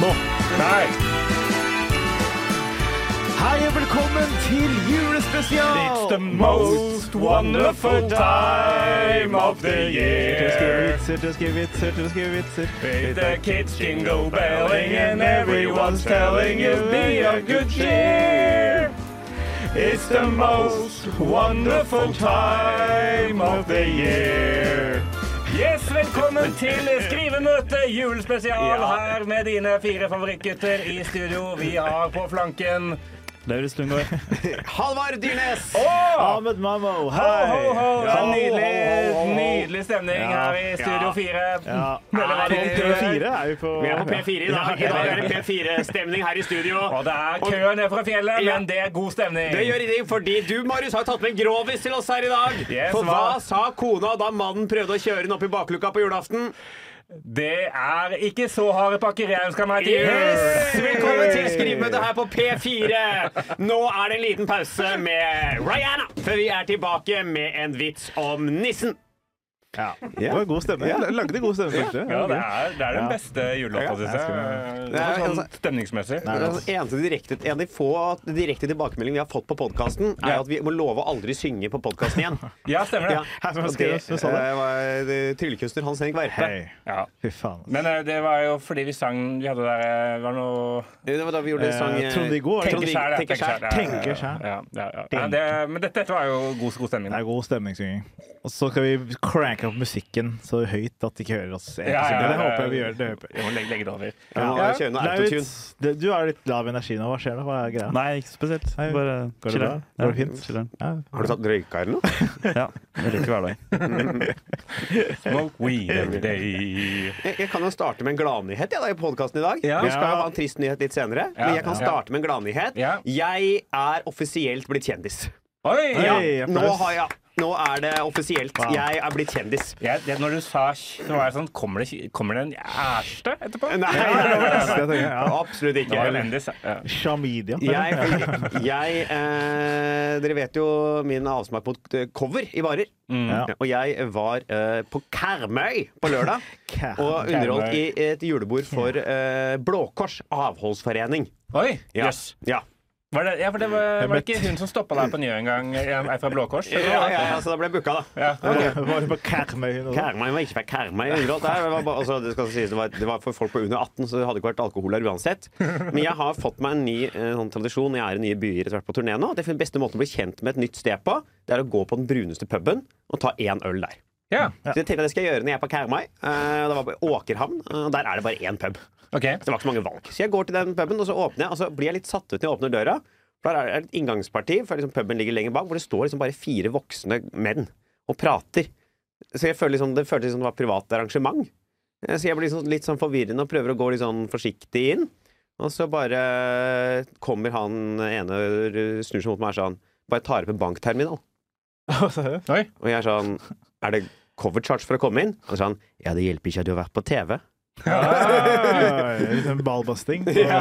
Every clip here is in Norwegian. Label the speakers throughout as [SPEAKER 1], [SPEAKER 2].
[SPEAKER 1] Nå. Der.
[SPEAKER 2] Hei og velkommen til
[SPEAKER 1] It's the
[SPEAKER 2] julespesial!
[SPEAKER 1] most wonderful time of the year.
[SPEAKER 2] Vitser til å skrive vitser til å skrive vitser.
[SPEAKER 1] With the kids jingle belling and everyone's telling you be of good cheer. It's the most wonderful time of the year.
[SPEAKER 3] Yes, velkommen til Skrivemøte julespesial her med dine fire favorittgutter i studio. Vi har på flanken
[SPEAKER 1] Lauritz Lundgaard.
[SPEAKER 2] Halvard Dyrnes!
[SPEAKER 3] Åh!
[SPEAKER 2] Ahmed Mammo,
[SPEAKER 3] Ho,
[SPEAKER 2] hei!
[SPEAKER 3] ho, ho!
[SPEAKER 2] Ja.
[SPEAKER 3] Så nydelig,
[SPEAKER 2] Ho, ho, ho.
[SPEAKER 3] nydelig stemning
[SPEAKER 2] Ja,
[SPEAKER 3] her i Studio
[SPEAKER 4] ja.
[SPEAKER 3] 4.
[SPEAKER 2] Ja.
[SPEAKER 3] Veldig
[SPEAKER 2] Er det
[SPEAKER 3] veldig-
[SPEAKER 2] P4? Er vi på
[SPEAKER 4] Vi er på P4 i dag. I dag er det P4-stemning her i studio.
[SPEAKER 3] Og det er kø ned fra fjellet,
[SPEAKER 4] Ja.
[SPEAKER 3] men det er god stemning.
[SPEAKER 4] Det gjør ingenting, fordi du, Marius, har tatt med en grovis til oss her i dag.
[SPEAKER 3] Yes,
[SPEAKER 4] For hva
[SPEAKER 3] hva?
[SPEAKER 4] sa kona da mannen prøvde å kjøre den opp i bakluka på julaften?
[SPEAKER 3] Det er ikke så harde pakker jeg ønsker meg til
[SPEAKER 4] Yes!
[SPEAKER 3] jul.
[SPEAKER 4] Velkommen til skrivemøtet her på P4. Nå er det en liten pause med Rihanna, før vi er tilbake med en vits om nissen.
[SPEAKER 2] Det var god stemme. Jeg lagde god stemme, kanskje.
[SPEAKER 3] Ja, det er, det er den beste julelåta,
[SPEAKER 2] Ja,
[SPEAKER 3] syns
[SPEAKER 2] jeg
[SPEAKER 3] jeg.
[SPEAKER 2] skal-
[SPEAKER 3] Det er
[SPEAKER 4] Nei,
[SPEAKER 3] sånn
[SPEAKER 4] altså-
[SPEAKER 3] stemningsmessig.
[SPEAKER 4] Det er den eneste direkte, en av de få direkte tilbakemeldingene vi har fått på podkasten, er
[SPEAKER 3] Ja.
[SPEAKER 4] at vi må love å aldri synge på podkasten igjen.
[SPEAKER 3] Ja, stemmer det.
[SPEAKER 2] Her som
[SPEAKER 4] og
[SPEAKER 2] jeg skrev,
[SPEAKER 4] det,
[SPEAKER 2] så sa det.
[SPEAKER 4] eh, var, eh, Tryllekunstner Hans Henrik Verpe.
[SPEAKER 2] Hei.
[SPEAKER 3] Ja.
[SPEAKER 2] Fy faen. altså. ass.
[SPEAKER 3] Men eh, det var jo fordi vi sang Vi hadde der eh, var noe
[SPEAKER 4] Det var da vi gjorde
[SPEAKER 2] Eh,
[SPEAKER 4] sang eh,
[SPEAKER 2] Trond-Viggo, er det
[SPEAKER 4] Tenker
[SPEAKER 3] Tenker
[SPEAKER 4] sjæl,
[SPEAKER 3] sjæl,
[SPEAKER 4] ja.
[SPEAKER 3] ja.
[SPEAKER 4] Tenker
[SPEAKER 2] Tenker
[SPEAKER 3] ja.
[SPEAKER 4] sjæl.
[SPEAKER 2] sjæl.
[SPEAKER 3] Ja, ja, ja. Nei, det, men dette, dette var jo god, god stemning.
[SPEAKER 2] Det er god stemningssynging. Og så skal vi cranke opp musikken så høyt at de ikke hører oss.
[SPEAKER 3] ja, ja.
[SPEAKER 2] Det håper jeg vi gjør. Det håper jeg.
[SPEAKER 3] Jeg må legge, legge det over.
[SPEAKER 4] Ja, nå
[SPEAKER 2] Ja.
[SPEAKER 4] kjører vi noe autotune.
[SPEAKER 2] Lauritz, det- du er litt lav i energi nå. Hva skjer nå? Hva er greia?
[SPEAKER 5] Nei, ikke spesielt.
[SPEAKER 2] Nei,
[SPEAKER 5] Bare
[SPEAKER 2] går det
[SPEAKER 5] chiller.
[SPEAKER 2] bra? Går det
[SPEAKER 5] Ja,
[SPEAKER 2] fint?
[SPEAKER 5] chiller.
[SPEAKER 2] Ja.
[SPEAKER 4] Har du tatt røyka eller noe?
[SPEAKER 5] Ja, jeg liker hverdagen.
[SPEAKER 3] Smoke weed every day.
[SPEAKER 4] Jeg, jeg kan jo starte med en gladnyhet jeg, da, i podkasten i dag.
[SPEAKER 3] Ja.
[SPEAKER 4] Vi skal jo ha en trist nyhet litt senere,
[SPEAKER 3] Ja.
[SPEAKER 4] men jeg
[SPEAKER 3] Ja.
[SPEAKER 4] kan starte med en gladnyhet.
[SPEAKER 3] Ja.
[SPEAKER 4] Jeg er offisielt blitt kjendis.
[SPEAKER 3] Oi!
[SPEAKER 2] Hei,
[SPEAKER 3] Ja.
[SPEAKER 2] applaus.
[SPEAKER 4] Nå, har jeg, nå er det offisielt. Jeg er blitt kjendis.
[SPEAKER 3] Jeg, det, når du sa kj- så var jeg sånn Kommer det, kommer det en ærste etterpå?
[SPEAKER 4] Nei,
[SPEAKER 2] Jeg tenker, ja.
[SPEAKER 4] absolutt
[SPEAKER 3] Det var
[SPEAKER 4] ikke.
[SPEAKER 3] jo Lendis. Ja.
[SPEAKER 2] Shamidia.
[SPEAKER 4] Jeg, jeg eh, Dere vet jo min avsmak mot eh, cover i barer.
[SPEAKER 3] Mm.
[SPEAKER 2] Ja.
[SPEAKER 4] Og jeg var eh, på Karmøy på lørdag
[SPEAKER 2] Kæ-
[SPEAKER 4] og underholdt i
[SPEAKER 3] Karmøy.
[SPEAKER 4] et julebord for eh, Blå Kors avholdsforening.
[SPEAKER 3] Oi!
[SPEAKER 4] Ja.
[SPEAKER 3] Jøss.
[SPEAKER 4] Ja.
[SPEAKER 3] Var det, ja, for det var, var det ikke
[SPEAKER 2] møtte-
[SPEAKER 3] hun som stoppa deg på Njø en gang, ei fra Blå Kors?
[SPEAKER 4] Ja, ja, ja, så da ble jeg booka, da.
[SPEAKER 3] Ja.
[SPEAKER 2] Var det på Karmøy nå?
[SPEAKER 4] Karmøy var ikke fra Karmøy. jeg underholdt der. Det var, bare, altså, det, skal sies, det, var, det var for folk på under 18, så det hadde ikke vært alkohol her uansett. Men jeg har fått meg en ny eh, sånn tradisjon. Jeg er i nye byer etter hvert på turné nå. Det er den beste måten å bli kjent med et nytt sted på, det er å gå på den bruneste puben og ta én øl der.
[SPEAKER 3] ja.
[SPEAKER 4] Så jeg tenkte jeg det skal jeg gjøre når jeg er på Karmøy. Eh, Det var på Åkerhamn, eh, og der er det bare én pub.
[SPEAKER 3] OK.
[SPEAKER 4] Så Altså, det var ikke så mange valg. Så jeg går til den puben, og så åpner jeg, og så blir jeg litt satt ut når jeg åpner døra. For der er det et inngangsparti, for liksom puben ligger lenger bak, hvor det står liksom bare fire voksne menn og prater. Så jeg føler liksom, det føltes som det var et privat arrangement. Eh, Så jeg blir liksom litt sånn forvirrende og prøver å gå litt sånn forsiktig inn. Og så bare kommer han ene, snur seg mot meg og er sånn Bare tar opp en bankterminal.
[SPEAKER 3] Oi.
[SPEAKER 4] Og jeg er sånn Er det cover charge for å komme inn? Og så er han Ja, det hjelper ikke at du har vært på TV.
[SPEAKER 2] Ah, litt sånn Ballbusting.
[SPEAKER 4] Så jeg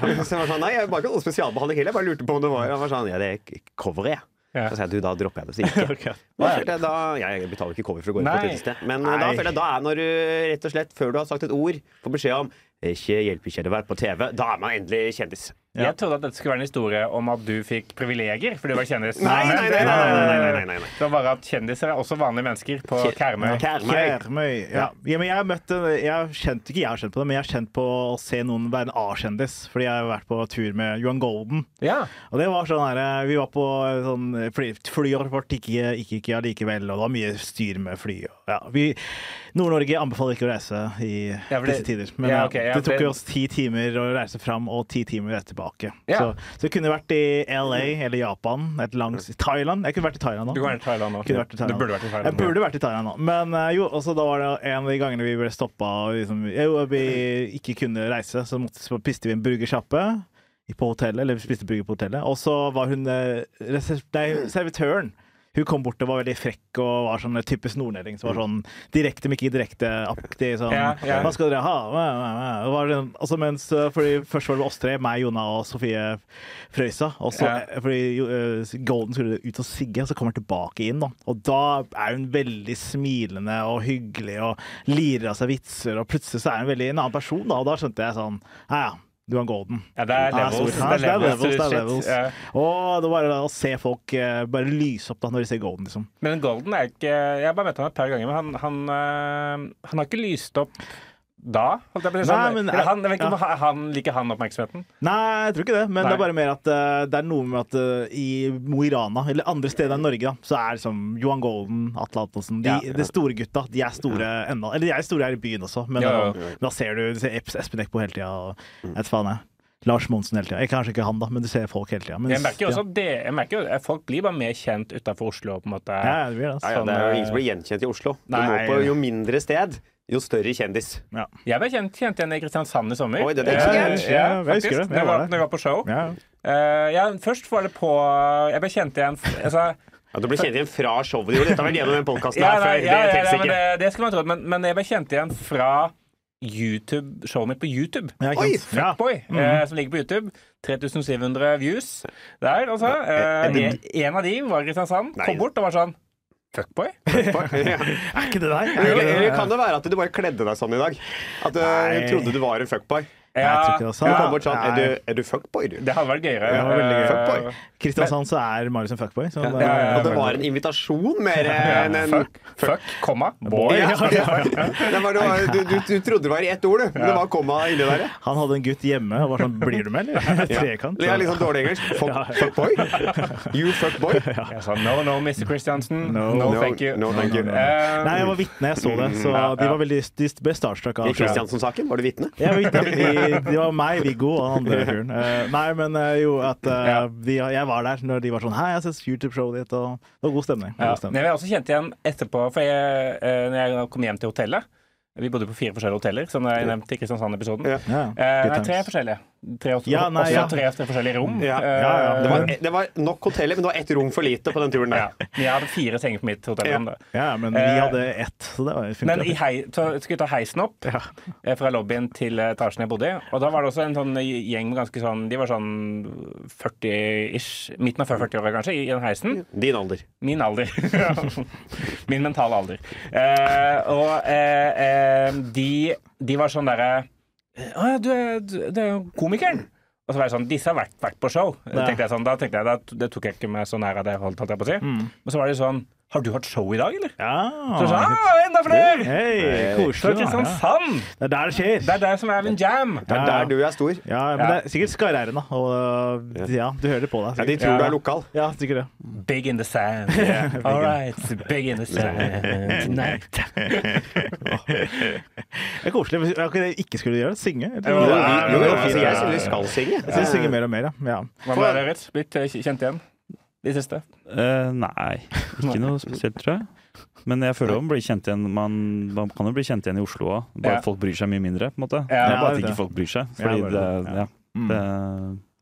[SPEAKER 4] var sånn, Nei, jeg var ikke noen spesialbehandling heller. Jeg bare lurte på om det var Han var sånn Ja, det er coveret, jeg.
[SPEAKER 3] Ja.
[SPEAKER 4] Så sa jeg du, da dropper jeg det. Så gikk jeg. Men da følte jeg da, jeg betaler ikke cover for å gå inn på
[SPEAKER 3] Nei.
[SPEAKER 4] et utested. Men eh, da
[SPEAKER 2] Nei.
[SPEAKER 4] føler jeg da er når du rett og slett, før du har sagt et ord, får beskjed om ikke hjelper ikke det å være på TV. Da er man endelig kjendis.
[SPEAKER 3] Jeg trodde at dette skulle være en historie om at du fikk privilegier fordi du var kjendis.
[SPEAKER 4] Nei, nei, nei! nei, nei, nei, nei, nei, nei.
[SPEAKER 3] Det var bare at kjendiser er også vanlige mennesker på Karmøy.
[SPEAKER 4] Karmøy.
[SPEAKER 2] Karmøy. Ja. Ja, men jeg har møtt en, jeg har kjent, ikke jeg har kjent på det, men jeg har kjent på å se noen være en A-kjendis. Fordi jeg har vært på tur med Johan Golden.
[SPEAKER 3] Ja.
[SPEAKER 2] Og det var sånn her, Vi var på sånn fly, flyet vårt gikk ikke, gikk ikke allikevel, og det var mye styr med fly. og- Ja, vi- Nord-Norge anbefaler ikke å reise i
[SPEAKER 3] Ja, for det-
[SPEAKER 2] disse tider. Men
[SPEAKER 3] Ja,
[SPEAKER 2] ja,
[SPEAKER 3] ok, ja,
[SPEAKER 2] det
[SPEAKER 3] for
[SPEAKER 2] tok
[SPEAKER 3] det-
[SPEAKER 2] jo oss ti timer å reise fram og ti timer tilbake.
[SPEAKER 3] Ja.
[SPEAKER 2] Så, så det kunne vært i LA eller Japan, et langs Thailand. Jeg kunne vært i Thailand nå.
[SPEAKER 3] Du kan være i Thailand nå.
[SPEAKER 2] Kunne vært i Thailand.
[SPEAKER 3] Du burde vært i Thailand.
[SPEAKER 2] Jeg burde vært i Thailand nå. Men eh, jo, også da var det en av de gangene vi ble stoppa og liksom, jo, vi ikke kunne reise, så, måtte, så piste vi en burgersjappe i- på hotellet, eller vi spiste burger på hotellet. Og så var hun eh, resep- nei, servitøren Hun kom bort og var veldig frekk og var sånn typisk nordnerding som var sånn direkte, men ikke direkte-aktig. Sånn,
[SPEAKER 3] Mm. Ja, ja.
[SPEAKER 2] Hva skal dere ha? Mæ, mæ, mæ. Det var sånn- altså, mens, eh, fordi først var det oss tre, meg, Jonna og Sofie Frøysa. Og så,
[SPEAKER 3] Ja.
[SPEAKER 2] fordi jo, eh, Golden skulle ut og sigge, og så kommer hun tilbake inn. Da. Og da er hun veldig smilende og hyggelig og lirer av seg vitser, og plutselig så er hun veldig en annen person. Da, og da skjønte jeg sånn Ja, ja, du er Golden.
[SPEAKER 3] Ja, det er
[SPEAKER 2] Ja,
[SPEAKER 3] levels.
[SPEAKER 2] stor- ja, det er levels, det er
[SPEAKER 3] shit.
[SPEAKER 2] levels.
[SPEAKER 3] Ja.
[SPEAKER 2] Og det var bare å se folk eh, bare lyse opp da når de ser Golden, liksom.
[SPEAKER 3] Men Golden er ikke Jeg har bare møtt ham et par ganger, men han, han, øh, han har ikke lyst opp da. Holdt jeg på å si.
[SPEAKER 2] Nei,
[SPEAKER 3] Sånn,
[SPEAKER 2] men-
[SPEAKER 3] eller han, jeg vet ikke om
[SPEAKER 2] ja.
[SPEAKER 3] han- han liker han oppmerksomheten.
[SPEAKER 2] Nei, jeg tror ikke det, men
[SPEAKER 3] Nei.
[SPEAKER 2] det er bare mer at eh, det er noe med at eh, i Mo i Rana, eller andre steder enn Norge, da, så er liksom Johan Golden, Atle Antonsen de,
[SPEAKER 3] Ja.
[SPEAKER 2] de store gutta. De er store ennå. Eller de er store her i byen også, men
[SPEAKER 3] Ja, ja.
[SPEAKER 2] Da, da ser du, du ser Eps- Espen Eckbo hele tida og jeg vet faen jeg. Lars Monsen hele tida. Eh, Kanskje ikke han, da, men du ser folk hele tida.
[SPEAKER 3] Jeg merker jo også at det, jeg merker jo at folk blir bare mer kjent utafor Oslo, på en måte.
[SPEAKER 2] ja, ja, det blir det, altså.
[SPEAKER 4] Ja, ja,
[SPEAKER 3] Sånn,
[SPEAKER 4] det er jo ingen
[SPEAKER 3] eh,
[SPEAKER 4] som blir gjenkjent i Oslo. Du
[SPEAKER 3] Nei,
[SPEAKER 4] må på
[SPEAKER 3] ja.
[SPEAKER 4] jo mindre sted, jo større kjendis.
[SPEAKER 3] Jeg ble kjent, kjent igjen i Kristiansand i sommer.
[SPEAKER 4] Oi, det
[SPEAKER 3] Eh,
[SPEAKER 4] er
[SPEAKER 2] Ja,
[SPEAKER 4] gøy.
[SPEAKER 2] jeg husker det. Jeg
[SPEAKER 3] faktisk, Når
[SPEAKER 2] var
[SPEAKER 3] jeg var,
[SPEAKER 2] der.
[SPEAKER 3] når jeg var på show.
[SPEAKER 2] Ja.
[SPEAKER 3] Eh, ja, først var det på Jeg ble kjent igjen altså,
[SPEAKER 4] Ja, du blir kjent igjen fra showet du gjorde. Dette har vært gjennom den podkasten
[SPEAKER 3] ja,
[SPEAKER 4] her
[SPEAKER 3] nei,
[SPEAKER 4] før.
[SPEAKER 3] ja,
[SPEAKER 4] det
[SPEAKER 3] ja,
[SPEAKER 4] tenkes
[SPEAKER 3] ja, men
[SPEAKER 4] ikke.
[SPEAKER 3] det, det skulle man trodd, men, men jeg ble kjent igjen fra YouTube, showet mitt på YouTube.
[SPEAKER 2] Ja, ikke
[SPEAKER 4] Oi,
[SPEAKER 2] sant? ja. Mm.
[SPEAKER 3] Boy, eh, som ligger på YouTube. 3700 views der, altså.
[SPEAKER 4] Er- er
[SPEAKER 3] Eh, en,
[SPEAKER 4] det-
[SPEAKER 3] en av de var i Kristiansand.
[SPEAKER 4] Nei.
[SPEAKER 3] Kom bort og var sånn Fuckboy?
[SPEAKER 2] Er ikke det der?
[SPEAKER 4] Eller, eller kan det være at du bare kledde deg sånn i dag? At du
[SPEAKER 2] Nei.
[SPEAKER 4] trodde du var en fuckboy?
[SPEAKER 2] Nei, jeg tror ikke det, altså.
[SPEAKER 4] Du
[SPEAKER 2] Ja,
[SPEAKER 4] kom bort sånn
[SPEAKER 2] nei.
[SPEAKER 4] Er du, er du fuckboy, du?
[SPEAKER 3] Det hadde vært gøyere.
[SPEAKER 2] Det var veldig gøy.
[SPEAKER 4] Fuckboy.
[SPEAKER 3] Eh,
[SPEAKER 2] Kristiansand så er Marius en fuckboy. Så det,
[SPEAKER 3] ja, ja.
[SPEAKER 4] At det var en invitasjon mer enn en
[SPEAKER 3] Fuck, fuck, komma, boy.
[SPEAKER 4] Ja, ja, ja. Det var, det var, du, du, du trodde det var i ett ord, du. Men det var komma inni der. ja.
[SPEAKER 2] Han hadde en gutt hjemme og var sånn Blir du med, eller? Trekant.
[SPEAKER 4] Det er litt sånn dårlig engelsk. Fuck, fuckboy? You fuckboy?
[SPEAKER 3] Jeg sa no, no, Mr. Christiansen. No,
[SPEAKER 2] No.
[SPEAKER 4] No,
[SPEAKER 3] thank you.
[SPEAKER 4] no, thank you.
[SPEAKER 3] Eh,
[SPEAKER 2] Nei, jeg var vitne, jeg så
[SPEAKER 3] Mm,
[SPEAKER 2] det. Så de var veldig de ble starstruck av
[SPEAKER 4] I Kristiansen-saken var du vitne.
[SPEAKER 2] Jeg var vitne, de, det var meg, Viggo og han andre fyren. Eh, nei, men eh, jo at eh,
[SPEAKER 3] Ja.
[SPEAKER 2] de, jeg var der når de var sånn Hei, jeg har sett YouTube-showet ditt, og det var god stemning.
[SPEAKER 3] Ja,
[SPEAKER 2] God
[SPEAKER 3] men
[SPEAKER 2] stemning.
[SPEAKER 3] jeg ble også kjent igjen etterpå, for jeg, eh, når jeg kom hjem til hotellet Vi bodde på fire forskjellige hoteller, som jeg nevnte i Kristiansand-episoden.
[SPEAKER 4] Ja.
[SPEAKER 2] Ja,
[SPEAKER 3] Eh,
[SPEAKER 2] good
[SPEAKER 3] nei, tre
[SPEAKER 2] times.
[SPEAKER 3] forskjellige. Tre, også,
[SPEAKER 2] Ja, nei,
[SPEAKER 3] også
[SPEAKER 2] ja.
[SPEAKER 3] tre, tre forskjellige rom.
[SPEAKER 4] Ja.
[SPEAKER 3] Eh,
[SPEAKER 2] Ja, ja,
[SPEAKER 4] Det var, det var nok hoteller, men det var ett rom for lite på den turen
[SPEAKER 3] ja.
[SPEAKER 4] der.
[SPEAKER 3] Men Jeg hadde fire senger på mitt hotellrom. da.
[SPEAKER 2] ja, men vi
[SPEAKER 3] Eh,
[SPEAKER 2] hadde ett, så det var
[SPEAKER 3] Men
[SPEAKER 2] funket.
[SPEAKER 3] i hei, så skulle jeg ta heisen opp eh, fra lobbyen til etasjen jeg bodde i. Og da var det også en sånn gjeng med ganske sånn De var sånn 40-ish. Midten av 40-åra, kanskje, i den heisen.
[SPEAKER 4] Din alder.
[SPEAKER 3] Min alder. Min mentale alder. Eh, og eh, eh, de, de var sånn derre Å ja, du er, du, du er jo komikeren. Og så var jeg sånn, Disse har vært, vært på show. Da tenkte jeg sånn, da tenkte jeg, da, Det tok jeg ikke meg så nær av det, holdt holdt jeg på å si. Men så var de sånn Har du hatt show i dag, eller? Så jeg sa,
[SPEAKER 2] Ja.
[SPEAKER 3] ah, enda flere!
[SPEAKER 2] Hei,
[SPEAKER 3] Fra
[SPEAKER 2] koselig. da. Ja.
[SPEAKER 3] Kristiansand!
[SPEAKER 2] Det er der det skjer.
[SPEAKER 3] liksom Det er Sånn der som er min jam.
[SPEAKER 4] Det er
[SPEAKER 2] Ja, ja.
[SPEAKER 4] der du er stor.
[SPEAKER 2] Ja, men det er sikkert skarreiren, da. Og øh, ja, du hører det på deg.
[SPEAKER 4] Ja, de
[SPEAKER 2] sikkert.
[SPEAKER 4] tror du er lokal.
[SPEAKER 2] Ja, sikkert det.
[SPEAKER 3] Big in the sand. All right, it's big in the sand tonight.
[SPEAKER 2] Det er koselig. Hvis- Hva er det jeg ikke skulle gjøre? Synge? Eller?
[SPEAKER 3] Jo,
[SPEAKER 4] Jo,
[SPEAKER 3] Ja, ja,
[SPEAKER 4] jo,
[SPEAKER 3] ja,
[SPEAKER 4] jo,
[SPEAKER 3] ja,
[SPEAKER 4] altså,
[SPEAKER 3] ja,
[SPEAKER 4] jeg
[SPEAKER 3] ja,
[SPEAKER 4] synes du skal synge.
[SPEAKER 2] Jeg syns synge mer og mer, ja. ja.
[SPEAKER 3] Hva med deg, Ritz? Blitt eh, kjent igjen? De siste?
[SPEAKER 5] Eh, nei, ikke noe spesielt, tror jeg. Men jeg føler jo man blir kjent igjen Man, man kan jo bli kjent igjen i Oslo òg, bare
[SPEAKER 3] Ja.
[SPEAKER 5] at folk bryr seg mye mindre. på en måte
[SPEAKER 3] Ja,
[SPEAKER 5] Det
[SPEAKER 2] det
[SPEAKER 5] er bare at
[SPEAKER 2] er det.
[SPEAKER 5] ikke folk bryr seg.
[SPEAKER 2] Ja,
[SPEAKER 5] Fordi
[SPEAKER 2] bare
[SPEAKER 5] det,
[SPEAKER 2] det,
[SPEAKER 5] ja. det,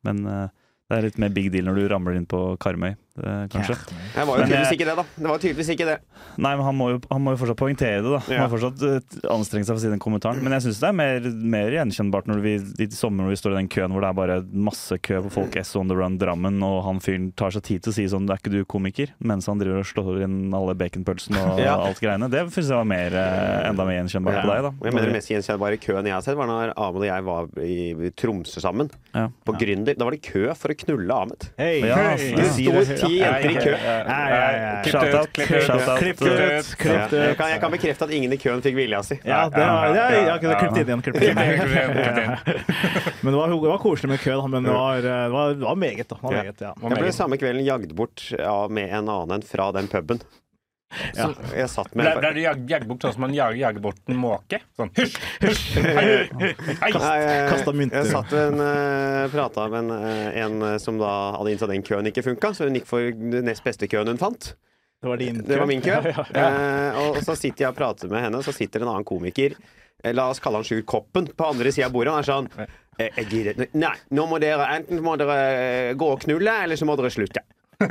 [SPEAKER 5] men eh, det er litt mer big deal når du ramler inn på Karmøy, eh, kanskje.
[SPEAKER 4] Jeg var jo
[SPEAKER 5] Men, eh,
[SPEAKER 4] tydeligvis ikke det, da. Det var tydeligvis ikke det.
[SPEAKER 5] Nei, men han må, jo, han må jo fortsatt poengtere det, da. Han
[SPEAKER 4] Ja.
[SPEAKER 5] har fortsatt eh, anstrengt seg for å si den kommentaren. Men jeg syns det er mer, mer gjenkjennbart når vi, i sommer når vi står i den køen hvor det er bare masse kø på folk S on the run Drammen, og han fyren tar seg tid til å si sånn 'er ikke du komiker?' mens han driver og slår inn alle baconpølsene og
[SPEAKER 4] Ja.
[SPEAKER 5] alt greiene. Det syns jeg var mer, eh, enda mer gjenkjennbart på deg, da.
[SPEAKER 4] Og Jeg mener Den mest gjenkjennbare køen jeg har sett, var når Ahmed og jeg var i Tromsø sammen.
[SPEAKER 5] Ja.
[SPEAKER 4] På Gründer. Da var det kø for å knulle Ahmed.
[SPEAKER 2] Hei!
[SPEAKER 5] Ja,
[SPEAKER 2] Hei.
[SPEAKER 5] altså.
[SPEAKER 4] Det
[SPEAKER 5] Ja.
[SPEAKER 4] sto ti jenter i kø.
[SPEAKER 2] Ja, ja, ja, ja.
[SPEAKER 3] Klipp det ut,
[SPEAKER 5] Shout-out,
[SPEAKER 3] klipp det ut.
[SPEAKER 5] shout-out.
[SPEAKER 2] Klipp
[SPEAKER 3] Klipp
[SPEAKER 2] det
[SPEAKER 3] det
[SPEAKER 2] ut!
[SPEAKER 4] Ja.
[SPEAKER 2] Klipp det
[SPEAKER 4] Jeg
[SPEAKER 2] ut!
[SPEAKER 4] kan, jeg kan bekrefte at ingen i køen fikk vilja si.
[SPEAKER 2] Ja, det var, det er, ja, ok, det er klippet inn igjen. Klippet inn.
[SPEAKER 3] Klipp det ut, klipp det ut.
[SPEAKER 2] Men det var, det var koselig med kø, da. Men det var, eh, det var, det var meget, da. Det var
[SPEAKER 4] Ja.
[SPEAKER 2] meget, ja.
[SPEAKER 3] Hva
[SPEAKER 4] Jeg ble
[SPEAKER 3] med-
[SPEAKER 4] samme kvelden jagd bort av- med en annen fra den puben. Så jeg satt med
[SPEAKER 3] Ble ble du jag- jaget bort sånn som man jager, jager bort en måke? Sånn hysj, hysj, hei, hei.
[SPEAKER 4] Nei, jeg-
[SPEAKER 2] kastet mynter.
[SPEAKER 4] Jeg satt ved en, eh, pratet med en, eh, en eh, som da hadde innsett at den køen ikke funka, så hun gikk for den nest beste køen hun fant.
[SPEAKER 2] Det var din
[SPEAKER 4] Det var min kø.
[SPEAKER 2] Ja,
[SPEAKER 4] Eh, og så sitter jeg og prater med henne, så sitter en annen komiker eh, La oss kalle han Sjur Koppen på andre sida av bordet. Han er sånn eh, jeg gidder. ikke. Nei, nå må dere enten må dere eh, gå og knulle, eller så må dere slutte. Jeg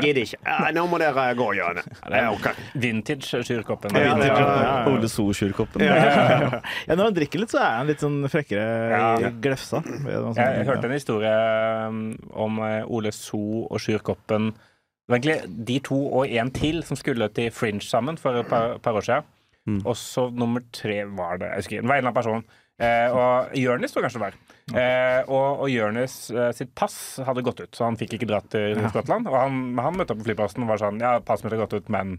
[SPEAKER 4] gidder ikke. Ja, Nå må dere gå, Jørne. Ja, ok.
[SPEAKER 3] Vintage Sjurkoppen.
[SPEAKER 4] Ja, det er-
[SPEAKER 2] ja.
[SPEAKER 5] Ole So-Sjurkoppen.
[SPEAKER 2] Ja, når han drikker litt, så er han litt sånn frekkere i glefsa. sånn-
[SPEAKER 3] Jeg hørte en historie um, om eh, Ole So og Sjurkoppen. Det var egentlig de to og en til som skulle til Fringe sammen for et par, par år siden. Og så nummer tre var det Jeg husker ikke. Det var en eller annen person. Eh, og Jonis tror jeg kanskje det var. Eh, og og Jonis eh, sitt pass hadde gått ut, så han fikk ikke dratt til Skottland. Og han, han møtte opp på flyplassen og var sånn Ja, passet mitt har gått ut, men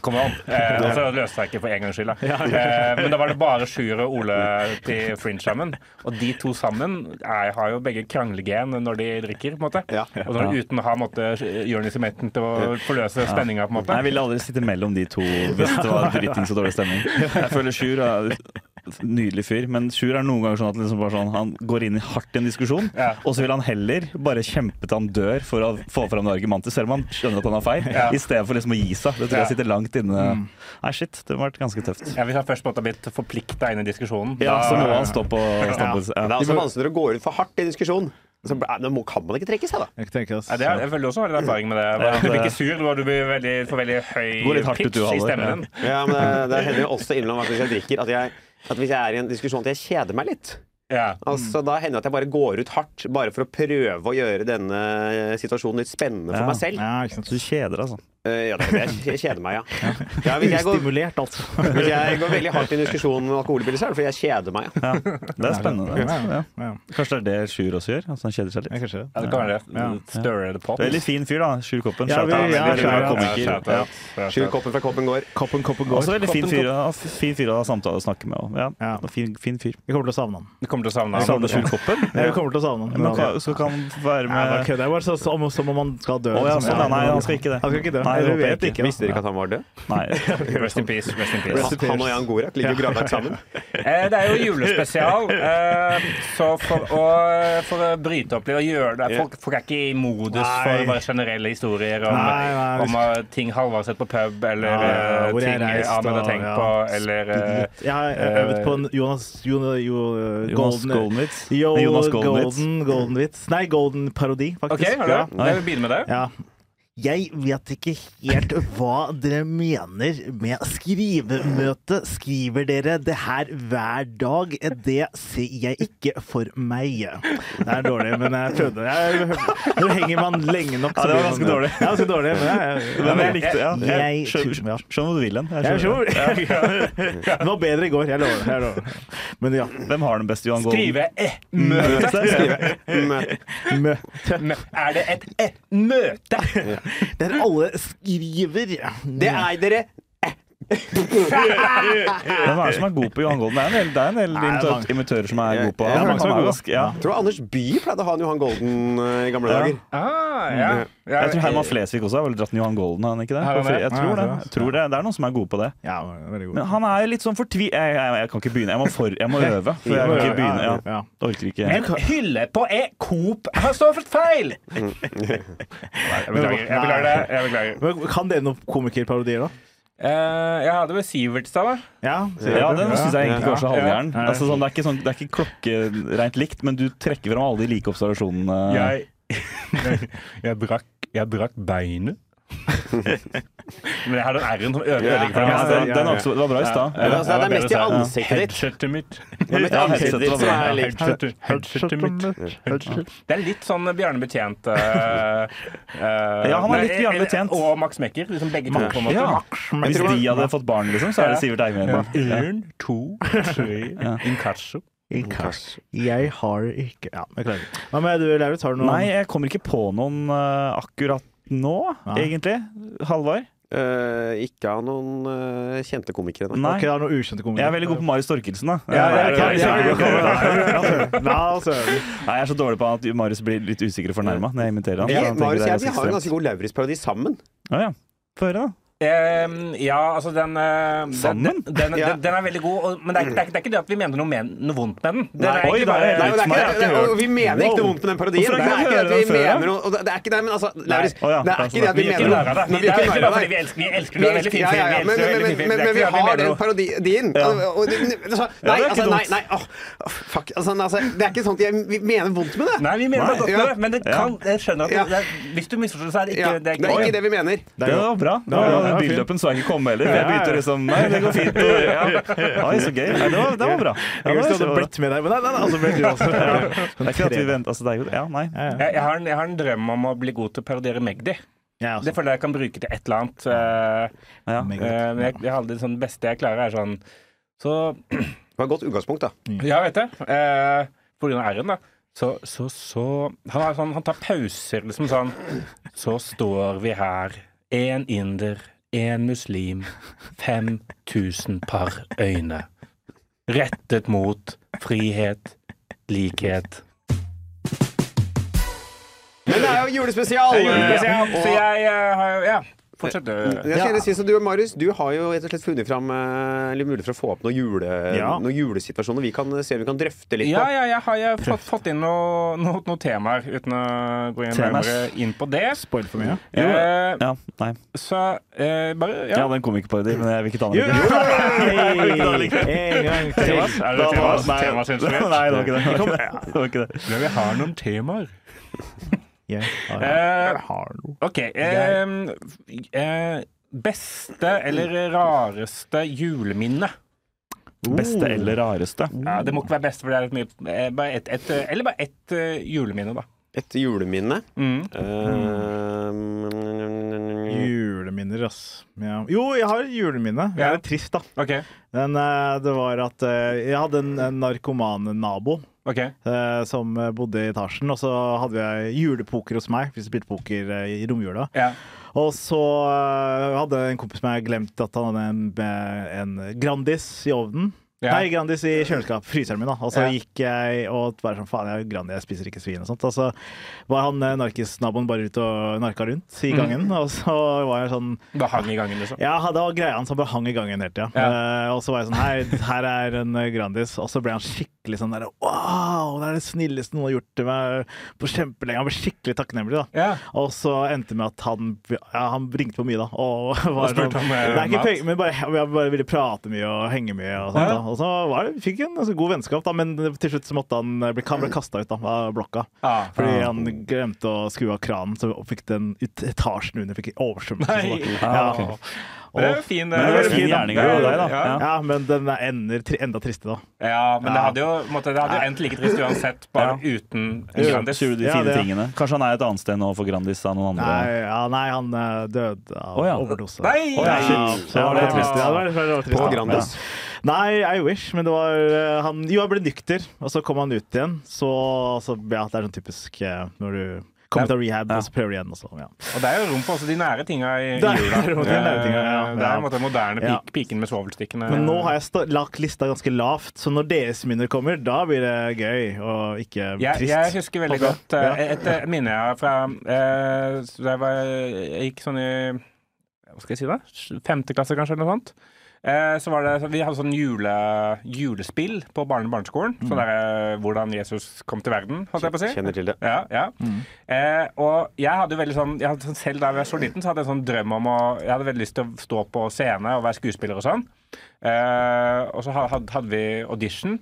[SPEAKER 3] Kom an. Eh, og så løste jeg ikke for en gangs skyld. Da. Eh, men da var det bare Sjur og Ole til Fringe sammen. Og de to sammen er, har jo begge kranglegen når de drikker, på en måte.
[SPEAKER 4] Ja.
[SPEAKER 3] Og så, uten å ha måtte, Jonis i menten til å forløse spenninga, på en måte.
[SPEAKER 5] Jeg ville aldri sitte mellom de to hvis det var dritings og dårlig stemning. Jeg føler Sjur er en nydelig fyr, men Sjur er noen ganger sånn at liksom bare sånn, han går inn i hardt i en diskusjon,
[SPEAKER 3] Ja.
[SPEAKER 5] og så vil han heller bare kjempe til han dør for å få fram det argumentet, selv om han skjønner at han har feil,
[SPEAKER 3] Ja.
[SPEAKER 5] i stedet for liksom å gi seg. Det tror
[SPEAKER 3] Ja.
[SPEAKER 5] jeg sitter langt inne. Nei, shit, det har vært ganske tøft.
[SPEAKER 3] Ja, hvis han først måtte ha blitt forplikta inn i diskusjonen
[SPEAKER 5] Ja,
[SPEAKER 3] da-
[SPEAKER 5] så må han stå på standpunktet.
[SPEAKER 4] Men Det er altså-
[SPEAKER 5] Ja.
[SPEAKER 4] også vanskelig å gå ut for hardt i diskusjon. Så, eh, nå må- kan man ikke trekke seg, da.
[SPEAKER 2] Jeg tenker, altså.
[SPEAKER 3] Ja, det er, jeg føler du også har en erfaring med det. Du blir ikke sur, du blir veldig, får veldig
[SPEAKER 5] går
[SPEAKER 3] høy
[SPEAKER 5] litt hardt ut,
[SPEAKER 3] pitch
[SPEAKER 5] du,
[SPEAKER 3] i
[SPEAKER 5] Halvor.
[SPEAKER 3] stemmen.
[SPEAKER 4] Ja, men det, det hender jo også innimellom at hvis jeg drikker, at, jeg, at hvis jeg er i en diskusjon at jeg kjeder meg litt.
[SPEAKER 3] Ja.
[SPEAKER 4] Altså,
[SPEAKER 5] Mm.
[SPEAKER 4] Da hender det at jeg bare går ut hardt, bare for å prøve å gjøre denne eh, situasjonen litt spennende for
[SPEAKER 5] Ja.
[SPEAKER 4] meg selv.
[SPEAKER 2] ja, ikke sant.
[SPEAKER 5] Du kjeder, altså.
[SPEAKER 4] Eh, ja, det er det. jeg kjeder meg, ja. ja hvis, jeg går,
[SPEAKER 2] Ustimulert, altså.
[SPEAKER 4] hvis jeg går veldig hardt i en diskusjon med alkoholbilder, så er det fordi jeg kjeder meg. Ja.
[SPEAKER 5] Ja. Det er spennende.
[SPEAKER 2] Ja, ja,
[SPEAKER 5] Ja.
[SPEAKER 2] ja.
[SPEAKER 5] Kanskje det er det Sjur også gjør? At han kjeder seg litt?
[SPEAKER 2] Ja, kanskje det.
[SPEAKER 3] Ja, det kan være det.
[SPEAKER 2] Ja.
[SPEAKER 3] Stirrer det pop.
[SPEAKER 5] Veldig fin fyr, da. Sjur Koppen.
[SPEAKER 2] Ja,
[SPEAKER 5] Shout
[SPEAKER 2] vi-
[SPEAKER 5] out.
[SPEAKER 2] ja,
[SPEAKER 5] Veldig bra
[SPEAKER 2] shout out.
[SPEAKER 5] komiker.
[SPEAKER 3] Ja, shout out.
[SPEAKER 5] Ja.
[SPEAKER 3] Shout
[SPEAKER 4] Sju
[SPEAKER 3] out.
[SPEAKER 4] kopper fra koppen går.
[SPEAKER 2] Koppen, koppen går.
[SPEAKER 5] Også veldig fin
[SPEAKER 3] Koppen,
[SPEAKER 5] fyr, ja. fin fyr å ha samtale og snakke med. også. Ja.
[SPEAKER 2] Ja.
[SPEAKER 5] Fin, fin fyr.
[SPEAKER 2] Vi kommer til å savne han.
[SPEAKER 3] Du kommer til å savne ham.
[SPEAKER 5] Savner Sjur Koppen?
[SPEAKER 2] Ja, vi kommer til å savne han.
[SPEAKER 5] Men hva- Så kan han være
[SPEAKER 2] Nei, bare
[SPEAKER 5] med
[SPEAKER 2] kødder. Det er bare så, som, som om han skal dø.
[SPEAKER 5] Å ja,
[SPEAKER 2] liksom.
[SPEAKER 5] sånn, ja. Nei, han skal ikke det.
[SPEAKER 2] Han skal ikke dø.
[SPEAKER 5] Nei, det
[SPEAKER 2] Eller
[SPEAKER 5] håper jeg
[SPEAKER 2] vet
[SPEAKER 5] ikke.
[SPEAKER 2] da.
[SPEAKER 4] Visste dere ikke at han var død?
[SPEAKER 5] Nei.
[SPEAKER 3] Rest in peace. Rest in peace.
[SPEAKER 4] Han, han og Jan Gorak ligger jo gravlagt sammen.
[SPEAKER 3] Eh, Det er jo julespesial, eh, så for å, for å bryte opp litt og gjøre det Folk, folk er ikke i modus for
[SPEAKER 2] Nei.
[SPEAKER 3] bare generelle historier om,
[SPEAKER 2] Nei, nei.
[SPEAKER 3] om eh, ting Halvor har sett på pub, eller
[SPEAKER 2] Ja,
[SPEAKER 3] eh,
[SPEAKER 2] hvor jeg
[SPEAKER 3] ting
[SPEAKER 2] reist,
[SPEAKER 3] Ahmed
[SPEAKER 2] og-
[SPEAKER 3] har tenkt
[SPEAKER 2] ja.
[SPEAKER 3] på, eller eh,
[SPEAKER 2] Jeg har jeg har øvd på en Jonas, Jonas, Jonas,
[SPEAKER 5] Jonas
[SPEAKER 2] Golden,
[SPEAKER 5] Goldenwitz.
[SPEAKER 2] Jo,
[SPEAKER 5] Jonas Goldenwitz.
[SPEAKER 2] Golden, Golden Vits. Nei, Golden Parodi,
[SPEAKER 3] OK,
[SPEAKER 2] faktisk.
[SPEAKER 3] har
[SPEAKER 2] Ja.
[SPEAKER 3] du det? Jeg vil begynne med det.
[SPEAKER 2] Ja. Jeg vet ikke helt hva dere mener med skrivemøte. Skriver dere det her hver dag? Det ser jeg ikke for meg. Det er dårlig, men jeg prøvde. Jeg, når henger man lenge nok
[SPEAKER 5] Ja, det var
[SPEAKER 2] blir man-
[SPEAKER 5] ganske dårlig.
[SPEAKER 2] Ja, ganske dårlig, men jeg,
[SPEAKER 5] Men jeg likte ja.
[SPEAKER 2] Jeg-
[SPEAKER 5] Jeg skjønner
[SPEAKER 2] ja.
[SPEAKER 5] skjønner hva du vil hen. Jeg
[SPEAKER 2] jeg
[SPEAKER 5] skjønner.
[SPEAKER 2] tror Det var bedre i går, jeg lover. Jeg lover. Men ja.
[SPEAKER 5] Hvem har den beste Johan Golden?
[SPEAKER 3] Skrive eh,
[SPEAKER 2] Mm.
[SPEAKER 3] møte.
[SPEAKER 4] Men-
[SPEAKER 2] Møte.
[SPEAKER 3] Er det et eh, møte?
[SPEAKER 2] Der alle skriver.
[SPEAKER 4] Det er dere!
[SPEAKER 5] Hvem er det som er god på Johan Golden? Det er en del, det er en del
[SPEAKER 2] Nei, det er
[SPEAKER 5] imita- imitører som er gode på
[SPEAKER 4] Ja,
[SPEAKER 5] han.
[SPEAKER 2] mange som er
[SPEAKER 5] Han er
[SPEAKER 2] gode.
[SPEAKER 5] ganske- ja.
[SPEAKER 4] Tror du Anders Bye pleide å ha en Johan Golden eh, i gamle
[SPEAKER 5] Ja.
[SPEAKER 4] dager?
[SPEAKER 3] Ah, ja. Ja,
[SPEAKER 5] Jeg tror Herman Flesvig også har vel dratt en Johan Golden, har han ikke det?
[SPEAKER 3] Har han det?
[SPEAKER 5] Jeg tror det. Jeg tror det. Det er noen som er gode på det.
[SPEAKER 2] Ja, veldig god.
[SPEAKER 5] Men han er litt sånn fortvi... Jeg, jeg, jeg kan ikke begynne. Jeg må, for, jeg må øve. For jeg kan ikke begynne. Ja.
[SPEAKER 2] Ja.
[SPEAKER 5] Jeg orker ikke.
[SPEAKER 3] En hylle på e Coop har stått for feil! Nei, jeg beklager. Jeg beklager det. Jeg beklager.
[SPEAKER 2] Men Kan dere noen komikerparodier, da?
[SPEAKER 3] Eh, jeg hadde vel Sivertstad, da.
[SPEAKER 2] Ja, sier
[SPEAKER 5] Ja,
[SPEAKER 2] du.
[SPEAKER 5] den syns jeg egentlig
[SPEAKER 3] Ja.
[SPEAKER 5] kanskje er halvgæren.
[SPEAKER 2] Ja.
[SPEAKER 5] Altså, sånn, det, er ikke sånn, det er ikke klokkereint likt, men du trekker fram alle de like observasjonene.
[SPEAKER 3] jeg, brakk, jeg brakk beinet. Men jeg har den R-en som ødelegger
[SPEAKER 4] Ja,
[SPEAKER 3] for det
[SPEAKER 5] Ja,
[SPEAKER 3] meste.
[SPEAKER 5] den, den er også, det var bra i stad.
[SPEAKER 4] Men altså, det
[SPEAKER 3] Ja,
[SPEAKER 4] er mest i
[SPEAKER 3] bedre seg.
[SPEAKER 4] ansiktet ditt.
[SPEAKER 3] Headsetet mitt.
[SPEAKER 4] Det er mest i
[SPEAKER 5] Ja,
[SPEAKER 4] ansiktet
[SPEAKER 5] headsetet
[SPEAKER 4] ditt som
[SPEAKER 5] var
[SPEAKER 4] er
[SPEAKER 5] bra.
[SPEAKER 4] likt.
[SPEAKER 3] Headsetet, headsetet mitt. Det er litt sånn Bjarne Betjent eh, eh,
[SPEAKER 5] Ja, han er
[SPEAKER 3] nei,
[SPEAKER 5] litt Bjarne Betjent.
[SPEAKER 3] Og Max Mekker. Liksom begge to, på en måte.
[SPEAKER 5] Ja. Hvis
[SPEAKER 4] tror-
[SPEAKER 5] de hadde fått barn, liksom, så er det Sivert Eimeren.
[SPEAKER 3] Én, to, tre Inkasso.
[SPEAKER 2] Inkasso. Jeg har ikke Ja, jeg klarer det. Hva med du, Lauritz? Har du noen
[SPEAKER 5] Nei, jeg kommer ikke på noen eh, akkurat nå,
[SPEAKER 2] Nei.
[SPEAKER 5] egentlig. Halvard?
[SPEAKER 4] Eh, ikke av noen eh, kjente komikere. Da.
[SPEAKER 5] Nei.
[SPEAKER 2] Ok, har du noen ukjente komikere?
[SPEAKER 5] Jeg er veldig god på Marius Torkelsen, da.
[SPEAKER 2] ja, ja,
[SPEAKER 5] Jeg
[SPEAKER 2] ja,
[SPEAKER 5] er-
[SPEAKER 2] ja,
[SPEAKER 5] jeg er
[SPEAKER 2] ja,
[SPEAKER 5] kjempegod på-
[SPEAKER 2] ja, altså, ja, søren.
[SPEAKER 5] Nei, Jeg er så dårlig på at Marius blir litt usikker og fornærma når jeg imiterer han. så
[SPEAKER 4] Vi,
[SPEAKER 5] han tenker
[SPEAKER 4] Marius og
[SPEAKER 5] det er
[SPEAKER 4] jeg vi
[SPEAKER 5] ganske
[SPEAKER 4] har en
[SPEAKER 5] ekstremt.
[SPEAKER 4] ganske god Lauritz-parodi sammen.
[SPEAKER 5] Å ja. Få høre, da.
[SPEAKER 3] Ehm, ja, altså den eh, den-
[SPEAKER 5] Sammen?
[SPEAKER 3] Den, den,
[SPEAKER 4] Ja.
[SPEAKER 3] den, den er veldig god, og, men det er, ikke- det, er, ikke- det er ikke det at vi mener noe, men, noe vondt med den. den
[SPEAKER 4] Nei,
[SPEAKER 3] er
[SPEAKER 5] oi,
[SPEAKER 3] ikke
[SPEAKER 5] da er det
[SPEAKER 3] bare-
[SPEAKER 4] Nei, og det er ikke,
[SPEAKER 5] Jeg
[SPEAKER 4] det,
[SPEAKER 5] har ikke
[SPEAKER 4] det,
[SPEAKER 5] hørt.
[SPEAKER 4] og vi mener ikke
[SPEAKER 5] Wow.
[SPEAKER 4] noe vondt med den parodien. Det
[SPEAKER 5] Hvorfor har
[SPEAKER 4] er ikke
[SPEAKER 5] ikke jeg
[SPEAKER 4] det at vi
[SPEAKER 5] hørt den før, da?
[SPEAKER 4] mener noe og det- Det er ikke det, men altså Lauris,
[SPEAKER 5] Å ja,
[SPEAKER 4] det er
[SPEAKER 5] takk.
[SPEAKER 4] ikke det at
[SPEAKER 5] Vi
[SPEAKER 4] vi
[SPEAKER 5] gjør
[SPEAKER 4] mener
[SPEAKER 5] ikke narr
[SPEAKER 4] noe
[SPEAKER 5] av deg.
[SPEAKER 3] Vi
[SPEAKER 4] Men vi
[SPEAKER 3] gjør
[SPEAKER 4] er
[SPEAKER 3] ikke
[SPEAKER 4] ikke
[SPEAKER 3] det
[SPEAKER 4] narr av
[SPEAKER 3] fordi
[SPEAKER 4] det.
[SPEAKER 3] vi elsker den. Vi elsker den,
[SPEAKER 4] Vi
[SPEAKER 3] veldig
[SPEAKER 4] elsker-
[SPEAKER 3] fin
[SPEAKER 4] ja,
[SPEAKER 3] film. vi elsker den,
[SPEAKER 4] ja, ja, men, men,
[SPEAKER 3] veldig
[SPEAKER 4] men,
[SPEAKER 3] fin film. så jeg tror
[SPEAKER 4] men, men vi
[SPEAKER 3] at
[SPEAKER 4] har
[SPEAKER 3] mener
[SPEAKER 4] den
[SPEAKER 3] noe.
[SPEAKER 4] parodien. Og det- altså, Nei,
[SPEAKER 5] det er ikke
[SPEAKER 4] altså, nei,
[SPEAKER 5] dumt.
[SPEAKER 4] nei åh, Fuck. Altså, altså, det er ikke sånn at jeg, vi mener vondt med det.
[SPEAKER 3] Nei, vi mener
[SPEAKER 5] Nei.
[SPEAKER 3] noe godt
[SPEAKER 4] Ja.
[SPEAKER 3] med det, men det kan, jeg skjønner at det,
[SPEAKER 4] Ja.
[SPEAKER 3] det er, hvis du misforstår, så er det
[SPEAKER 4] Ja,
[SPEAKER 3] ikke
[SPEAKER 4] det er ikke det vi mener.
[SPEAKER 5] Det var bra. Det var,
[SPEAKER 2] Ja,
[SPEAKER 5] ja,
[SPEAKER 2] ja, fint.
[SPEAKER 5] Build-upen så jeg ikke komme heller. Jeg
[SPEAKER 2] Ja, ja.
[SPEAKER 5] begynte liksom Nei, det går fint. Og, ja. Oi, så gøy. Nei, det, var, det var bra. Ja,
[SPEAKER 2] Jeg visste
[SPEAKER 5] det, var
[SPEAKER 2] du hadde
[SPEAKER 5] kjempebra.
[SPEAKER 2] blitt med deg, men nei, nei, nei, altså, ble du også.
[SPEAKER 5] det er ikke at vi venter altså, det er jo, Ja, nei.
[SPEAKER 2] Ja, ja.
[SPEAKER 3] Jeg, jeg, har en, jeg har en drøm om å bli god til å parodiere Magdi.
[SPEAKER 2] Jeg
[SPEAKER 3] Det
[SPEAKER 4] Altså.
[SPEAKER 2] også.
[SPEAKER 3] føler jeg jeg kan bruke til et eller annet. eh,
[SPEAKER 5] Ja.
[SPEAKER 2] Meget.
[SPEAKER 3] eh, men jeg, jeg har aldri sånn det beste jeg klarer, er sånn Så
[SPEAKER 4] Det var et godt utgangspunkt, da.
[SPEAKER 3] Ja, vet det. Eh, på grunn av R-en, da. Så, så, så han, er sånn, han tar pauser, liksom sånn. Så står vi her, én inder, én muslim, 5000 par øyne. Rettet mot frihet, likhet.
[SPEAKER 4] Men det er jo julespesial!
[SPEAKER 3] Julespesial. Så
[SPEAKER 4] Og-
[SPEAKER 3] jeg eh, har Ja, fortsett. du.
[SPEAKER 5] Eh,
[SPEAKER 4] Jeg skal gjerne si som du og Marius, du har jo rett og slett funnet fram eh, litt mulighet for å få opp noen, jule,
[SPEAKER 2] Ja.
[SPEAKER 4] noen julesituasjoner vi kan eh, se om vi kan drøfte litt
[SPEAKER 3] Ja,
[SPEAKER 4] på.
[SPEAKER 3] ja, jeg har jeg har fått, fått inn noen noe, noe temaer, uten å gå inn
[SPEAKER 5] Temas.
[SPEAKER 3] nærmere inn på det.
[SPEAKER 2] Spoil for mye.
[SPEAKER 5] Jo,
[SPEAKER 3] Eh,
[SPEAKER 5] ja, nei.
[SPEAKER 3] så eh, bare
[SPEAKER 5] Jeg
[SPEAKER 3] ja.
[SPEAKER 5] hadde en komikerparodi, men jeg vil ikke ta den. likevel.
[SPEAKER 2] Hey, en gang til.
[SPEAKER 3] Er det temas?
[SPEAKER 5] Nei,
[SPEAKER 3] Temas instruert?
[SPEAKER 5] Nei, det var ikke det. det, var ikke det.
[SPEAKER 3] Ja, vi har noen temaer.
[SPEAKER 2] Jeg har-
[SPEAKER 3] Eh,
[SPEAKER 2] jeg har noe.
[SPEAKER 3] OK. ehm, eh, beste eller rareste juleminne?
[SPEAKER 2] Uh.
[SPEAKER 5] Beste eller rareste?
[SPEAKER 3] Ja, det må ikke være beste, for det er litt mye eh, bare et, et, eh, Eller bare ett eh, juleminne, da.
[SPEAKER 4] Et juleminne.
[SPEAKER 3] Mm.
[SPEAKER 4] Eh,
[SPEAKER 2] Uh. Juleminner, ass. Ja. Jo, jeg har et juleminne. Det
[SPEAKER 3] Ja.
[SPEAKER 2] er litt trist, da.
[SPEAKER 3] OK.
[SPEAKER 2] Men eh, det var at eh, jeg hadde en, en narkoman nabo
[SPEAKER 3] ok
[SPEAKER 2] eh, som eh, bodde i etasjen, og så hadde jeg julepoker hos meg, hvis vi spilte poker eh, i romjula.
[SPEAKER 3] ja.
[SPEAKER 2] Og så eh, hadde en kompis meg glemt at han hadde en, eh, en Grandis i ovnen.
[SPEAKER 3] Ja.
[SPEAKER 2] Nei, Grandis i kjøleskapet, fryseren min, da. Og så
[SPEAKER 3] Ja.
[SPEAKER 2] gikk jeg og bare sånn faen, jeg er Grandi, jeg spiser ikke svin og sånt. Og så var han eh, narkisnaboen bare ute og narka rundt i
[SPEAKER 3] Mm.
[SPEAKER 2] gangen, og så var jeg sånn
[SPEAKER 3] Bare hang i gangen, liksom.
[SPEAKER 2] ja, det var greia hans. Han bare hang i gangen hele tida.
[SPEAKER 3] Ja.
[SPEAKER 2] Eh, og så var jeg sånn Her, her er en eh, Grandis. Og så ble han skikkelig sånn der Wow, det er det snilleste noen har gjort til meg på kjempelenge. Han ble skikkelig takknemlig, da.
[SPEAKER 3] Ja.
[SPEAKER 2] Og så endte det med at han ja, Han ringte på mye, da. Og, var sånn,
[SPEAKER 3] spurte om, eh,
[SPEAKER 2] det er ikke
[SPEAKER 3] mat?
[SPEAKER 2] penger, men bare, jeg bare ville prate mye og henge mye. Og, sånt,
[SPEAKER 3] Ja.
[SPEAKER 2] da. og så var det, fikk han altså, god vennskap, da. Men til slutt så måtte han eh, bli, han ble kasta ut da, av blokka.
[SPEAKER 3] Ah.
[SPEAKER 2] Fordi han glemte å skru av kranen, så fikk den ut, etasjen under fikk oversvømmelse. Ja.
[SPEAKER 3] Nei. Ah, ok.
[SPEAKER 2] Og-
[SPEAKER 3] Det er jo fin,
[SPEAKER 5] Men det var
[SPEAKER 2] en fin
[SPEAKER 5] gjerning av deg, da.
[SPEAKER 3] Ja.
[SPEAKER 5] Ja.
[SPEAKER 2] ja, men den er ender, tri, enda tristere, da.
[SPEAKER 3] Ja, men det hadde jo, på en måte, det hadde jo endt like trist uansett, bare uten en Grandis.
[SPEAKER 5] Skjuler de
[SPEAKER 2] Ja,
[SPEAKER 5] fine
[SPEAKER 2] det, ja.
[SPEAKER 5] tingene. Kanskje han er et annet sted nå for Grandis enn noen andre.
[SPEAKER 2] Nei, ja, nei han eh, døde av
[SPEAKER 5] Å, ja.
[SPEAKER 2] overdose.
[SPEAKER 3] Nei!
[SPEAKER 2] ja,
[SPEAKER 5] Shit.
[SPEAKER 2] så var det trist. Ja, det var, det var, trist
[SPEAKER 4] på
[SPEAKER 2] da.
[SPEAKER 4] Grandis.
[SPEAKER 2] Ja. Nei, I wish, men det var eh, han, Jo, jeg ble nykter, og så kom han ut igjen. Så, så ja, det er sånn typisk eh, når du kommer ut av rehab, og så prøver du igjen. Og så, ja.
[SPEAKER 3] Og det er jo rom for også de nære tinga i i
[SPEAKER 2] Det er
[SPEAKER 3] jula.
[SPEAKER 2] rom for de nære tinga, ja.
[SPEAKER 3] Eh, Det er på en måte den moderne pik
[SPEAKER 2] Ja.
[SPEAKER 3] piken med svovelstikkene.
[SPEAKER 2] Men nå har jeg sta- lagt lista ganske lavt, så når deres minner kommer, da blir det gøy og ikke
[SPEAKER 3] jeg,
[SPEAKER 2] trist.
[SPEAKER 3] jeg husker veldig
[SPEAKER 2] Håper
[SPEAKER 3] godt eh, et eh, minne jeg har fra eh, så da jeg, var, jeg gikk sånn i Hva skal jeg si da? Femte klasse, kanskje, eller noe sånt. Eh, så var det, så vi hadde sånn jule, julespill på barne- og barneskolen. Sånn
[SPEAKER 2] Mm.
[SPEAKER 3] der, eh, hvordan Jesus kom til verden, holdt jeg på å si.
[SPEAKER 4] Kjenner til det.
[SPEAKER 3] Ja, ja. Eh, og jeg hadde jo veldig sånn, jeg hadde sånn Selv da jeg var så liten, så hadde jeg sånn drøm om å Jeg hadde veldig lyst til å stå på scene og være skuespiller og sånn. Eh, og så ha- had- hadde vi audition,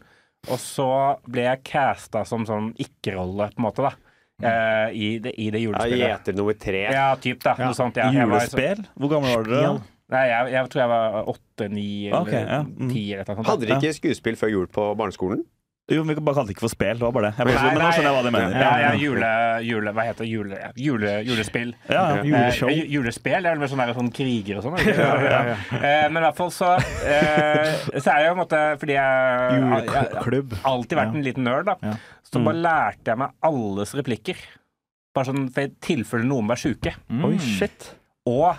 [SPEAKER 3] og så ble jeg casta som sånn ikke-rolle, på en måte, da. Eh, i, det, I det
[SPEAKER 4] Ja,
[SPEAKER 3] julespillet.
[SPEAKER 4] Gjeter nummer tre.
[SPEAKER 3] Ja, typ, da. Noe sånt. Ja, jeg var sånn- så-
[SPEAKER 5] Julespel? Hvor gammel var dere? da?
[SPEAKER 3] Nei, jeg, jeg tror jeg var åtte, ni
[SPEAKER 5] Ok, ja.
[SPEAKER 3] eller
[SPEAKER 5] Mm.
[SPEAKER 3] ti eller noe sånt.
[SPEAKER 4] Hadde dere ikke skuespill før jul på barneskolen?
[SPEAKER 5] Jo, men Vi bare kalte det ikke for spel. Det var bare det. Jeg bare
[SPEAKER 3] Nei,
[SPEAKER 5] men nå
[SPEAKER 3] nei.
[SPEAKER 5] skjønner jeg hva de mener.
[SPEAKER 3] Ja, ja, jule, jule... Hva heter det? Jule, jule, julespill.
[SPEAKER 5] Ja, ja.
[SPEAKER 2] Juleshow.
[SPEAKER 3] Eh, ju- julespill er vel mer sånn, der, sånn kriger og sånn? er det ikke? Eh, men i hvert fall så eh, Så er jeg jo på en måte Fordi jeg har
[SPEAKER 2] Juleklubb.
[SPEAKER 3] alltid vært en liten nerd, da.
[SPEAKER 2] Ja. Mm.
[SPEAKER 3] Så bare lærte jeg meg alles replikker. Bare sånn for i tilfelle noen var sjuke.
[SPEAKER 2] Mm.
[SPEAKER 5] Oi, shit.
[SPEAKER 3] Og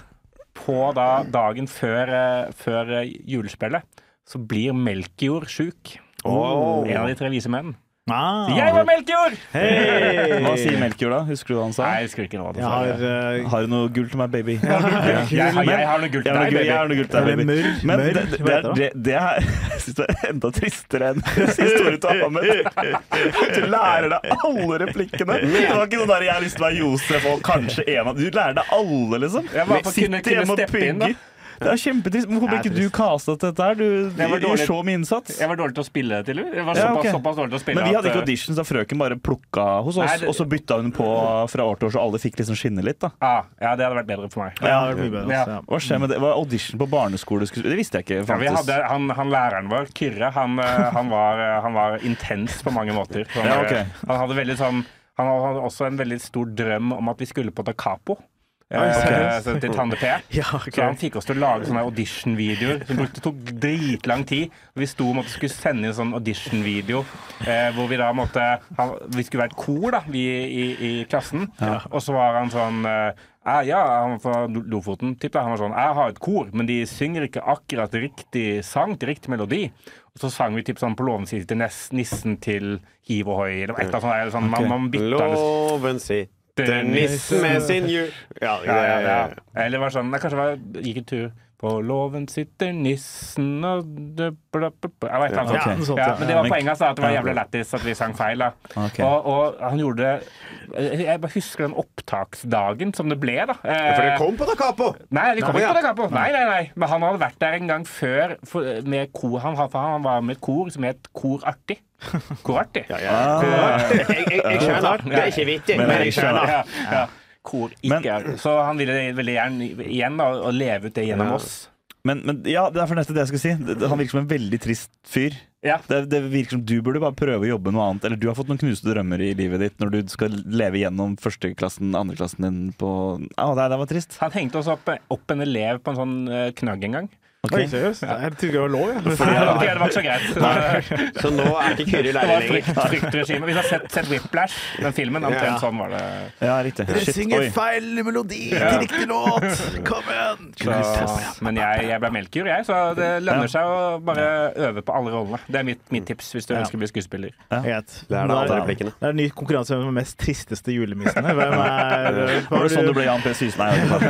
[SPEAKER 3] på da dagen før, eh,
[SPEAKER 2] Oh.
[SPEAKER 3] før eh, julespillet så blir Melkjord sjuk. En av de tre vise menn.
[SPEAKER 2] Ah,
[SPEAKER 3] Jeg var melkejord!
[SPEAKER 2] Hei!
[SPEAKER 5] Hva sier Melkjord, da? Husker du hva han sa?
[SPEAKER 3] Nei, jeg husker ikke hva det
[SPEAKER 2] Jeg
[SPEAKER 3] var.
[SPEAKER 2] har eh,
[SPEAKER 5] Har du noe gull til meg, baby?
[SPEAKER 3] Jeg har, jeg har noe gull
[SPEAKER 5] Jeg
[SPEAKER 3] til
[SPEAKER 5] har noe
[SPEAKER 3] deg,
[SPEAKER 5] gull- jeg
[SPEAKER 3] baby.
[SPEAKER 5] har noe gull til deg,
[SPEAKER 2] Eller
[SPEAKER 5] baby.
[SPEAKER 2] mørk,
[SPEAKER 5] Men
[SPEAKER 2] mørk,
[SPEAKER 5] det, det,
[SPEAKER 2] hva
[SPEAKER 5] det,
[SPEAKER 2] heter
[SPEAKER 5] det, det er, jeg synes det er enda tristere enn historien til Ahmed. Du lærer deg alle replikkene. Det var ikke sånn der 'jeg har lyst til å være Josef' og kanskje en av Du lærer deg alle, liksom.
[SPEAKER 3] Jeg bare kunne- kunne
[SPEAKER 5] Sitter hjemme og
[SPEAKER 3] steppe inn, da.
[SPEAKER 5] pugger. Det er kjempetrist. Men Hvorfor
[SPEAKER 2] Det
[SPEAKER 5] ble
[SPEAKER 2] er
[SPEAKER 5] ikke du casta til dette her? Du
[SPEAKER 3] Jeg var
[SPEAKER 5] gjør
[SPEAKER 3] dårlig.
[SPEAKER 5] så mye innsats.
[SPEAKER 3] Jeg var dårlig til å spille det til, eller? Jeg var
[SPEAKER 5] Ja,
[SPEAKER 3] såpass,
[SPEAKER 5] ok.
[SPEAKER 3] såpass dårlig til å spille
[SPEAKER 5] Men vi hadde
[SPEAKER 3] at,
[SPEAKER 5] ikke
[SPEAKER 3] eh,
[SPEAKER 5] auditions, da frøken bare plukka hos
[SPEAKER 3] Nei,
[SPEAKER 5] oss,
[SPEAKER 3] det-
[SPEAKER 5] og så bytta hun på fra år til år, så alle fikk liksom skinne litt, da.
[SPEAKER 3] ah, Ja, det hadde vært bedre for meg.
[SPEAKER 2] Ja, det var mye bedre.
[SPEAKER 3] Ja.
[SPEAKER 2] altså, ja.
[SPEAKER 5] Hva skjer med det? Var audition på barneskole? Det visste jeg ikke,
[SPEAKER 3] Ja, vi
[SPEAKER 5] faktisk.
[SPEAKER 3] hadde, han, han læreren vår, Kyrre, han, eh, han, var, eh, han var intens på mange måter. Han, eh,
[SPEAKER 5] Ja, ok.
[SPEAKER 3] han hadde veldig sånn Han hadde også en veldig stor drøm om at vi skulle på Da Capo. eh,
[SPEAKER 2] seriøst?
[SPEAKER 3] så Til Tande P.
[SPEAKER 2] Ja, ok.
[SPEAKER 3] Så han fikk oss til å lage sånne auditionvideoer som brukte, tok dritlang tid. Vi sto og måtte skulle sende inn en sånn auditionvideo eh, hvor vi da måtte han, Vi skulle være et kor, da, vi i, i klassen. Og så var han sånn eh, «Ah, ja, han var fra Lo- Lofoten, tipper jeg. Han var sånn Jeg har et kor, men de synger ikke akkurat riktig sang til riktig melodi. Og så sang vi typ sånn på låven sier til nes- nissen til hiv og hoi, eller et eller annet sånt. der, Sånn, man, man bytta liksom.
[SPEAKER 4] Loven sitter nissen med sin jul Ja, det-
[SPEAKER 3] Ja, ja, ja. Eller var sånn Jeg kanskje var, gikk en tur på låven sitter nissen og dø- bla, bla, bla. Jeg vet ikke,
[SPEAKER 2] Ja,
[SPEAKER 3] sånn.
[SPEAKER 2] noe sånt,
[SPEAKER 3] ja,
[SPEAKER 2] ja.
[SPEAKER 3] Men det var
[SPEAKER 5] Men-
[SPEAKER 3] poenget, altså, at det var jævla lættis at vi sang feil. Da.
[SPEAKER 5] Ok.
[SPEAKER 3] Og, og han gjorde det jeg- Jeg bare husker den opptaksdagen som det ble, da. Eh,
[SPEAKER 4] For det kom på Da Capo!
[SPEAKER 3] Nei, de kom
[SPEAKER 4] Nei,
[SPEAKER 3] ikke
[SPEAKER 4] ja.
[SPEAKER 3] på det Capo. Nei, nei, nei. Men han hadde vært der en gang før for, med kor. Han, for han var med et kor som het Korartig. Korartig.
[SPEAKER 4] Ja, ja.
[SPEAKER 5] Ah.
[SPEAKER 4] Jeg, jeg, jeg skjønner. Det er ikke vittig, men jeg skjønner.
[SPEAKER 3] Ja, ja. Kor ikke
[SPEAKER 5] Men-
[SPEAKER 3] er Så han ville veldig gjerne igjen da, å leve ut det gjennom
[SPEAKER 4] Ja.
[SPEAKER 3] oss.
[SPEAKER 5] Men, men ja, det er for neste det jeg skulle si. Det- det- Han virker som en veldig trist fyr.
[SPEAKER 3] Ja.
[SPEAKER 5] Det, det virker som du burde bare prøve å jobbe noe annet. Eller du har fått noen knuste drømmer i livet ditt når du skal leve gjennom førsteklassen, andreklassen din på Å, det, det var trist.
[SPEAKER 3] Han hengte oss opp, eh, opp en elev på en sånn eh, knagg en gang.
[SPEAKER 2] Oi, seriøst? Jeg trodde det var lov, jeg.
[SPEAKER 3] Nei, det var ikke så greit. Det
[SPEAKER 4] Så nå er ikke Kyrre
[SPEAKER 3] var
[SPEAKER 4] lærer
[SPEAKER 3] et
[SPEAKER 4] lenger.
[SPEAKER 3] frykt, fryktregime. Vi har sett, sett Whiplash, den filmen.
[SPEAKER 4] Ja.
[SPEAKER 3] Omtrent sånn var det.
[SPEAKER 5] Ja, riktig.
[SPEAKER 2] Dere
[SPEAKER 5] Shit,
[SPEAKER 2] synger
[SPEAKER 5] oi.
[SPEAKER 2] feil melodi til riktig låt! Kom igjen!
[SPEAKER 3] Så, men jeg, jeg ble melkejur, jeg, så det lønner seg å bare øve på alle rollene. Det er mitt, mitt tips hvis du ønsker å bli skuespiller.
[SPEAKER 2] Greit.
[SPEAKER 4] Det er da alle replikkene.
[SPEAKER 2] Det er en ny konkurranse om de mest tristeste julemissene. Hvem er
[SPEAKER 5] Var det sånn det ble Jan P. Sysen? Nei,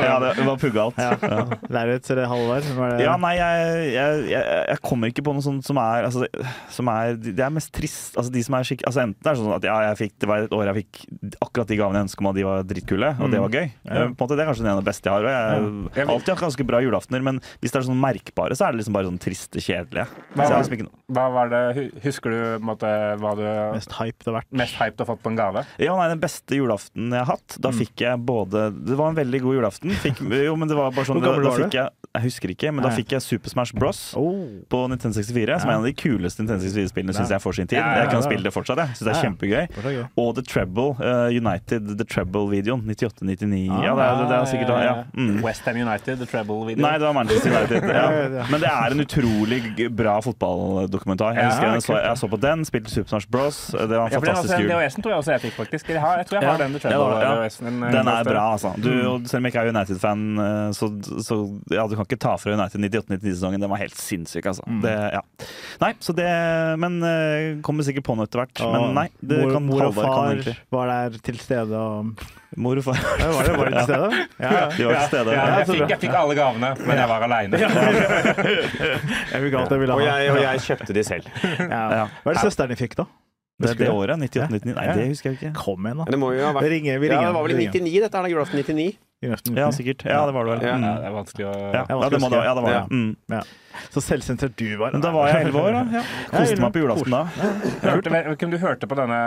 [SPEAKER 3] Ja, det var
[SPEAKER 5] jeg vet ikke.
[SPEAKER 3] sånn.
[SPEAKER 5] Ja, det var pugga alt.
[SPEAKER 2] Ja. Lerret eller Halvard? Hvem er det?
[SPEAKER 5] Ja, nei, jeg, jeg, jeg, jeg kommer ikke på noe sånt som er, altså, det- som er Det er mest trist. Altså, de som er skikk, altså, enten er det sånn at ja, jeg fikk, det var et år jeg fikk akkurat de gavene jeg ønsket meg, og de var dritkule, og det var gøy. Eh, På en måte, det er kanskje den ene av de beste jeg har. Og jeg
[SPEAKER 3] Ja.
[SPEAKER 5] har alltid hatt ganske bra julaftener, men hvis det er sånn merkbare, så er det liksom bare sånn triste, kjedelige. Så jeg har liksom ikke noe-
[SPEAKER 3] Hva var det, hu- husker du på en måte, hva du
[SPEAKER 2] Mest
[SPEAKER 3] mest,
[SPEAKER 2] hype det har vært.
[SPEAKER 3] hyped har fått på en gave?
[SPEAKER 5] Ja, nei, Den beste julaften jeg har hatt, da fikk jeg både Det var en veldig god julaften. Fikk, jo, men det var bare sånn,
[SPEAKER 2] Hvor gammel
[SPEAKER 5] da, da
[SPEAKER 2] var du?
[SPEAKER 5] fikk jeg, jeg husker ikke, men da
[SPEAKER 2] Nei.
[SPEAKER 5] fikk jeg Super Smash Bros.
[SPEAKER 2] Oh.
[SPEAKER 5] på Nintendo 64, som er en av de kuleste Nintendo 64-spillene synes jeg for sin tid.
[SPEAKER 3] Ja, ja, ja,
[SPEAKER 5] Jeg kan
[SPEAKER 2] ja.
[SPEAKER 5] spille det fortsatt, jeg. Synes det
[SPEAKER 2] Ja,
[SPEAKER 5] er
[SPEAKER 2] ja.
[SPEAKER 5] kjempegøy.
[SPEAKER 2] Det var gøy.
[SPEAKER 5] Og The Treble, eh, United The Treble-videoen. 98-99.
[SPEAKER 2] Ah,
[SPEAKER 5] Ja, det er, det er sikkert da, ja. Mm.
[SPEAKER 3] Eh, West Ham United, The Treble-video.
[SPEAKER 5] Nei, det var Manchester United. Ja.
[SPEAKER 2] ja.
[SPEAKER 5] Men det er en utrolig g- bra fotballdokumentar. Jeg husker
[SPEAKER 3] Ja,
[SPEAKER 5] jeg så, jeg så på den, spilte Super Smash Bros. Det var en
[SPEAKER 3] Ja, for altså den,
[SPEAKER 5] fantastisk
[SPEAKER 3] også,
[SPEAKER 5] jul.
[SPEAKER 3] DHS-en tror jeg også jeg fikk, faktisk. Jeg, har, jeg tror jeg har
[SPEAKER 5] Ja.
[SPEAKER 3] den. The
[SPEAKER 5] Ja,
[SPEAKER 3] Treble
[SPEAKER 5] ja.
[SPEAKER 3] DHS-en en, en
[SPEAKER 5] Den er
[SPEAKER 3] plass
[SPEAKER 5] bra, altså. Du, og selv om jeg ikke er United-fan, eh, så, så ja, du kan ikke ta fra United 98-99-sesongen. Den var helt sinnssyk, altså. Det, ja. Nei, så det Men eh, kommer sikkert på noe etter hvert. Men nei, det
[SPEAKER 2] Ah, mor,
[SPEAKER 5] kan
[SPEAKER 2] mor og
[SPEAKER 5] Halvard kan
[SPEAKER 2] far
[SPEAKER 5] egentlig.
[SPEAKER 2] var der til stede og
[SPEAKER 5] Mor og far.
[SPEAKER 2] Ja, Var det var det til stede? Ja.
[SPEAKER 5] De var til
[SPEAKER 3] der.
[SPEAKER 5] stede.
[SPEAKER 3] Ja,
[SPEAKER 5] Ja,
[SPEAKER 3] jeg, fikk, jeg fikk alle gavene, men jeg var aleine.
[SPEAKER 2] Jeg vil ikke alt jeg ville
[SPEAKER 4] Og
[SPEAKER 2] ha.
[SPEAKER 4] jeg, og jeg kjøpte de selv.
[SPEAKER 2] Ja. Hva er det søsteren din fikk, da?
[SPEAKER 5] Det,
[SPEAKER 2] Husker
[SPEAKER 5] det
[SPEAKER 2] du?
[SPEAKER 5] året. 98-99. Nei, det husker jeg ikke.
[SPEAKER 2] Kom igjen,
[SPEAKER 4] Men
[SPEAKER 2] da.
[SPEAKER 4] det må jo ha
[SPEAKER 2] Vi
[SPEAKER 4] vært
[SPEAKER 2] ringer. Vi
[SPEAKER 4] Ja,
[SPEAKER 2] ringer.
[SPEAKER 4] det var vel i
[SPEAKER 2] Vi ringer.
[SPEAKER 4] 99, dette er da julaften 99.
[SPEAKER 2] I nesten
[SPEAKER 5] Ja,
[SPEAKER 2] uke.
[SPEAKER 5] sikkert. Ja, det var det vel.
[SPEAKER 4] Ja.
[SPEAKER 5] Mm.
[SPEAKER 3] Ja, det er vanskelig å
[SPEAKER 5] Ja, ja, det må det, ja, det var det.
[SPEAKER 4] Ja.
[SPEAKER 5] Mm.
[SPEAKER 2] Så selvsentrert du var.
[SPEAKER 5] Men da var jeg 11 år, da. Ja. Koste meg på julaften da.
[SPEAKER 3] Hørte, vet ikke om du hørte på denne,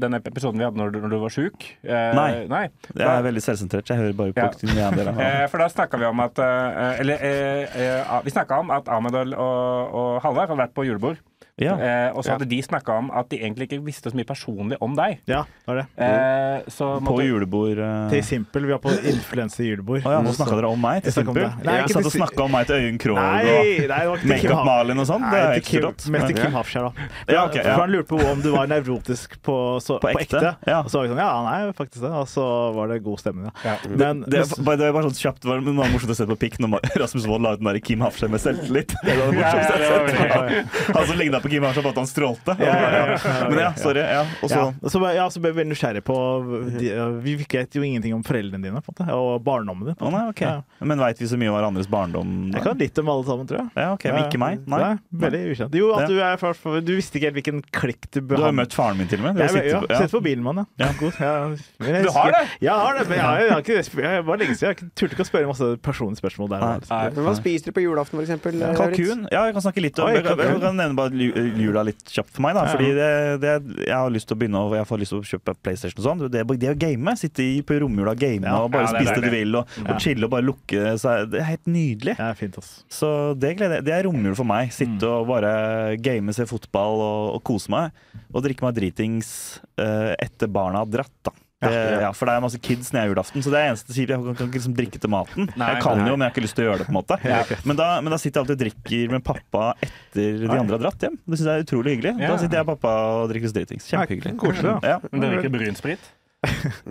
[SPEAKER 3] denne episoden vi hadde når du, når du var sjuk? Eh,
[SPEAKER 5] Nei.
[SPEAKER 3] nei.
[SPEAKER 5] Jeg er veldig selvsentrert. Jeg hører bare
[SPEAKER 3] Ja.
[SPEAKER 5] på ja.
[SPEAKER 3] Eh, for da snakka vi om at eh, Eller eh, eh, vi snakka om at Ahmed og, og Halvard hadde vært på julebord.
[SPEAKER 5] Ja.
[SPEAKER 3] Eh, og så hadde de snakka om at de egentlig ikke visste så mye personlig om deg.
[SPEAKER 2] Ja, det var det.
[SPEAKER 3] Eh, så
[SPEAKER 5] På
[SPEAKER 3] måtte-
[SPEAKER 5] julebord. eh,
[SPEAKER 2] Til simpel, vi var på influensejulebord.
[SPEAKER 5] Å ja, nå snakka dere om meg til
[SPEAKER 2] Jeg snakket om
[SPEAKER 5] Simple?
[SPEAKER 2] det. Nei,
[SPEAKER 5] Jeg
[SPEAKER 2] ikke
[SPEAKER 5] satt og
[SPEAKER 2] til-
[SPEAKER 5] snakka om meg til Øyunn Krogh og
[SPEAKER 2] Nei, nei, det var ikke til Kim
[SPEAKER 5] Makeup
[SPEAKER 2] Hafstad.
[SPEAKER 5] Malin og sånn? Det er
[SPEAKER 2] Nei,
[SPEAKER 5] helt
[SPEAKER 2] til Kim,
[SPEAKER 5] rått.
[SPEAKER 2] mest til
[SPEAKER 5] Ja.
[SPEAKER 2] Kim Hafskjær, da.
[SPEAKER 5] Ja, ok, ja.
[SPEAKER 2] For han lurte på om du var nevrotisk på, så, på,
[SPEAKER 5] På
[SPEAKER 2] ekte.
[SPEAKER 5] ekte, ja.
[SPEAKER 2] Og så var vi sånn Ja, han er jo faktisk det. Og så var det god stemning, ja.
[SPEAKER 3] Ja.
[SPEAKER 2] Men,
[SPEAKER 5] Det, er- bare- det var bare sånn kjapt det var, men det var morsomt å se på pikk når Ma- Rasmus Wold la ut den der Kim Hafskjær med selvtillit. Det var det
[SPEAKER 3] Ja, ja,
[SPEAKER 5] morsomste
[SPEAKER 3] det
[SPEAKER 5] jeg
[SPEAKER 3] var
[SPEAKER 5] har sett. Han som ligna på Kim Arnstad for at han strålte.
[SPEAKER 2] Ja, ja, ja.
[SPEAKER 5] Men ja, sorry. Ja. Og så
[SPEAKER 2] Ja. Så, ble- ja, så ble jeg veldig nysgjerrig på de, Vi fikk vet jo ingenting om foreldrene dine på en måte, og barndommen din.
[SPEAKER 5] Å nei, ok.
[SPEAKER 2] Ja.
[SPEAKER 5] Men veit vi så mye om hverandres barndom?
[SPEAKER 2] Jeg kan litt om alle sammen, tror jeg.
[SPEAKER 5] Ja, ok, men Ikke meg? Nei.
[SPEAKER 2] Veldig ukjent. Jo, at du, er, fra- du visste ikke helt hvilken klikk du
[SPEAKER 5] Du har jo
[SPEAKER 2] behandlet.
[SPEAKER 5] møtt faren min, til og med. Du
[SPEAKER 2] Jeg,
[SPEAKER 5] har sittet
[SPEAKER 2] ja,
[SPEAKER 5] på-
[SPEAKER 2] sett på bilen, mann. Ja. God, ja. Men jeg
[SPEAKER 3] Du
[SPEAKER 2] husker-
[SPEAKER 3] har det?
[SPEAKER 2] Jeg har det, men jeg, har- jeg, har ikke, jeg, var lenge siden. Jeg har ikke- turte ikke å spørre masse personlige spørsmål der.
[SPEAKER 5] Nei.
[SPEAKER 2] altså.
[SPEAKER 4] Men Hva spiser du på julaften, for eksempel? Lauritz?
[SPEAKER 5] Kalkun? Ja, jeg kan snakke litt om
[SPEAKER 2] Oi,
[SPEAKER 5] Jeg kan, jeg
[SPEAKER 2] kalkun.
[SPEAKER 5] kan nevne bare ju- jula litt kjapt for meg, da.
[SPEAKER 2] Ja.
[SPEAKER 5] Fordi det, det, jeg har lyst til å begynne å, jeg får lyst til å kjøpe PlayStation og sånn. Det, det å game, sitte i, på romjula og game
[SPEAKER 2] Ja.
[SPEAKER 5] og bare
[SPEAKER 3] Ja, det er
[SPEAKER 5] spise det du
[SPEAKER 3] deilig.
[SPEAKER 5] vil, og,
[SPEAKER 2] Ja.
[SPEAKER 5] og chille og bare lukke seg Det er helt nydelig.
[SPEAKER 2] Ja, fint, ass.
[SPEAKER 5] Så det gleder jeg Det er romjul for meg. Sitte
[SPEAKER 2] Mm.
[SPEAKER 5] og bare game, se fotball og, og kose meg. Og drikke meg dritings eh, etter barna har dratt, da. Det,
[SPEAKER 2] Ja.
[SPEAKER 5] ja, for det er masse kids nede i julaften, så det er eneste kjipe. Jeg kan, kan ikke liksom drikke til maten.
[SPEAKER 3] Nei,
[SPEAKER 5] jeg kan
[SPEAKER 3] nei.
[SPEAKER 5] jo, men jeg har ikke lyst til å gjøre det. på en måte men, da, men da sitter jeg alltid og drikker med pappa etter de andre har dratt hjem. Det syns jeg er utrolig hyggelig.
[SPEAKER 3] Ja.
[SPEAKER 5] Da sitter jeg og pappa og drikker oss dritings. Kjempehyggelig.
[SPEAKER 2] Ja, koselig,
[SPEAKER 5] ja.
[SPEAKER 3] Men Dere drikker brunsprit?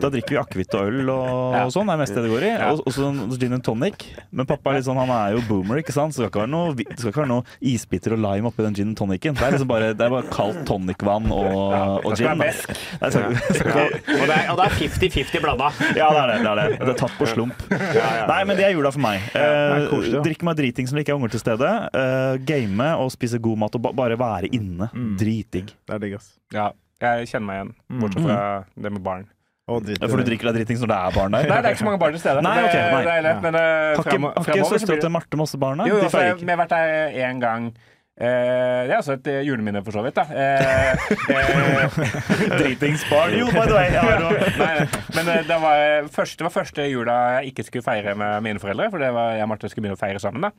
[SPEAKER 5] Da drikker vi akevitt og øl og,
[SPEAKER 3] Ja.
[SPEAKER 5] og sånn. Det er mest det det går i.
[SPEAKER 3] Ja.
[SPEAKER 5] Og og så gin and tonic. Men pappa er litt sånn, han er jo boomer, ikke sant? Så det skal ikke være noe, vi- det skal ikke være noe isbiter og lime oppi den gin and tonicen. Det er liksom bare, det er bare kaldt tonicvann og, og
[SPEAKER 3] Det skal
[SPEAKER 5] gin.
[SPEAKER 3] være
[SPEAKER 5] da.
[SPEAKER 3] besk.
[SPEAKER 5] Nei, så-
[SPEAKER 4] Ja. Og det er- og det er 50-50 blanda.
[SPEAKER 5] Ja, det er det. Det er, det. det er tatt på slump. Nei, men det er jula for meg.
[SPEAKER 2] det er koselig,
[SPEAKER 5] Eh,
[SPEAKER 2] ja.
[SPEAKER 5] drikke meg driting som det ikke er unger til stede. Eh, game og spise god mat og ba bare være inne. Dritdigg.
[SPEAKER 2] Det er digg, ass.
[SPEAKER 3] Ja, jeg kjenner meg igjen,
[SPEAKER 5] Mm.
[SPEAKER 3] bortsett fra det med barn.
[SPEAKER 2] Å, drit i
[SPEAKER 5] Ja, For du
[SPEAKER 2] det.
[SPEAKER 5] drikker deg dritings når det er barn der?
[SPEAKER 3] Nei, det er ikke så mange barn til stede.
[SPEAKER 5] Nei, ok,
[SPEAKER 3] det,
[SPEAKER 5] nei.
[SPEAKER 3] det er lett, men eh,
[SPEAKER 5] Har ikke,
[SPEAKER 3] fremo-
[SPEAKER 5] har ikke
[SPEAKER 3] fremover så blir
[SPEAKER 5] søstera
[SPEAKER 3] det-
[SPEAKER 5] til Marte masse barn der?
[SPEAKER 3] Jo, altså,
[SPEAKER 5] De
[SPEAKER 3] jo, for
[SPEAKER 5] feirer
[SPEAKER 3] jeg,
[SPEAKER 5] ikke.
[SPEAKER 3] vi har vært der én gang. Eh, det er også et eh, juleminne, for så vidt. da. Eh, eh,
[SPEAKER 5] Dritingsbarn. Jo, by the way. Jeg har jo
[SPEAKER 3] nei, nei, men eh, det var, eh, første, det var første jula jeg ikke skulle feire med mine foreldre. For det var jeg og Marte skulle begynne å feire sammen. da.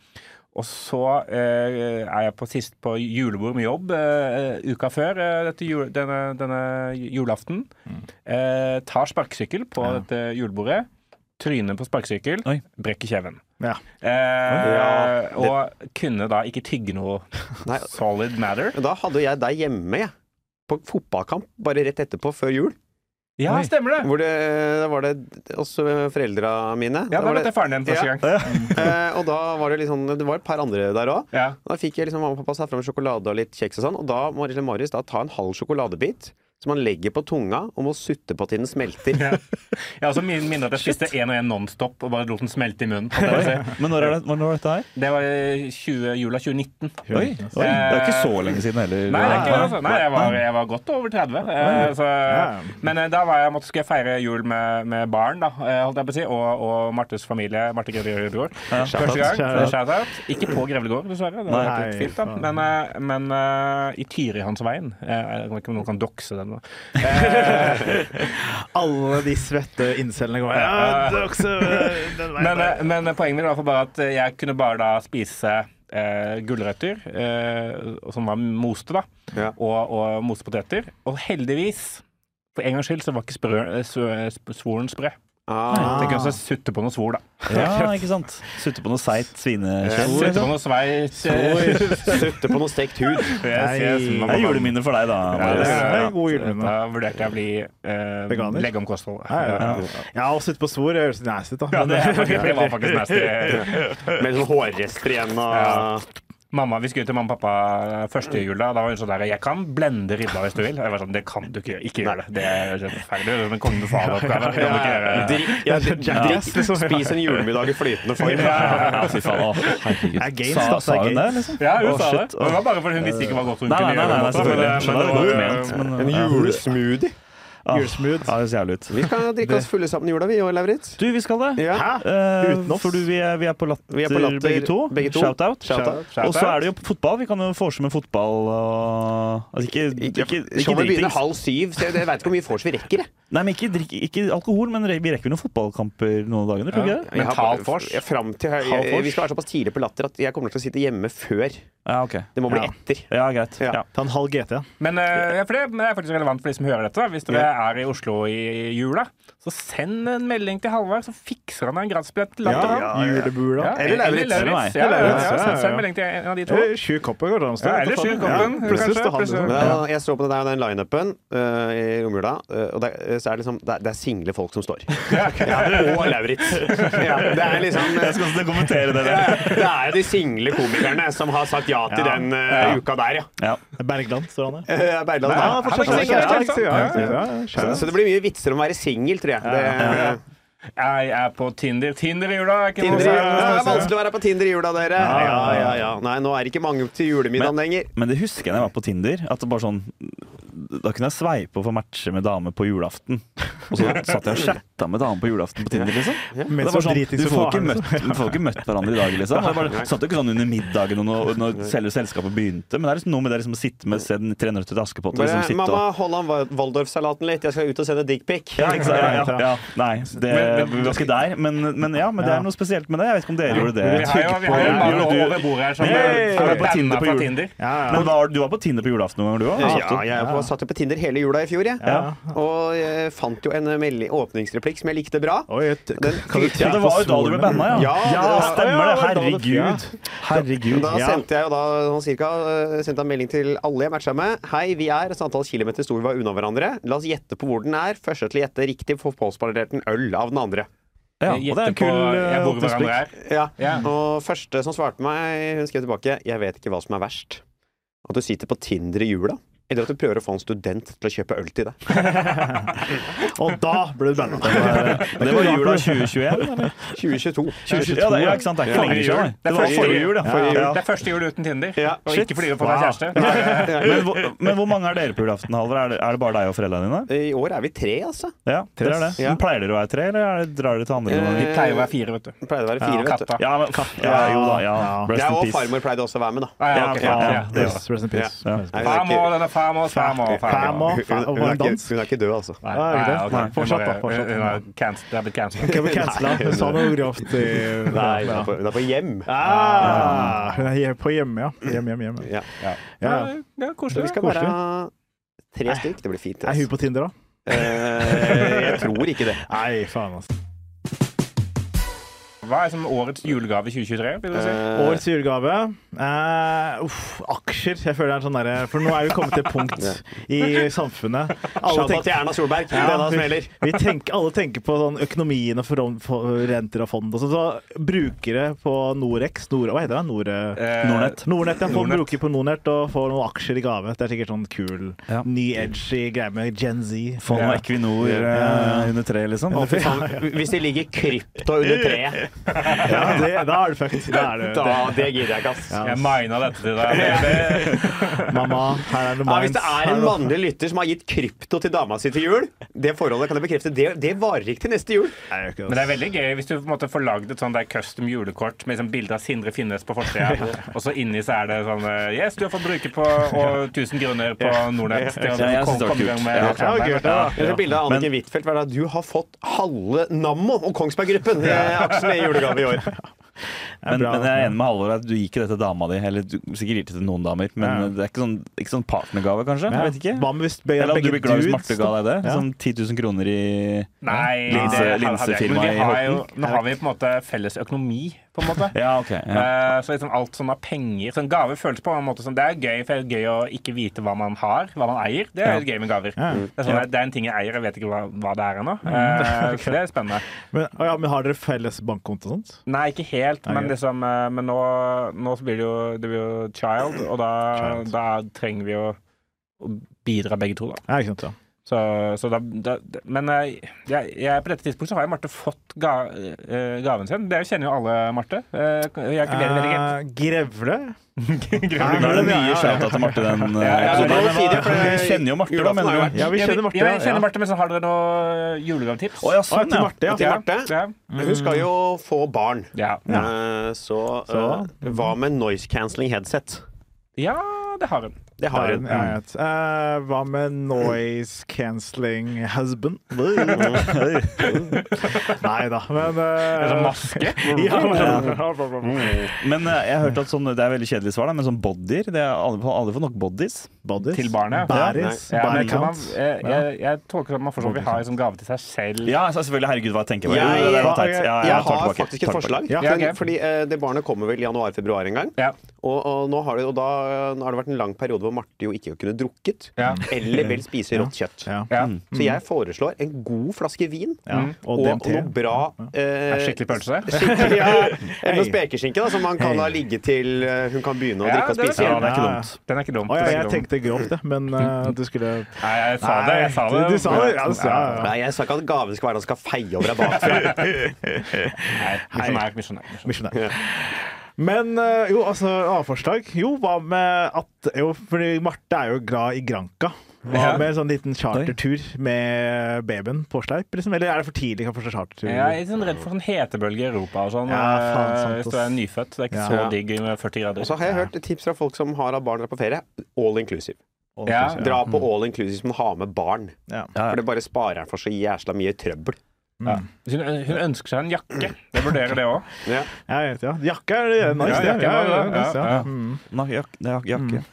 [SPEAKER 3] Og så eh, er jeg på sist på julebord med jobb eh, uka før eh, dette jul, denne, denne julaften. Eh, tar sparkesykkel på dette julebordet. Tryner på sparkesykkel.
[SPEAKER 5] Oi.
[SPEAKER 3] Brekker kjeven.
[SPEAKER 2] Ja.
[SPEAKER 3] Eh,
[SPEAKER 4] Ja, det-
[SPEAKER 3] Og kunne da ikke tygge noe
[SPEAKER 4] Nei,
[SPEAKER 3] solid matter.
[SPEAKER 4] men da hadde jo jeg deg hjemme, jeg. På fotballkamp bare rett etterpå, før jul.
[SPEAKER 3] Ja, stemmer det!
[SPEAKER 4] Hvor det, da var det oss foreldra mine.
[SPEAKER 3] Ja,
[SPEAKER 4] Da
[SPEAKER 3] Da
[SPEAKER 4] var
[SPEAKER 3] møtte jeg faren din første
[SPEAKER 4] Ja.
[SPEAKER 3] gang.
[SPEAKER 4] det- eh, og da var det litt sånn Det var et par andre der òg.
[SPEAKER 3] Ja.
[SPEAKER 4] Da fikk jeg liksom mamma og pappa satt fram sjokolade og litt kjeks og sånn. Og da må lille Marius da ta en halv sjokoladebit som han legger på tunga og må sutte på til den smelter.
[SPEAKER 3] Ja. Jeg har også min- minner at jeg spiste én og én Nonstop og bare lot den smelte i munnen. Det var,
[SPEAKER 5] Men når er det, når var dette her?
[SPEAKER 3] det var 20, jula 2019.
[SPEAKER 5] Oi, oi, det er jo ikke så lenge siden heller.
[SPEAKER 3] Nei, det er ikke, det, altså. Nei jeg, var,
[SPEAKER 5] Nei.
[SPEAKER 3] jeg var godt over 30. eh, Så, men eh, da var jeg, måtte, skulle jeg feire jul med, med barn, da, eh, holdt jeg på å si, og, og Martes familie. Marte Grevlegård. Første gang.
[SPEAKER 2] Shout-out.
[SPEAKER 3] Shout-out. Ikke på Grevlegård, dessverre. Det var
[SPEAKER 2] Nei,
[SPEAKER 3] helt fint, da.
[SPEAKER 2] faen.
[SPEAKER 3] Men, eh, men eh, i Tyrihansveien eh, Jeg vet ikke om noen kan dokse den. da. Eh,
[SPEAKER 2] Alle de svette incellene går Ja, det er også den veien
[SPEAKER 3] Men,
[SPEAKER 2] der.
[SPEAKER 3] eh, men poenget mitt var for bare at eh, jeg kunne bare da spise eh, gulrøtter, eh, som var moste, da,
[SPEAKER 4] Ja.
[SPEAKER 3] og, og mostepoteter. Og heldigvis, for en gangs skyld, så var ikke sprø, eh, så, eh, sp- svoren sprø.
[SPEAKER 4] Ah.
[SPEAKER 3] Tenk om jeg sutte på noe svor, da.
[SPEAKER 5] Ja, ikke sant. Sutte på noe seigt svinekjøtt.
[SPEAKER 3] Sutte på
[SPEAKER 5] liksom.
[SPEAKER 3] noe sveis. eh,
[SPEAKER 4] Sutte på noe stekt hud.
[SPEAKER 3] yes, yes,
[SPEAKER 2] Nei.
[SPEAKER 3] mamma,
[SPEAKER 5] Det er
[SPEAKER 3] mamma.
[SPEAKER 5] juleminne for deg, da.
[SPEAKER 3] Ja,
[SPEAKER 2] det
[SPEAKER 5] Marius.
[SPEAKER 2] er
[SPEAKER 3] ja.
[SPEAKER 2] en god juleminne.
[SPEAKER 3] Da vurderte jeg å bli eh,
[SPEAKER 2] Veganer?
[SPEAKER 3] legge om kostholdet.
[SPEAKER 2] Ja, ja, ja. ja, og sitte på svor høres nasty ut, da.
[SPEAKER 3] Ja, det, er faktisk, det var faktisk nasty.
[SPEAKER 4] Med sånn hårrester igjen
[SPEAKER 3] Ja.
[SPEAKER 4] og
[SPEAKER 3] Mamma, Vi skulle til mamma og pappa eh, første jula. Da var hun sånn der 'Jeg kan blende ribba hvis du vil'. Og Jeg var sånn 'Det kan du ikke gjøre'. Ikke gjør det. Det er feil. Det er en kongen befaler-oppgave. Det kan du ikke
[SPEAKER 4] ja,
[SPEAKER 3] gjøre.
[SPEAKER 4] drikk, ja, drikk,
[SPEAKER 2] Jackass, liksom.
[SPEAKER 4] spis en julemiddag i flytende form.
[SPEAKER 5] Ja, fy faen. Å, herregud.
[SPEAKER 2] Det er games,
[SPEAKER 5] Sa,
[SPEAKER 2] da.
[SPEAKER 5] sa hun det, liksom?
[SPEAKER 3] Ja, hun sa
[SPEAKER 5] Å,
[SPEAKER 3] det.
[SPEAKER 5] shit.
[SPEAKER 3] Og Det var bare fordi hun visste ikke hva godt hun
[SPEAKER 5] Nei,
[SPEAKER 3] kunne
[SPEAKER 5] nei,
[SPEAKER 3] gjøre.
[SPEAKER 5] nei, nei,
[SPEAKER 3] på en
[SPEAKER 5] nei
[SPEAKER 3] måte,
[SPEAKER 5] selvfølgelig.
[SPEAKER 3] men- eh, men eh, det var-
[SPEAKER 5] men,
[SPEAKER 4] En julesmoothie.
[SPEAKER 5] Ah,
[SPEAKER 2] Julesmooth.
[SPEAKER 5] Ja, det høres jævlig ut.
[SPEAKER 4] Vi skal drikke oss fulle sammen i jula, vi òg, Lauritz.
[SPEAKER 5] Du, vi skal det.
[SPEAKER 4] Ja.
[SPEAKER 2] Hæ?
[SPEAKER 5] Eh,
[SPEAKER 2] Uten oss?
[SPEAKER 5] for du, vi, er, vi er på latter,
[SPEAKER 4] Vi er på latter,
[SPEAKER 5] begge to.
[SPEAKER 4] begge to.
[SPEAKER 5] Shout-out.
[SPEAKER 4] Shout-out.
[SPEAKER 5] og så er det jo fotball. Vi kan jo forse med fotball og altså, Ikke, ikke, ikke,
[SPEAKER 4] Showet begynner
[SPEAKER 5] dritings.
[SPEAKER 4] halv syv, så jeg veit ikke hvor mye vors vi rekker. jeg.
[SPEAKER 5] Nei, men ikke, drikk- ikke alkohol, men re- vi rekker jo noen fotballkamper noen dager. Tror du ikke det?
[SPEAKER 4] Jeg har-
[SPEAKER 3] Mental vors?
[SPEAKER 4] Ja, fram til, jeg,
[SPEAKER 5] Halv vors?
[SPEAKER 4] vi skal være såpass tidlig på latter at jeg kommer til å sitte hjemme før.
[SPEAKER 5] Ja, ok.
[SPEAKER 4] Det må bli
[SPEAKER 2] Ja.
[SPEAKER 4] etter.
[SPEAKER 5] Ja, greit.
[SPEAKER 4] Ja.
[SPEAKER 5] Ja.
[SPEAKER 2] Ta en halv GT.
[SPEAKER 3] Men eh, ja, for det er faktisk relevant for de som hører dette. da. Hvis dere er i Oslo i jula, så send en melding til Halvard, så fikser han deg en gratisbillett til Latter.
[SPEAKER 2] Ja, Julebula.
[SPEAKER 3] Ja,
[SPEAKER 4] Eller Lauritz.
[SPEAKER 3] Lauritz. Ja,
[SPEAKER 2] Eller
[SPEAKER 3] ja,
[SPEAKER 2] Lauritz,
[SPEAKER 3] ja,
[SPEAKER 2] ja, ja,
[SPEAKER 3] send-
[SPEAKER 2] ja.
[SPEAKER 3] Send melding til en av de to.
[SPEAKER 2] Eh, Sju kopper går det an å stå.
[SPEAKER 3] Ja, eller sju koppen,
[SPEAKER 2] Plutselig
[SPEAKER 3] kanskje,
[SPEAKER 2] står han
[SPEAKER 3] plutselig.
[SPEAKER 2] liksom.
[SPEAKER 4] Men,
[SPEAKER 2] Ja.
[SPEAKER 4] jeg så på det der, den line-upen eh, i romjula, eh, og det, er- så er det liksom Det er, det er single folk som står. Ja, og Lauritz. Ja, det er liksom
[SPEAKER 5] Jeg skal også kommentere det.
[SPEAKER 4] ja,
[SPEAKER 5] der.
[SPEAKER 4] det er jo de single komikerne som har sagt ja til den eh, uka der, ja.
[SPEAKER 5] Ja.
[SPEAKER 2] Bergland står han der.
[SPEAKER 4] Eh,
[SPEAKER 3] Nei,
[SPEAKER 4] Bergland, ja.
[SPEAKER 3] han er fortsatt
[SPEAKER 4] Han er
[SPEAKER 3] singel,
[SPEAKER 4] singel,
[SPEAKER 3] ikke sant?
[SPEAKER 2] Ja, ja, ja.
[SPEAKER 4] Så, så det blir mye vitser om å være singel, tror jeg. Det,
[SPEAKER 3] Jeg er på Tinder. Tinder i jula er sånn. ikke noe
[SPEAKER 4] Tinder i, det er
[SPEAKER 3] særlig.
[SPEAKER 4] vanskelig å være på Tinder i jula, dere. Ja, ja, ja. Nei, nå er det ikke mange til julemiddagen lenger.
[SPEAKER 5] Men det husker jeg da jeg var på Tinder. At det bare sånn Da kunne jeg sveipe og få matche med dame på julaften. Og så satt jeg og chatta med dame på julaften på Tinder, liksom.
[SPEAKER 2] Mens
[SPEAKER 5] Og det var
[SPEAKER 2] hun
[SPEAKER 5] sånn,
[SPEAKER 2] driter i
[SPEAKER 5] du, får
[SPEAKER 2] sofaen, liksom.
[SPEAKER 5] ikke møtt, du får ikke møtt hverandre i dag, liksom. Og jeg bare, satt jo ikke sånn under middagen og når, når selve selskapet begynte, men det er liksom noe med det liksom, å sitte med se den 300 til Askepott og
[SPEAKER 4] Bare,
[SPEAKER 5] liksom sitte
[SPEAKER 4] mamma,
[SPEAKER 5] og
[SPEAKER 4] hold an Wal- Waldorf-salaten litt. Jeg skal ut og sende dickpic.
[SPEAKER 5] ja, ikke sant? Ja, ja, ja. Nei, det,
[SPEAKER 3] Men-
[SPEAKER 5] vi var ikke der. Men, men ja, men det
[SPEAKER 2] Ja.
[SPEAKER 5] er noe spesielt med det. Jeg vet ikke om dere gjorde det.
[SPEAKER 3] Vi har jo vi har jo en mann
[SPEAKER 5] Gjorde du-
[SPEAKER 3] over bordet her som
[SPEAKER 5] Nei,
[SPEAKER 3] er
[SPEAKER 5] er du på
[SPEAKER 3] banna
[SPEAKER 5] Tinder på
[SPEAKER 3] fra
[SPEAKER 5] jul?
[SPEAKER 3] Tinder.
[SPEAKER 2] Ja,
[SPEAKER 5] Men var, du var på Tinder på julaften noen gang, du òg?
[SPEAKER 4] Ja, jeg var på, satt jo på Tinder hele jula i fjor, jeg.
[SPEAKER 5] Ja.
[SPEAKER 4] Og jeg fant jo en melding, åpningsreplikk som jeg likte bra.
[SPEAKER 2] Oi, et-
[SPEAKER 4] Den
[SPEAKER 2] kan du
[SPEAKER 4] fikk
[SPEAKER 5] Ja,
[SPEAKER 2] trykke
[SPEAKER 5] det
[SPEAKER 2] på
[SPEAKER 5] var jo da du ble
[SPEAKER 2] svorene?
[SPEAKER 5] banna, ja.
[SPEAKER 4] Ja, det var-
[SPEAKER 5] stemmer det.
[SPEAKER 2] ja, det var da det- ja.
[SPEAKER 5] Herregud. Herregud.
[SPEAKER 4] Da
[SPEAKER 5] Ja.
[SPEAKER 4] sendte jeg jo da sånn cirka eh, sendte jeg en melding til alle jeg matcha med. Hei, vi er et antall kilometer stor vi var unna hverandre. La oss gjette på hvor den er. Første til å gjette riktig får påspandert en øl av den andre.
[SPEAKER 5] Ja, og det er
[SPEAKER 3] Gjette
[SPEAKER 5] en
[SPEAKER 3] på
[SPEAKER 5] kul
[SPEAKER 3] ja,
[SPEAKER 5] eh,
[SPEAKER 3] hvor
[SPEAKER 5] åpningsplikt.
[SPEAKER 3] hverandre er.
[SPEAKER 4] Ja.
[SPEAKER 3] Ja.
[SPEAKER 4] Og første som svarte meg, hun skrev tilbake Jeg vet ikke hva som er verst. At du sitter på Tinder i jula, eller at du prøver å få en student til å kjøpe øl til deg.
[SPEAKER 2] Og da ble du banna.
[SPEAKER 5] Det var jula 2021. eller?
[SPEAKER 4] 2022.
[SPEAKER 5] 2022 ja, det, ja, ikke sant? Det er ikke
[SPEAKER 3] Forrige
[SPEAKER 5] lenge siden.
[SPEAKER 3] jul. Det er
[SPEAKER 5] det. Det var
[SPEAKER 3] forrige
[SPEAKER 5] forrige
[SPEAKER 3] jul.
[SPEAKER 5] jul, ja.
[SPEAKER 4] Forrige jul.
[SPEAKER 5] ja.
[SPEAKER 3] Det er første jul uten Tinder.
[SPEAKER 4] Ja,
[SPEAKER 3] og
[SPEAKER 5] shit.
[SPEAKER 3] ikke fordi du får deg
[SPEAKER 5] Wow.
[SPEAKER 3] kjæreste. Nei,
[SPEAKER 5] Men, hvor- men hvor mange er dere på julaften, Halvor? Er, det- er det bare deg og foreldrene dine?
[SPEAKER 4] I år er vi tre, altså.
[SPEAKER 5] Ja, dere er det.
[SPEAKER 4] Ja.
[SPEAKER 5] Men pleier dere å være tre, eller er det, drar dere til andre?
[SPEAKER 3] Vi
[SPEAKER 5] ganger?
[SPEAKER 4] Eh,
[SPEAKER 3] pleier å være fire, vet du.
[SPEAKER 4] Det pleide å være fire, vet du.
[SPEAKER 3] Katta.
[SPEAKER 5] Ja, men ja, jo da. Ja.
[SPEAKER 2] Ja.
[SPEAKER 5] Rest
[SPEAKER 4] Jeg
[SPEAKER 5] in
[SPEAKER 4] og
[SPEAKER 5] peace.
[SPEAKER 4] farmor pleide også å være med, da.
[SPEAKER 3] Ah, ja,
[SPEAKER 5] Ja,
[SPEAKER 3] ok,
[SPEAKER 5] faen.
[SPEAKER 3] ja, ja.
[SPEAKER 5] Det
[SPEAKER 2] Yes, rest in peace.
[SPEAKER 4] Nei,
[SPEAKER 5] Ja.
[SPEAKER 4] hun er ikke-
[SPEAKER 3] Famo, denne famo, famo, famo.
[SPEAKER 2] Famo.
[SPEAKER 4] Hun, hun, hun,
[SPEAKER 2] Var det
[SPEAKER 4] er ikke,
[SPEAKER 2] dans?
[SPEAKER 4] hun er ikke død, altså.
[SPEAKER 3] Nei,
[SPEAKER 2] Ja, er det
[SPEAKER 3] nei,
[SPEAKER 2] det?
[SPEAKER 3] ok.
[SPEAKER 2] Nei,
[SPEAKER 3] Hun
[SPEAKER 2] fortsatt
[SPEAKER 3] bare-
[SPEAKER 2] da, fortsatt.
[SPEAKER 3] hun er canc- Det er blitt cancelled.
[SPEAKER 2] Kan vi cancele han? Hun sa noe grovt i
[SPEAKER 4] Nei, hun er på, hun er på hjem.
[SPEAKER 2] Ah, Hun er hjem- på hjemme, ja. Hjem, hjem, hjem.
[SPEAKER 4] Ja.
[SPEAKER 2] Ja.
[SPEAKER 3] Ja, ja,
[SPEAKER 4] Vi
[SPEAKER 3] koselig.
[SPEAKER 4] skal
[SPEAKER 2] koselig.
[SPEAKER 4] være tre stykk. Det blir fint.
[SPEAKER 2] Er hun
[SPEAKER 4] Altså.
[SPEAKER 2] på Tinder, da?
[SPEAKER 4] Eh, jeg tror ikke det.
[SPEAKER 2] Nei, faen, altså.
[SPEAKER 3] Hva er som årets julegave 2023? Vil du si?
[SPEAKER 4] Eh,
[SPEAKER 2] Årets julegave. Eh, uff, aksjer. Jeg føler det er en sånn derre For nå er vi kommet til et punkt i samfunnet. Alle
[SPEAKER 4] Shout-out
[SPEAKER 2] tenker,
[SPEAKER 4] til Erna Solberg. Det er da som gjelder.
[SPEAKER 2] vi tenker, alle tenker på sånn økonomien og foran- for- renter og fond og sånn. Så brukere på Norex Nor, Hva heter det? Nore...
[SPEAKER 3] Eh,
[SPEAKER 5] Nordnett.
[SPEAKER 2] Nordnett, ja. Folk
[SPEAKER 3] Nordnett.
[SPEAKER 2] bruker på Nordnett og får noen aksjer i gave. Det er sikkert sånn kul,
[SPEAKER 5] Ja.
[SPEAKER 2] ny edgy greie med Gen Z.
[SPEAKER 5] Få noe Equinor eh, under tre, liksom.
[SPEAKER 4] Å, fy faen. Hvis det ligger krypto under treet,
[SPEAKER 2] Ja, det, da er du fucked. Da er du,
[SPEAKER 4] da det gidder jeg ikke, ass.
[SPEAKER 3] Jeg mina dette til deg. Det- det-
[SPEAKER 2] Mamma, her er det
[SPEAKER 4] Ja,
[SPEAKER 2] mines.
[SPEAKER 4] hvis det er en mannlig lytter som har gitt krypto til dama si til jul, det forholdet kan jeg bekrefte, det, det varer ikke til neste jul.
[SPEAKER 3] Men det er veldig gøy hvis du på en måte får lagd et sånn der custom julekort med liksom bilde av Sindre Finnes på forsida, og så inni så er det sånn eh, Yes, du har fått bruke på og 1000 kroner på Nordnett. Det
[SPEAKER 5] Ja, jeg synes det var kult. Ja.
[SPEAKER 2] Det var kult, det, da.
[SPEAKER 4] Jeg ser bilde av Anniken Huitfeldt hver dag. Du har fått halve Nammo og Kongsberg Gruppen eh, aksjene i julegave i år.
[SPEAKER 5] Men,
[SPEAKER 2] bra.
[SPEAKER 5] men jeg er enig med Halvor at du gir ikke det til dama di. Eller du sikkert gir det til noen damer, men
[SPEAKER 2] Ja.
[SPEAKER 5] det er ikke sånn, ikke sånn partnergave, kanskje? Jeg vet ikke.
[SPEAKER 2] Hva med hvis begge,
[SPEAKER 5] Eller om du
[SPEAKER 2] begge
[SPEAKER 5] blir glad hvis
[SPEAKER 2] dudes
[SPEAKER 5] Marte ga deg det?
[SPEAKER 2] Ja.
[SPEAKER 5] Sånn 10 000 kroner i
[SPEAKER 3] Nei,
[SPEAKER 5] Linse-
[SPEAKER 3] det hadde-
[SPEAKER 5] linsefirma
[SPEAKER 3] hadde jeg ikke. Men vi
[SPEAKER 5] i
[SPEAKER 3] har jo-
[SPEAKER 5] Horten.
[SPEAKER 3] Nå har vi på en måte felles økonomi, på en måte.
[SPEAKER 5] Ja, ok. Ja.
[SPEAKER 3] Eh, Så liksom alt sånn av penger sånn Gave føles på en måte som Det er gøy, for det er gøy å ikke vite hva man har, hva man eier. Det er
[SPEAKER 5] Ja. Mm.
[SPEAKER 3] litt gøy med gaver.
[SPEAKER 2] Ja.
[SPEAKER 3] Det, er sånn, det er en ting jeg eier, jeg vet ikke hva, hva det er ennå. Eh, Så det er spennende.
[SPEAKER 2] Men, å ja, men har dere felles bankkonto og sånt?
[SPEAKER 3] Nei, ikke helt, men,
[SPEAKER 2] Ok.
[SPEAKER 3] liksom, eh, men nå, nå så blir det jo, det blir jo child, og da,
[SPEAKER 2] Child.
[SPEAKER 3] da trenger vi jo å bidra begge to, da.
[SPEAKER 2] Ja, ikke sant, ja.
[SPEAKER 3] Så, så da, da Men eh, jeg, jeg, på dette tidspunktet så har jo Marte fått ga, eh, gaven sin. Dere kjenner jo alle Marte. Eh, Jeg er ikke veldig, veldig
[SPEAKER 2] Eh, grevle?
[SPEAKER 3] greit.
[SPEAKER 2] Nei,
[SPEAKER 5] Da er det
[SPEAKER 2] ja, ja,
[SPEAKER 5] mye
[SPEAKER 2] ja.
[SPEAKER 5] shout-out til Marte den eh,
[SPEAKER 3] ja,
[SPEAKER 5] episoden.
[SPEAKER 3] men
[SPEAKER 5] Men
[SPEAKER 3] hva-
[SPEAKER 5] hva- Vi kjenner jo Marte, da,
[SPEAKER 4] Julaften har
[SPEAKER 5] mener
[SPEAKER 4] jo
[SPEAKER 5] du?
[SPEAKER 4] vært-
[SPEAKER 2] Ja, vi kjenner
[SPEAKER 3] Ja, jeg
[SPEAKER 2] Marte.
[SPEAKER 3] kjenner
[SPEAKER 2] Ja.
[SPEAKER 3] Marte, men så har dere noe eh, julegavetips?
[SPEAKER 5] Å ja,
[SPEAKER 2] Å,
[SPEAKER 5] sånn,
[SPEAKER 2] til
[SPEAKER 5] ja.
[SPEAKER 2] Marte, ja.
[SPEAKER 4] Til Marte.
[SPEAKER 3] Ja.
[SPEAKER 4] Hun skal jo få barn.
[SPEAKER 3] Ja.
[SPEAKER 4] Eh, Så eh, hva med noise cancelling headset?
[SPEAKER 3] ja, det har hun.
[SPEAKER 4] Det har
[SPEAKER 2] Ja,
[SPEAKER 4] hun.
[SPEAKER 2] ja, jeg vet. Eh, hva med noise cancelling husband? Nei da, men eh,
[SPEAKER 3] En sånn maske?
[SPEAKER 2] ja, Mm.
[SPEAKER 5] Men eh, jeg hørte at sånn, det er veldig kjedelig svar, da, men sånn bodyer det er alle, alle får nok bodies.
[SPEAKER 2] Bodies?
[SPEAKER 3] Til barnet?
[SPEAKER 2] Bodies?
[SPEAKER 3] Ja, men
[SPEAKER 2] Body
[SPEAKER 3] jeg, tror man, eh,
[SPEAKER 2] count?
[SPEAKER 3] jeg, jeg, jeg tolker at man fortsatt vil ha en sånn gave til seg selv.
[SPEAKER 5] Ja, altså, selvfølgelig. Herregud, hva jeg tenker på.
[SPEAKER 4] Jeg-
[SPEAKER 5] Jo, det er teit. Ja,
[SPEAKER 4] Jeg
[SPEAKER 5] tar
[SPEAKER 4] har
[SPEAKER 5] tilbake.
[SPEAKER 4] faktisk et
[SPEAKER 5] Tar tilbake.
[SPEAKER 4] forslag.
[SPEAKER 2] Ja,
[SPEAKER 4] men,
[SPEAKER 3] ok.
[SPEAKER 4] Fordi eh, det barnet kommer vel i januar-februar en gang.
[SPEAKER 3] Ja.
[SPEAKER 4] Og, og, nå har det, og da eh, har det vært en lang periode hvor Marte jo ikke kunne drukket.
[SPEAKER 3] Ja.
[SPEAKER 4] Eller vil spise rått kjøtt.
[SPEAKER 2] Ja.
[SPEAKER 3] Ja.
[SPEAKER 5] Mm.
[SPEAKER 4] Så jeg foreslår en god flaske vin.
[SPEAKER 2] Ja.
[SPEAKER 3] Mm.
[SPEAKER 2] Og
[SPEAKER 4] Og, og
[SPEAKER 2] DMT.
[SPEAKER 4] noe bra eh,
[SPEAKER 3] Skikkelig pølse?
[SPEAKER 4] skikkelig, ja, Eller noe
[SPEAKER 2] Hei.
[SPEAKER 4] spekeskinke, da, som man kan la ligge til eh, hun kan begynne å
[SPEAKER 3] Ja,
[SPEAKER 4] drikke og
[SPEAKER 3] det er
[SPEAKER 4] spise.
[SPEAKER 5] Ja,
[SPEAKER 4] igjen.
[SPEAKER 5] det er ikke
[SPEAKER 2] Ja, ja.
[SPEAKER 5] dumt.
[SPEAKER 3] Den er ikke dum.
[SPEAKER 2] Å, ja,
[SPEAKER 3] den
[SPEAKER 2] jeg
[SPEAKER 3] er ikke dum.
[SPEAKER 2] tenkte grovt, det, men eh, du skulle
[SPEAKER 3] Nei, jeg Mm. sa det. Jeg sa
[SPEAKER 2] Nei,
[SPEAKER 3] det.
[SPEAKER 2] Du, du sa det. Ja, du sa, ja, ja.
[SPEAKER 4] Nei, jeg sa ikke at gaven skal være at han skal feie over deg bakfra.
[SPEAKER 3] Nei, misjonær, misjonær. misjonær.
[SPEAKER 2] Misjonær. Men eh, jo, altså A-forslag. Jo, hva med at Jo, fordi Marte er jo glad i Granca. Hva
[SPEAKER 3] Ja.
[SPEAKER 2] med en sånn liten chartertur med babyen på sleip? Liksom? Eller er det for tidlig kanskje chartertur?
[SPEAKER 3] Ja, Jeg er sånn redd for sånn hetebølge i Europa og sånn.
[SPEAKER 2] Ja, faen, sant,
[SPEAKER 3] eh, Hvis du er
[SPEAKER 2] ass.
[SPEAKER 3] nyfødt. Det er ikke
[SPEAKER 2] Ja.
[SPEAKER 3] så digg med 40 grader.
[SPEAKER 4] Og så har jeg hørt tips fra folk som har hatt barn der på ferie. All inclusive.
[SPEAKER 2] Og-
[SPEAKER 3] Ja.
[SPEAKER 4] Dra på all inclusive men ha med barn.
[SPEAKER 2] Ja.
[SPEAKER 4] For det bare sparer en for så jæsla mye trøbbel.
[SPEAKER 2] Mm.
[SPEAKER 3] Ja. Hun, hun ønsker seg en jakke. Jeg vurderer det òg.
[SPEAKER 4] Ja.
[SPEAKER 2] Jeg vet, ja. Jakke er det- nice,
[SPEAKER 3] Ja,
[SPEAKER 2] det.
[SPEAKER 3] jakke
[SPEAKER 2] Ja,
[SPEAKER 3] er
[SPEAKER 2] ja,
[SPEAKER 3] det.
[SPEAKER 2] nice,
[SPEAKER 3] Ja,
[SPEAKER 2] ja.
[SPEAKER 3] ja.
[SPEAKER 2] Mm.
[SPEAKER 5] Nei, jak jak jakke.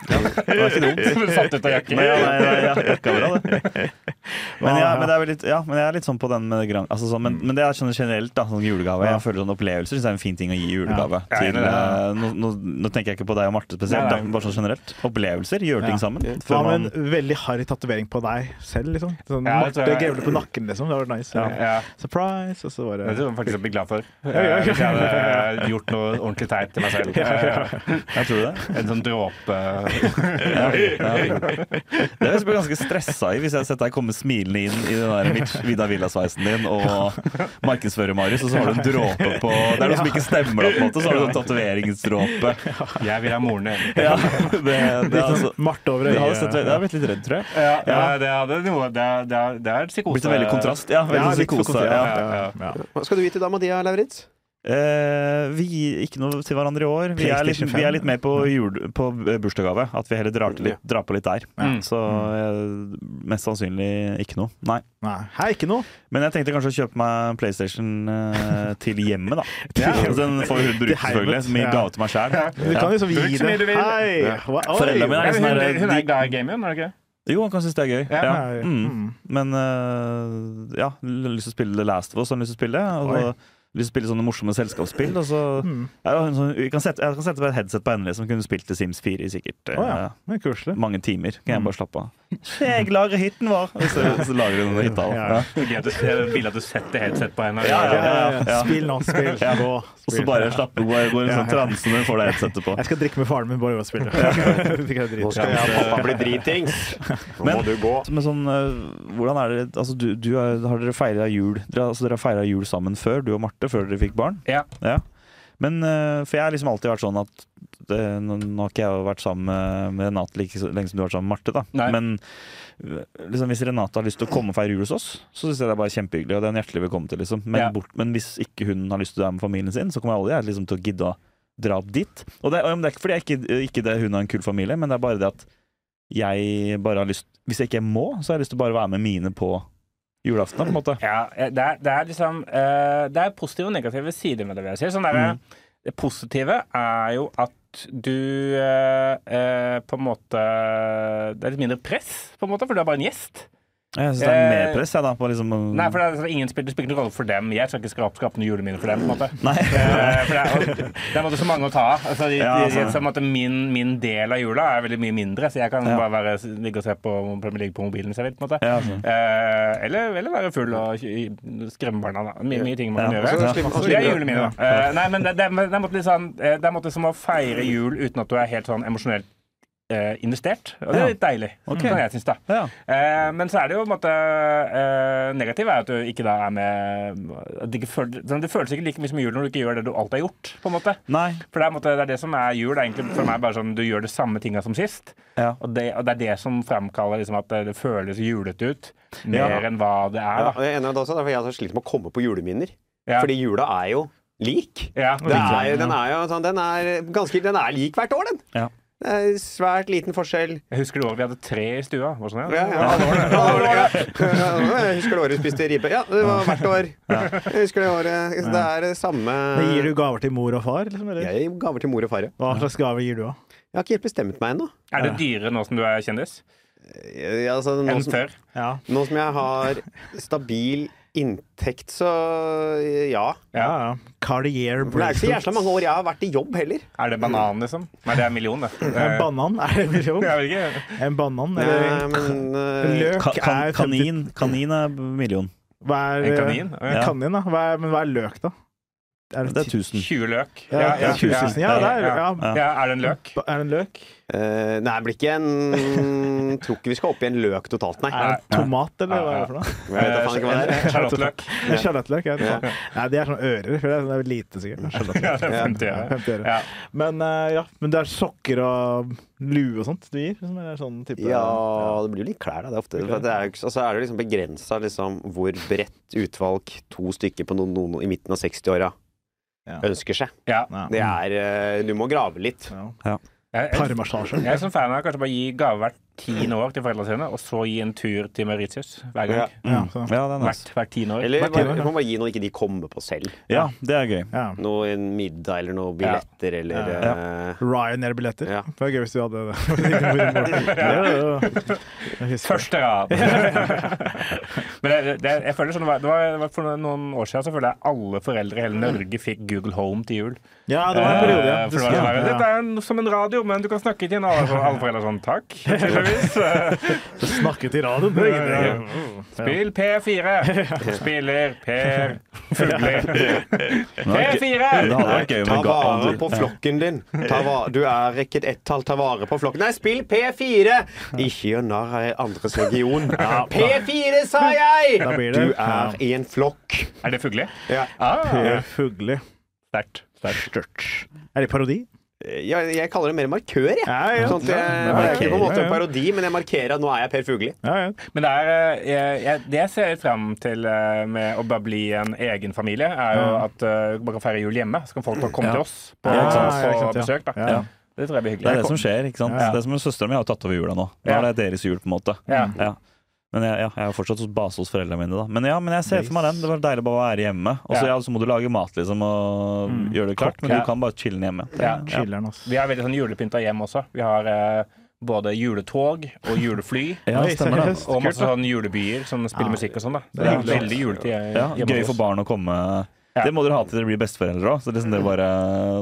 [SPEAKER 3] Satt ut av jakke.
[SPEAKER 5] Nei, ja, nei, nei, ja, jakka er bra, det. Men, ja, men, det er vel litt, ja, men jeg er litt sånn på den med gran... Altså, sånn, men, men det er sånn generelt, da. Sånn julegave. Jeg føler sånn opplevelser synes jeg er en fin ting å gi i julegave.
[SPEAKER 3] Ja, jeg er
[SPEAKER 5] Til,
[SPEAKER 3] enig i det.
[SPEAKER 5] eh, nå, nå, nå tenker jeg ikke på deg og Marte spesielt,
[SPEAKER 3] Nei, nei.
[SPEAKER 5] da, bare sånn generelt. Opplevelser. Gjøre
[SPEAKER 2] Ja.
[SPEAKER 5] ting sammen.
[SPEAKER 2] Hva
[SPEAKER 5] Før man,
[SPEAKER 2] med en veldig harry tatovering på deg selv, liksom? Sånn
[SPEAKER 3] Ja, det
[SPEAKER 2] Marte
[SPEAKER 3] tror jeg.
[SPEAKER 2] Grevle på nakken, liksom. Det hadde vært nice. Ja.
[SPEAKER 3] Ja.
[SPEAKER 2] Surprise, og så var
[SPEAKER 3] Det
[SPEAKER 2] det
[SPEAKER 3] tror jeg faktisk jeg blir glad for. Eh,
[SPEAKER 2] ja, ja.
[SPEAKER 3] Hvis jeg hadde eh, gjort noe ordentlig teit til meg selv.
[SPEAKER 5] jeg tror det.
[SPEAKER 3] Eh, En sånn dråpe
[SPEAKER 5] Ja, ja. Det er jeg blir ganske stressa i hvis jeg har sett deg komme smilende inn i den der Mitch Vida Villa-sveisen din og markedsfører Marius, og så har du en dråpe på Det er noe som ikke stemmer, da, på en måte. Så har du en tatoveringsdråpe.
[SPEAKER 3] Jeg vil ha moren din.
[SPEAKER 5] Ja, det, det,
[SPEAKER 2] Litt sånn
[SPEAKER 5] altså,
[SPEAKER 2] Marte over
[SPEAKER 5] det hadde
[SPEAKER 2] øyet.
[SPEAKER 5] sett, jeg hadde blitt litt redd, tror jeg.
[SPEAKER 2] Eh,
[SPEAKER 3] Ja, ja, det hadde noe Det er, det er, det er psykose.
[SPEAKER 5] Blitt en veldig kontrast. Ja, veldig
[SPEAKER 2] Ja,
[SPEAKER 5] sånn
[SPEAKER 2] litt for
[SPEAKER 5] psykose.
[SPEAKER 2] kontra-
[SPEAKER 5] Ja.
[SPEAKER 2] ja, ja.
[SPEAKER 4] Hva skal du gi til dama di, Lauritz?
[SPEAKER 5] Eh, vi gir ikke noe til hverandre i år. Vi er litt,
[SPEAKER 2] PlayStation Mm. 5.
[SPEAKER 5] vi er litt mer på, jul, på eh, bursdagsgave. At vi heller drar, til litt, drar på litt der.
[SPEAKER 3] Mm.
[SPEAKER 5] Så eh, mest sannsynlig ikke noe. Nei.
[SPEAKER 2] Nei, her er ikke noe.
[SPEAKER 5] Men jeg tenkte kanskje å kjøpe meg en PlayStation eh, til hjemmet, da.
[SPEAKER 2] Ja.
[SPEAKER 5] Så Den får hun bruke,
[SPEAKER 2] Til heimet,
[SPEAKER 5] selvfølgelig. Som
[SPEAKER 2] ja.
[SPEAKER 5] gave til meg sjæl.
[SPEAKER 2] Du kan liksom
[SPEAKER 3] Bruk
[SPEAKER 2] gi
[SPEAKER 3] så mye du
[SPEAKER 2] det.
[SPEAKER 3] vil.
[SPEAKER 2] Hei! Hva- oi.
[SPEAKER 5] Foreldrene mine
[SPEAKER 3] Ja, men
[SPEAKER 5] er sånn
[SPEAKER 3] hun,
[SPEAKER 5] her,
[SPEAKER 3] hun
[SPEAKER 5] de-
[SPEAKER 3] er glad i gaming, er hun ikke?
[SPEAKER 5] Jo, han kan synes det er gøy.
[SPEAKER 3] Ja.
[SPEAKER 5] Ja.
[SPEAKER 2] Nei,
[SPEAKER 5] Mm.
[SPEAKER 2] mm.
[SPEAKER 5] Men eh, ja, l- lyst til å spille The Last of Us, har lyst til å spille. Og så lyst til å spille sånne morsomme selskapsspill. Og så, ja, en sånn, jeg, kan sette, jeg kan sette på et headset på henne som kunne spilt til Sims 4 i sikkert eh,
[SPEAKER 2] Å ja. Det er koselig.
[SPEAKER 5] mange timer. Kan jeg bare slappe av. Mm. Jeg lagrer hytten vår! Og så, så lagrer hun den hytta. da.
[SPEAKER 2] Ja.
[SPEAKER 5] Ja.
[SPEAKER 3] Jeg vil at du- jeg vil at du setter headset på henne.
[SPEAKER 5] Ja, ja, ja.
[SPEAKER 2] Spill nå, spill. Gå.
[SPEAKER 5] Og
[SPEAKER 2] spill.
[SPEAKER 5] så bare slappe går går en sånn transe når hun får det headsetet på.
[SPEAKER 2] Jeg skal drikke med faren min, bare gå og spille. Det kan jeg drite i.
[SPEAKER 4] Nå skal jeg og pappa bli dritings. Nå må
[SPEAKER 5] Men-
[SPEAKER 4] du gå.
[SPEAKER 5] Men sånn, eh, hvordan er det altså, du, du, har har dere feira jul Dere, altså, dere har feira jul sammen før, du og Marte, før dere fikk barn?
[SPEAKER 3] Ja.
[SPEAKER 5] Men eh, For jeg har liksom alltid vært sånn at det, nå, nå har ikke jeg vært sammen med- med Renate like så lenge som du har vært sammen med Marte, da.
[SPEAKER 3] Nei.
[SPEAKER 5] Men eh, liksom, hvis Renate har lyst til å komme og feire jul hos oss, så syns jeg det er bare kjempehyggelig, og det er hun hjertelig velkommen til, liksom. Men,
[SPEAKER 3] Ja.
[SPEAKER 5] bort, men hvis ikke hun har lyst til å være med familien sin, så kommer jeg aldri jeg, liksom, til å gidde å dra opp dit. Og det, og det er ikke fordi jeg ikke, ikke det, hun har en kul familie, men det er bare det at jeg bare har lyst Hvis jeg ikke må, så har jeg lyst til å bare være med mine på julaften, på en måte.
[SPEAKER 3] Ja, eh, det er, det er liksom eh, Det er positive og negative sider med det, vil jeg si. Sånn der,
[SPEAKER 5] Mm.
[SPEAKER 3] Det positive er jo at du eh, eh, på en måte Det er litt mindre press, på en måte, for du er bare en gjest.
[SPEAKER 5] Jeg syns det er
[SPEAKER 3] Eh,
[SPEAKER 5] mer press, jeg, da. På liksom,
[SPEAKER 3] Nei, for det er, sånn, ingen spiller, det spiller ingen rolle for dem. Jeg skal ikke skape, skape noe julemine for dem. på en måte
[SPEAKER 5] Nei.
[SPEAKER 3] Eh, for det er, og det er på en måte så mange å ta av. Altså, de,
[SPEAKER 5] Ja,
[SPEAKER 3] de-
[SPEAKER 5] altså.
[SPEAKER 3] så på en måte min, min del av jula er veldig mye mindre, så jeg kan
[SPEAKER 5] Ja.
[SPEAKER 3] bare være, ligge og se på Premier League på mobilen hvis jeg vil. på en måte
[SPEAKER 5] Ja, altså.
[SPEAKER 3] Eh, eller, eller være full og kj- skremme barna. Da. Mye, mye ting man kan
[SPEAKER 5] Ja.
[SPEAKER 3] gjøre.
[SPEAKER 5] Og så
[SPEAKER 4] slipper- og
[SPEAKER 3] Så Det er
[SPEAKER 4] slipper-
[SPEAKER 3] julen min, da. Eh, nei, men det, det, er- det, er en måte litt sånn, eh, det er en måte som å feire jul uten at du er helt sånn emosjonelt eh, investert. Og det
[SPEAKER 5] Ja.
[SPEAKER 3] er litt deilig,
[SPEAKER 5] Ok.
[SPEAKER 3] kan jeg synes da.
[SPEAKER 5] ja.
[SPEAKER 3] Eh, men så er det jo på en måte eh, Negativ er at du ikke da er med at det, ikke føl, sånn, det føles ikke like mye som jul når du ikke gjør det du alltid har gjort. på en måte
[SPEAKER 5] Nei.
[SPEAKER 3] For det er, på en måte, det, er det som er jul. Det er egentlig for meg bare sånn du gjør det samme tinga som sist.
[SPEAKER 5] Ja.
[SPEAKER 3] Og det, og det er det som fremkaller liksom, at det føles julete ut, mer
[SPEAKER 5] Ja.
[SPEAKER 3] enn hva det er.
[SPEAKER 4] Ja,
[SPEAKER 3] da
[SPEAKER 4] og jeg er enig med deg også, derfor jeg har slitt med å komme på juleminner.
[SPEAKER 3] Ja.
[SPEAKER 4] Fordi jula er jo lik.
[SPEAKER 3] Ja.
[SPEAKER 4] Det er, jo- den er jo sånn, den er ganske Den er lik hvert år, den.
[SPEAKER 5] Ja.
[SPEAKER 4] Det er svært liten forskjell.
[SPEAKER 3] Jeg husker det året vi hadde tre i stua. Var det sånn,
[SPEAKER 4] Ja, ja. Ja, det var det. Jeg husker det året vi spiste ribbe. Ja, det var hvert år. Jeg husker det året. Så Det er det samme
[SPEAKER 2] Men Gir du gaver til mor og far? Liksom, eller?
[SPEAKER 4] Jeg gir gaver til mor og far. ja.
[SPEAKER 2] Hva slags gaver gir du, da?
[SPEAKER 4] Jeg har ikke helt bestemt meg ennå.
[SPEAKER 3] Er det dyrere nå som du er kjendis
[SPEAKER 4] Jeg- Altså, nå,
[SPEAKER 3] enn
[SPEAKER 4] som,
[SPEAKER 3] før?
[SPEAKER 2] Ja.
[SPEAKER 4] nå som jeg har stabil inntekt, så eh, ja.
[SPEAKER 2] Ja, ja. Cartier
[SPEAKER 4] Men det er ikke så jævla
[SPEAKER 2] bracelet.
[SPEAKER 4] mange år jeg har vært i jobb heller.
[SPEAKER 3] Er det banan, liksom? Nei, det er million, det. det.
[SPEAKER 2] En
[SPEAKER 3] er-
[SPEAKER 2] banan? Er det en million?
[SPEAKER 3] Jeg vet ikke.
[SPEAKER 2] En banan?
[SPEAKER 4] Nei,
[SPEAKER 2] Eller en
[SPEAKER 4] men, eh,
[SPEAKER 2] løk
[SPEAKER 5] Ka kan
[SPEAKER 2] er 50
[SPEAKER 5] kanin, kanin er million.
[SPEAKER 2] Hva er
[SPEAKER 3] En kanin?
[SPEAKER 2] En
[SPEAKER 3] Ja.
[SPEAKER 2] kanin, da. Hva er, men hva er løk, da? Er
[SPEAKER 5] Det er
[SPEAKER 2] det
[SPEAKER 5] 1000.
[SPEAKER 3] 20 løk.
[SPEAKER 2] Ja, ja, tusen, ja, det er- ja.
[SPEAKER 3] ja. Er det en løk?
[SPEAKER 2] ti- Er det en løk?
[SPEAKER 4] eh, nei, det blir ikke en Tror ikke vi skal opp i en løk totalt, nei.
[SPEAKER 2] Er det en tomat, eller hva er
[SPEAKER 3] Ja, ja.
[SPEAKER 2] det for noe?
[SPEAKER 4] Jeg
[SPEAKER 3] Eh,
[SPEAKER 4] vet da faen ikke hva det er.
[SPEAKER 3] Sjalottløk.
[SPEAKER 2] En Sjalottløk? er det sånn. Nei, det er sånne ører. For det er- sånn, det er lite, sikkert.
[SPEAKER 3] Ja,
[SPEAKER 2] Sjalottløk.
[SPEAKER 3] det er 50
[SPEAKER 2] Ja,
[SPEAKER 3] øre.
[SPEAKER 2] 50 øre.
[SPEAKER 3] Ja.
[SPEAKER 2] Men eh, ja, men det er sokker og lue og sånt du gir? Liksom, eller sånn type
[SPEAKER 4] Ja, det blir jo litt klær, da. Det er ofte. For det er, jo ikke- altså, er det liksom begrensa liksom, hvor bredt utvalg to stykker på noen, noen i midten av 60-åra
[SPEAKER 2] Ja.
[SPEAKER 4] ønsker seg.
[SPEAKER 3] Ja.
[SPEAKER 2] Ja.
[SPEAKER 4] Det er eh, Du må grave litt.
[SPEAKER 2] Ja.
[SPEAKER 3] Jeg, jeg,
[SPEAKER 2] Parmassasje.
[SPEAKER 3] jeg er som fan av kanskje bare gi gave hvert tiende år til foreldrene sine, og så gi en tur til Mauritius hver gang.
[SPEAKER 2] Ja, så-
[SPEAKER 5] Mm. Ja, det er nice.
[SPEAKER 3] Hvert, hvert tiende år.
[SPEAKER 4] Eller
[SPEAKER 2] Hvert tiår,
[SPEAKER 4] bare,
[SPEAKER 2] ja.
[SPEAKER 4] du må bare gi noe ikke de kommer på selv.
[SPEAKER 5] Ja, det er gøy.
[SPEAKER 2] ja.
[SPEAKER 4] Noe en middag eller noen billetter eller eh,
[SPEAKER 2] Ryanair-billetter.
[SPEAKER 4] Ja.
[SPEAKER 2] Det var gøy hvis du hadde det. Ja, ja, ja. Jeg husker det.
[SPEAKER 3] Første rad! Men det, det, jeg føler sånn, det var, det var- det var For noen år siden så føler jeg alle foreldre i hele Norge fikk Google Home til jul.
[SPEAKER 2] Ja, det var en periode. Ja.
[SPEAKER 3] Eh, for det var sånn her,
[SPEAKER 2] Ja,
[SPEAKER 3] Dette er en, som en radio, men du kan snakke til en annen. Så Alle foreldre er sånn takk, tydeligvis. Eh,
[SPEAKER 2] ja. Snakket i radioen. det er ingenting.
[SPEAKER 3] Spill P4. Spiller Per Fugler.
[SPEAKER 5] Det
[SPEAKER 3] P4!
[SPEAKER 5] hadde vært gøy om
[SPEAKER 4] Ta
[SPEAKER 5] en ga-
[SPEAKER 4] vare på flokken din. Ta va du er ikke et ett-tall, ta vare på flokken. Nei, spill P4! Ikke gjør narr av andres region. P4, sa jeg!
[SPEAKER 2] Da blir det-
[SPEAKER 4] Du er i en flokk.
[SPEAKER 3] Er det Fugli?
[SPEAKER 4] Ja.
[SPEAKER 3] Ah,
[SPEAKER 2] Per Fugli.
[SPEAKER 3] sterkt. sterkt.
[SPEAKER 2] Er det parodi?
[SPEAKER 4] Ja, jeg kaller det mer markør, jeg.
[SPEAKER 2] Ja, ja.
[SPEAKER 4] Sånn at jeg,
[SPEAKER 2] Ja,
[SPEAKER 4] det er ikke
[SPEAKER 2] markering,
[SPEAKER 4] på en måte
[SPEAKER 2] ja,
[SPEAKER 4] en
[SPEAKER 2] ja.
[SPEAKER 4] parodi, men jeg markerer at nå er jeg Per Fugli.
[SPEAKER 2] Ja, ja.
[SPEAKER 3] Men det, er, eh, jeg, jeg, det jeg ser fram til eh, med å bare bli en egen familie, er jo at eh, man kan feire jul hjemme. Så kan folk bare komme
[SPEAKER 5] Ja.
[SPEAKER 3] til oss på,
[SPEAKER 5] Ja, ikke sant.
[SPEAKER 2] Ja, ikke
[SPEAKER 3] på
[SPEAKER 2] sant, ja.
[SPEAKER 3] besøk. Da.
[SPEAKER 2] Ja.
[SPEAKER 5] Ja.
[SPEAKER 3] Det tror jeg blir
[SPEAKER 5] Det
[SPEAKER 3] hyggelig.
[SPEAKER 5] er det som skjer, ikke sant?
[SPEAKER 3] Ja.
[SPEAKER 5] Det er som Søsteren min har jo tatt over jula nå. Nå
[SPEAKER 3] Ja.
[SPEAKER 5] er det deres jul, på en måte.
[SPEAKER 3] Ja.
[SPEAKER 5] Ja. Men jeg, ja, jeg er fortsatt hos base hos foreldrene mine, da. Men ja, men jeg ser for meg den. Det var deilig å bare være hjemme. Og så
[SPEAKER 3] Ja. Mm.
[SPEAKER 5] ja, så må du lage mat, liksom, og gjøre det klart. Men
[SPEAKER 3] Ja.
[SPEAKER 5] du kan bare chille hjemme.
[SPEAKER 3] Ja.
[SPEAKER 2] Chiller'n, altså.
[SPEAKER 3] Vi har veldig sånn julepynta hjem også. Vi har eh, både juletog og julefly.
[SPEAKER 5] Ja,
[SPEAKER 2] Oi,
[SPEAKER 5] stemmer det.
[SPEAKER 2] seriøst?
[SPEAKER 3] Og masse sånn julebyer som spiller musikk og sånn. da Det er
[SPEAKER 2] hyggelig.
[SPEAKER 3] veldig julete hjem-
[SPEAKER 5] Ja,
[SPEAKER 3] hjemme
[SPEAKER 5] gøy
[SPEAKER 3] hos
[SPEAKER 5] for
[SPEAKER 3] oss.
[SPEAKER 5] barn å komme.
[SPEAKER 3] Ja.
[SPEAKER 5] Det må dere ha til dere blir besteforeldre òg. Så liksom dere bare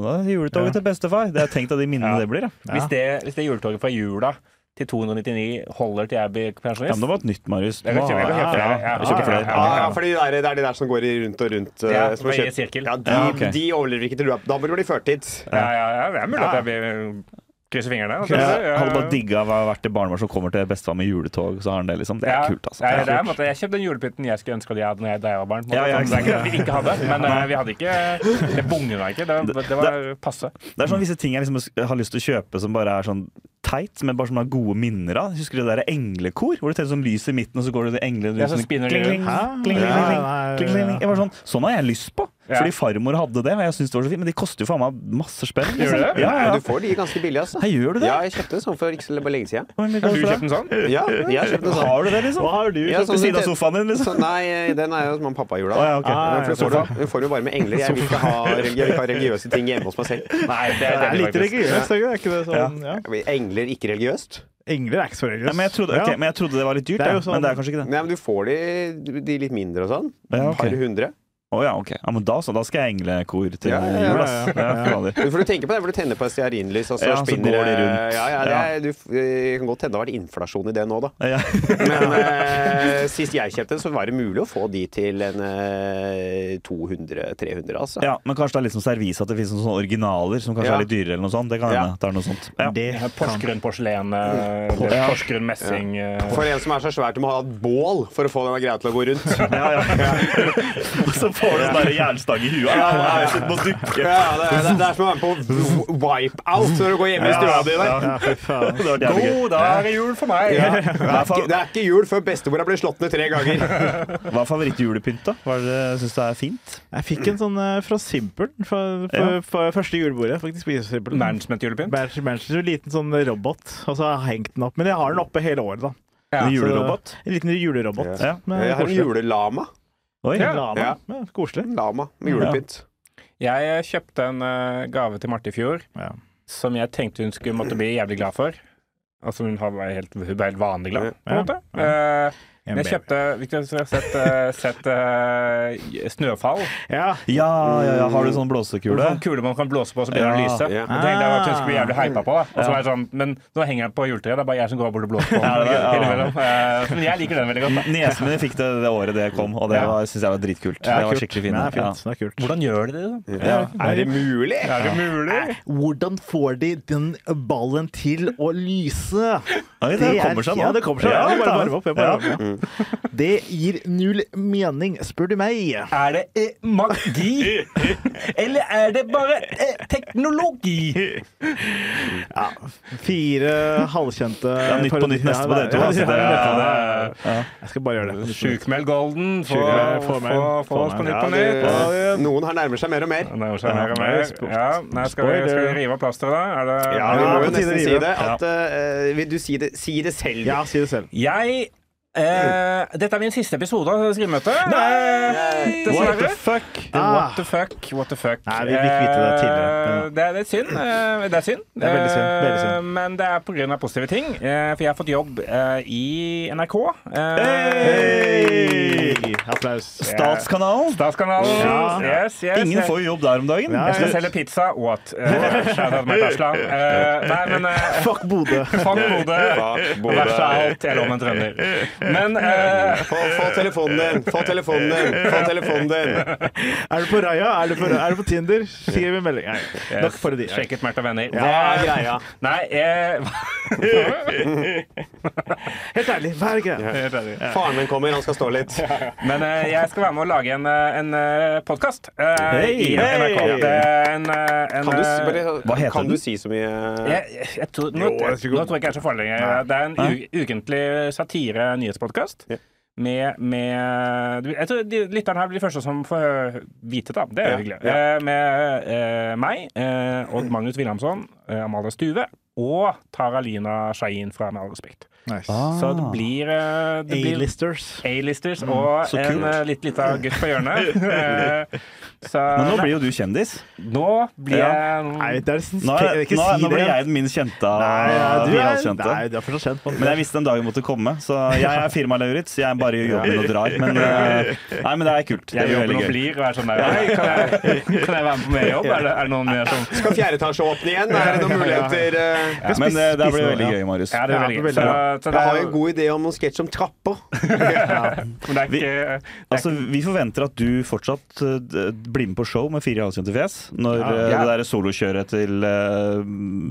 [SPEAKER 5] «Nå er det Juletoget til bestefar. Det er tenkt av de minnene
[SPEAKER 3] Ja.
[SPEAKER 5] det blir. Ja.
[SPEAKER 3] Hvis, det, hvis det juletoget fra jula til 299 holder til jeg blir
[SPEAKER 5] Ja, men
[SPEAKER 3] pensjonist
[SPEAKER 5] det var et nytt, Marius. Du
[SPEAKER 3] Jeg kan
[SPEAKER 5] må
[SPEAKER 3] kjøpe- jeg kan
[SPEAKER 5] ha-
[SPEAKER 3] kjøpe flere.
[SPEAKER 5] ja,
[SPEAKER 3] Ja,
[SPEAKER 5] ja, kjøpe
[SPEAKER 3] ja,
[SPEAKER 5] flere.
[SPEAKER 3] ja,
[SPEAKER 4] Ja,
[SPEAKER 3] ja.
[SPEAKER 4] fordi det er, det er de der som går i rundt og rundt. eh,
[SPEAKER 3] Ja,
[SPEAKER 4] som har
[SPEAKER 3] veier
[SPEAKER 4] kjøpt-
[SPEAKER 3] sirkel.
[SPEAKER 4] Ja, de,
[SPEAKER 5] Ja, ok.
[SPEAKER 4] de overlever ikke til du er Da burde du bli førtids.
[SPEAKER 3] Ja, ja, ja, det er mulig at jeg blir krysser fingrene. altså.
[SPEAKER 5] Ja,
[SPEAKER 3] Ja, ja,
[SPEAKER 5] Jeg hadde bare
[SPEAKER 3] ja.
[SPEAKER 5] digga å ha vært det barnebarn som kommer til bestefar med juletog. Så har han det liksom Det er
[SPEAKER 3] Ja.
[SPEAKER 5] kult, altså.
[SPEAKER 3] Ja,
[SPEAKER 5] Det er
[SPEAKER 3] det er, en
[SPEAKER 5] kult.
[SPEAKER 3] måte, jeg kjøpte den julepynten jeg skulle ønske at jeg hadde når jeg da jeg var barn. på en
[SPEAKER 5] Ja, ja,
[SPEAKER 3] måte.
[SPEAKER 5] ikke
[SPEAKER 3] det er
[SPEAKER 5] sant.
[SPEAKER 3] ikke at vi ikke hadde, men eh, vi hadde ikke Det bugna ikke. Det, det var passe.
[SPEAKER 5] Det er sånn visse ting jeg liksom har lyst til å kjøpe som bare er sånn teit, men bare som har gode minner av. Husker du det der englekor? Hvor det tennes sånn lys i midten, og så går det englene
[SPEAKER 3] Ja, så spinner de
[SPEAKER 5] kling, kling,
[SPEAKER 3] rundt.
[SPEAKER 2] Hæ?
[SPEAKER 5] kling, kling,
[SPEAKER 2] Ja,
[SPEAKER 5] kling,
[SPEAKER 2] nei,
[SPEAKER 5] kling, kling, kling. Jeg var sånn, sånn har jeg lyst på!
[SPEAKER 3] Ja.
[SPEAKER 5] Fordi farmor hadde det, og jeg syntes det var så fint. Men de koster jo faen meg masse spenn.
[SPEAKER 3] Gjør
[SPEAKER 5] liksom.
[SPEAKER 3] det det?
[SPEAKER 5] Ja, ja.
[SPEAKER 4] Du får de ganske billig, altså.
[SPEAKER 5] Hei, gjør du det?
[SPEAKER 4] Ja, jeg kjøpte en sånn for ikke så lenge siden.
[SPEAKER 5] Hvor
[SPEAKER 3] Har
[SPEAKER 5] mye
[SPEAKER 3] du
[SPEAKER 5] koster det?
[SPEAKER 3] kjøpt en sånn?
[SPEAKER 4] Ja, jeg kjøpte en sånn.
[SPEAKER 5] Har du det, liksom?
[SPEAKER 2] Hva har du?
[SPEAKER 4] Ja,
[SPEAKER 5] Ved
[SPEAKER 4] sånn
[SPEAKER 5] siden av
[SPEAKER 4] som-
[SPEAKER 5] sofaen din, liksom?
[SPEAKER 4] Så, nei, den er jo som han pappa i jula.
[SPEAKER 5] Å, ja, ok.
[SPEAKER 4] Ja,
[SPEAKER 2] ja,
[SPEAKER 4] for du får, du får jo bare med engler. Jeg vil ikke ha, religi- jeg vil ikke ha religiøse ting hjemme hos meg selv.
[SPEAKER 3] Nei, det,
[SPEAKER 2] Det er
[SPEAKER 3] det,
[SPEAKER 2] litt
[SPEAKER 3] det, det,
[SPEAKER 2] religiøst, er ikke det? Sånn, ja.
[SPEAKER 4] Jeg vil- Engler ikke religiøst?
[SPEAKER 2] Engler er ikke så religiøst.
[SPEAKER 5] Nei, men, jeg trodde, ok,
[SPEAKER 2] Ja.
[SPEAKER 5] men jeg trodde det var litt dyrt,
[SPEAKER 2] Det er jo
[SPEAKER 5] ja.
[SPEAKER 2] sånn-
[SPEAKER 5] men det er kanskje ikke det.
[SPEAKER 4] Nei, men du får de, de litt mindre og sånn.
[SPEAKER 5] Ja, ok.
[SPEAKER 4] Par hundre.
[SPEAKER 5] Å ja, ok. Ja, men da, så, da skal jeg englekor til
[SPEAKER 4] Ja, ja, ja,
[SPEAKER 5] jul,
[SPEAKER 2] ja,
[SPEAKER 5] ass. Ja, fader.
[SPEAKER 4] Men For du tenker på det, hvor du tenner på et stearinlys, og så
[SPEAKER 5] Ja, så
[SPEAKER 4] spinner
[SPEAKER 5] går de
[SPEAKER 4] det-
[SPEAKER 5] rundt.
[SPEAKER 4] Ja, ja, det er, du, f- det kan godt hende det har vært inflasjon i det nå, da.
[SPEAKER 5] Ja.
[SPEAKER 4] Men eh, sist jeg kjøpte den, så var det mulig å få de til en eh, 200-300, altså.
[SPEAKER 5] Ja, men kanskje det er litt som servise at det finnes noen sånne originaler som kanskje
[SPEAKER 4] Ja.
[SPEAKER 5] er litt dyrere eller noe sånt. Det kan
[SPEAKER 4] Ja.
[SPEAKER 5] hende at det er noe sånt. Ja.
[SPEAKER 2] Det kan
[SPEAKER 3] Porsgrunn porselen, eh, det er Porsgrunn messing eh,
[SPEAKER 4] For en som er så svært, du må ha et bål for å få den greia til å gå rundt.
[SPEAKER 5] Ja, ja. Og så får du en sånn der jernstang i huet. Ja, ja, ja. Må dukke.
[SPEAKER 4] Ja, det, er- det, er- det er som å være med på wipeout når du går hjemme i stua di der.
[SPEAKER 2] Ja, fy faen.
[SPEAKER 5] Det var jævlig gøy.
[SPEAKER 3] God dag er jul for meg! Ja.
[SPEAKER 4] Det er, ikke, det er ikke jul før bestemora blir slått ned tre ganger.
[SPEAKER 5] Hva er favorittjulepynt, da? Hva er det syns du er fint?
[SPEAKER 2] Jeg fikk en sånn eh, fra Simpel fra, fra,
[SPEAKER 5] Ja.
[SPEAKER 2] fra første julebordet. Faktisk på
[SPEAKER 3] Mm.
[SPEAKER 2] Simpel.
[SPEAKER 3] Management-julepynt.
[SPEAKER 2] Manchester, Manchester, en liten sånn robot, og så har jeg hengt den opp. Men jeg har den oppe hele året, da.
[SPEAKER 3] Ja,
[SPEAKER 5] en
[SPEAKER 2] Så-
[SPEAKER 5] julerobot?
[SPEAKER 2] En liten julerobot.
[SPEAKER 5] Ja.
[SPEAKER 2] Men
[SPEAKER 4] Jeg har en
[SPEAKER 2] koselig.
[SPEAKER 4] julelama.
[SPEAKER 5] Oi.
[SPEAKER 3] Ja.
[SPEAKER 2] Lama.
[SPEAKER 4] Ja.
[SPEAKER 2] Ja, koselig.
[SPEAKER 4] Lama med julepynt.
[SPEAKER 3] Jeg kjøpte en eh, gave til Marte i fjor
[SPEAKER 2] Ja.
[SPEAKER 3] som jeg tenkte hun skulle måtte bli jævlig glad for. Altså hun har vært helt, hun ble helt vanlig glad, på en
[SPEAKER 2] Ja,
[SPEAKER 3] måte.
[SPEAKER 2] ja.
[SPEAKER 3] Eh,
[SPEAKER 2] En
[SPEAKER 3] men
[SPEAKER 2] baby.
[SPEAKER 3] jeg kjøpte Victor, hvis du har sett, eh, sett eh, Snøfall.
[SPEAKER 2] Ja.
[SPEAKER 5] Ja, ja, ja. Har du sånn
[SPEAKER 3] Hvor
[SPEAKER 5] blåsekule?
[SPEAKER 3] sånn kule man kan blåse på, så begynner den å
[SPEAKER 5] Ja, Ah.
[SPEAKER 3] lyse.
[SPEAKER 4] ja.
[SPEAKER 3] Og Det tenkte jeg at hun skulle bli jævlig hypa på. Da. Og så
[SPEAKER 5] Ja.
[SPEAKER 3] var jeg sånn, men nå henger den på juletreet, det er bare jeg som går bort og blåser på
[SPEAKER 5] Ja,
[SPEAKER 3] den.
[SPEAKER 5] det er det, ja.
[SPEAKER 3] innimellom. Eh, men jeg liker den veldig godt. Da.
[SPEAKER 5] Niesen min fikk det det året det kom, og det
[SPEAKER 3] Ja.
[SPEAKER 5] syns jeg var dritkult.
[SPEAKER 3] Ja,
[SPEAKER 5] det var
[SPEAKER 3] kult.
[SPEAKER 5] skikkelig
[SPEAKER 2] Den
[SPEAKER 5] fin.
[SPEAKER 2] er
[SPEAKER 5] Ja.
[SPEAKER 2] fint. Den er kult.
[SPEAKER 3] Hvordan gjør dere det? da?
[SPEAKER 5] Ja.
[SPEAKER 4] Er det mulig?
[SPEAKER 3] Er det mulig?
[SPEAKER 2] Hvordan får de den ballen til å lyse?
[SPEAKER 5] Oi, det kommer seg nå.
[SPEAKER 2] Ja, det kommer seg.
[SPEAKER 5] Ja,
[SPEAKER 2] jeg bare
[SPEAKER 5] ta
[SPEAKER 2] varme opp. Jeg bare varmer opp. Det gir null mening, spør du meg.
[SPEAKER 3] Er det eh, magi? Eller er det bare eh, teknologi?
[SPEAKER 2] Ja, fire halvkjente
[SPEAKER 5] er Nytt på Nytt neste på dere to, altså. Det er-
[SPEAKER 2] Jeg skal bare gjøre det.
[SPEAKER 3] Sjukmeld Golden. Få,
[SPEAKER 2] Sjukmeld,
[SPEAKER 3] få,
[SPEAKER 2] få meg.
[SPEAKER 3] få,
[SPEAKER 2] Få
[SPEAKER 3] oss på
[SPEAKER 2] meg.
[SPEAKER 3] nytt
[SPEAKER 4] Ja,
[SPEAKER 3] på nytt.
[SPEAKER 4] det, noen her nærmer seg mer og mer.
[SPEAKER 3] Ja, det er jo sånn her og
[SPEAKER 2] det er
[SPEAKER 3] mer.
[SPEAKER 2] sport.
[SPEAKER 3] Ja, nei, skal, vi, skal vi rive av plasteret, da? Er det,
[SPEAKER 4] Ja, vi må
[SPEAKER 2] Ja,
[SPEAKER 4] jo
[SPEAKER 2] på tide å
[SPEAKER 4] nesten si
[SPEAKER 2] rive.
[SPEAKER 4] det. At, eh, vil du si det, si det selv?
[SPEAKER 2] Ja, si det selv.
[SPEAKER 3] Jeg eh, Dette er min siste episode av Skrivemøtet. Nei!
[SPEAKER 5] What the
[SPEAKER 3] Dessverre.
[SPEAKER 5] fuck?
[SPEAKER 2] Ah.
[SPEAKER 3] What the fuck? What the fuck?
[SPEAKER 2] Nei, vi fikk vite det tidligere.
[SPEAKER 3] Eh, Det er, det er synd. eh, Det er synd.
[SPEAKER 2] Det er veldig synd, veldig synd.
[SPEAKER 3] Eh, Men det er pga. positive ting. eh, For jeg har fått jobb eh, i NRK. Eh,
[SPEAKER 5] Hey!
[SPEAKER 2] Applaus.
[SPEAKER 5] Statskanalen?
[SPEAKER 3] Statskanalen.
[SPEAKER 2] Ja.
[SPEAKER 3] Yes, yes.
[SPEAKER 5] Ingen får jo jobb der om dagen.
[SPEAKER 2] Ja,
[SPEAKER 3] Jeg skal
[SPEAKER 2] ja.
[SPEAKER 3] selge pizza. What? Eh, Shout out Martha Asland. Eh, Nei, men eh,
[SPEAKER 2] Fuck Bodø.
[SPEAKER 3] Fang hodet.
[SPEAKER 4] Bak
[SPEAKER 3] Vær så
[SPEAKER 4] bordet.
[SPEAKER 3] alt. Jeg lå med en trønder. Men eh,
[SPEAKER 4] Få, få telefonen din! Få telefonen din! Få telefonen din!
[SPEAKER 2] Er du på Raya? Er du på, er du på Tinder? Skriv en melding. Nei, nok parodi.
[SPEAKER 3] Sjekk ut Märtha Venner.
[SPEAKER 4] Hva er
[SPEAKER 3] Hva-
[SPEAKER 4] greia?
[SPEAKER 3] Nei, eh,
[SPEAKER 2] Helt ærlig, hver greie.
[SPEAKER 4] Faren min kommer, han skal stå litt.
[SPEAKER 3] Men eh, jeg skal være med å lage en, eh, en eh, podkast eh, i NRK.
[SPEAKER 2] Hey!
[SPEAKER 3] Det er en, eh, en
[SPEAKER 4] Kan du, s-
[SPEAKER 3] eh,
[SPEAKER 4] bare,
[SPEAKER 5] Hva heter
[SPEAKER 4] kan
[SPEAKER 5] den?
[SPEAKER 4] du si så mye
[SPEAKER 3] jeg, jeg tror, nå,
[SPEAKER 2] Jo, jeg tror-
[SPEAKER 3] nå tror jeg ikke jeg er så farlig lenger. Det er en u ukentlig satire-nyhetspodkast.
[SPEAKER 4] Ja.
[SPEAKER 3] Med, med Jeg tror de, lytterne her blir de første som får hø- vite, da. Det er
[SPEAKER 4] Ja,
[SPEAKER 3] jo hyggelig.
[SPEAKER 4] ja.
[SPEAKER 3] Eh, med eh, meg, eh, Odd Magnus Wilhelmsson, eh, Amalie Stuve og Tara Lina Shahin fra Med all respekt. Så
[SPEAKER 5] Ah.
[SPEAKER 3] det blir, eh, det blir
[SPEAKER 2] A-listers.
[SPEAKER 3] A-listers og
[SPEAKER 5] så
[SPEAKER 3] en
[SPEAKER 5] kult.
[SPEAKER 3] eh, litt lita gutt på hjørnet. Eh, så
[SPEAKER 5] Men nå blir jo du kjendis.
[SPEAKER 3] nå blir
[SPEAKER 5] Ja.
[SPEAKER 3] jeg
[SPEAKER 2] Nei, det er nesten
[SPEAKER 5] Nå, er,
[SPEAKER 2] Ikke
[SPEAKER 5] nå, er,
[SPEAKER 2] si
[SPEAKER 5] nå
[SPEAKER 2] det.
[SPEAKER 5] ble jeg Ah, den minst kjente
[SPEAKER 2] Nei,
[SPEAKER 5] av
[SPEAKER 2] du
[SPEAKER 5] de
[SPEAKER 2] er,
[SPEAKER 5] allkjente.
[SPEAKER 2] nei, du er for så kjent på
[SPEAKER 5] Men jeg visste den dagen måtte komme, så jeg er firma-Lauritz. Jeg er bare gjør jobben min og drar. Men, eh, nei, men det er kult. Det
[SPEAKER 3] Jeg
[SPEAKER 5] blir
[SPEAKER 3] jobber
[SPEAKER 5] veldig
[SPEAKER 3] og
[SPEAKER 5] gøy.
[SPEAKER 3] blir og er sånn der Hei, kan jeg, kan jeg være med på mer jobb? Er det, er det noen mer som
[SPEAKER 4] Skal fjerdeetasje åpne igjen? Er det noen muligheter? eh?
[SPEAKER 5] Men det, det blir
[SPEAKER 2] Spis-
[SPEAKER 5] veldig
[SPEAKER 2] spis
[SPEAKER 5] gøy, Marius.
[SPEAKER 3] Ja, det er veldig gøy. Så, så det
[SPEAKER 4] Jeg har
[SPEAKER 3] er,
[SPEAKER 4] en god idé om noen sketsj om trapper.
[SPEAKER 3] men det er ikke
[SPEAKER 5] Altså, Vi forventer at du fortsatt eh, d- blir med på show med fire halvkjente fjes når
[SPEAKER 2] Ja.
[SPEAKER 5] eh,
[SPEAKER 3] Ja.
[SPEAKER 5] det der solokjøret til eh,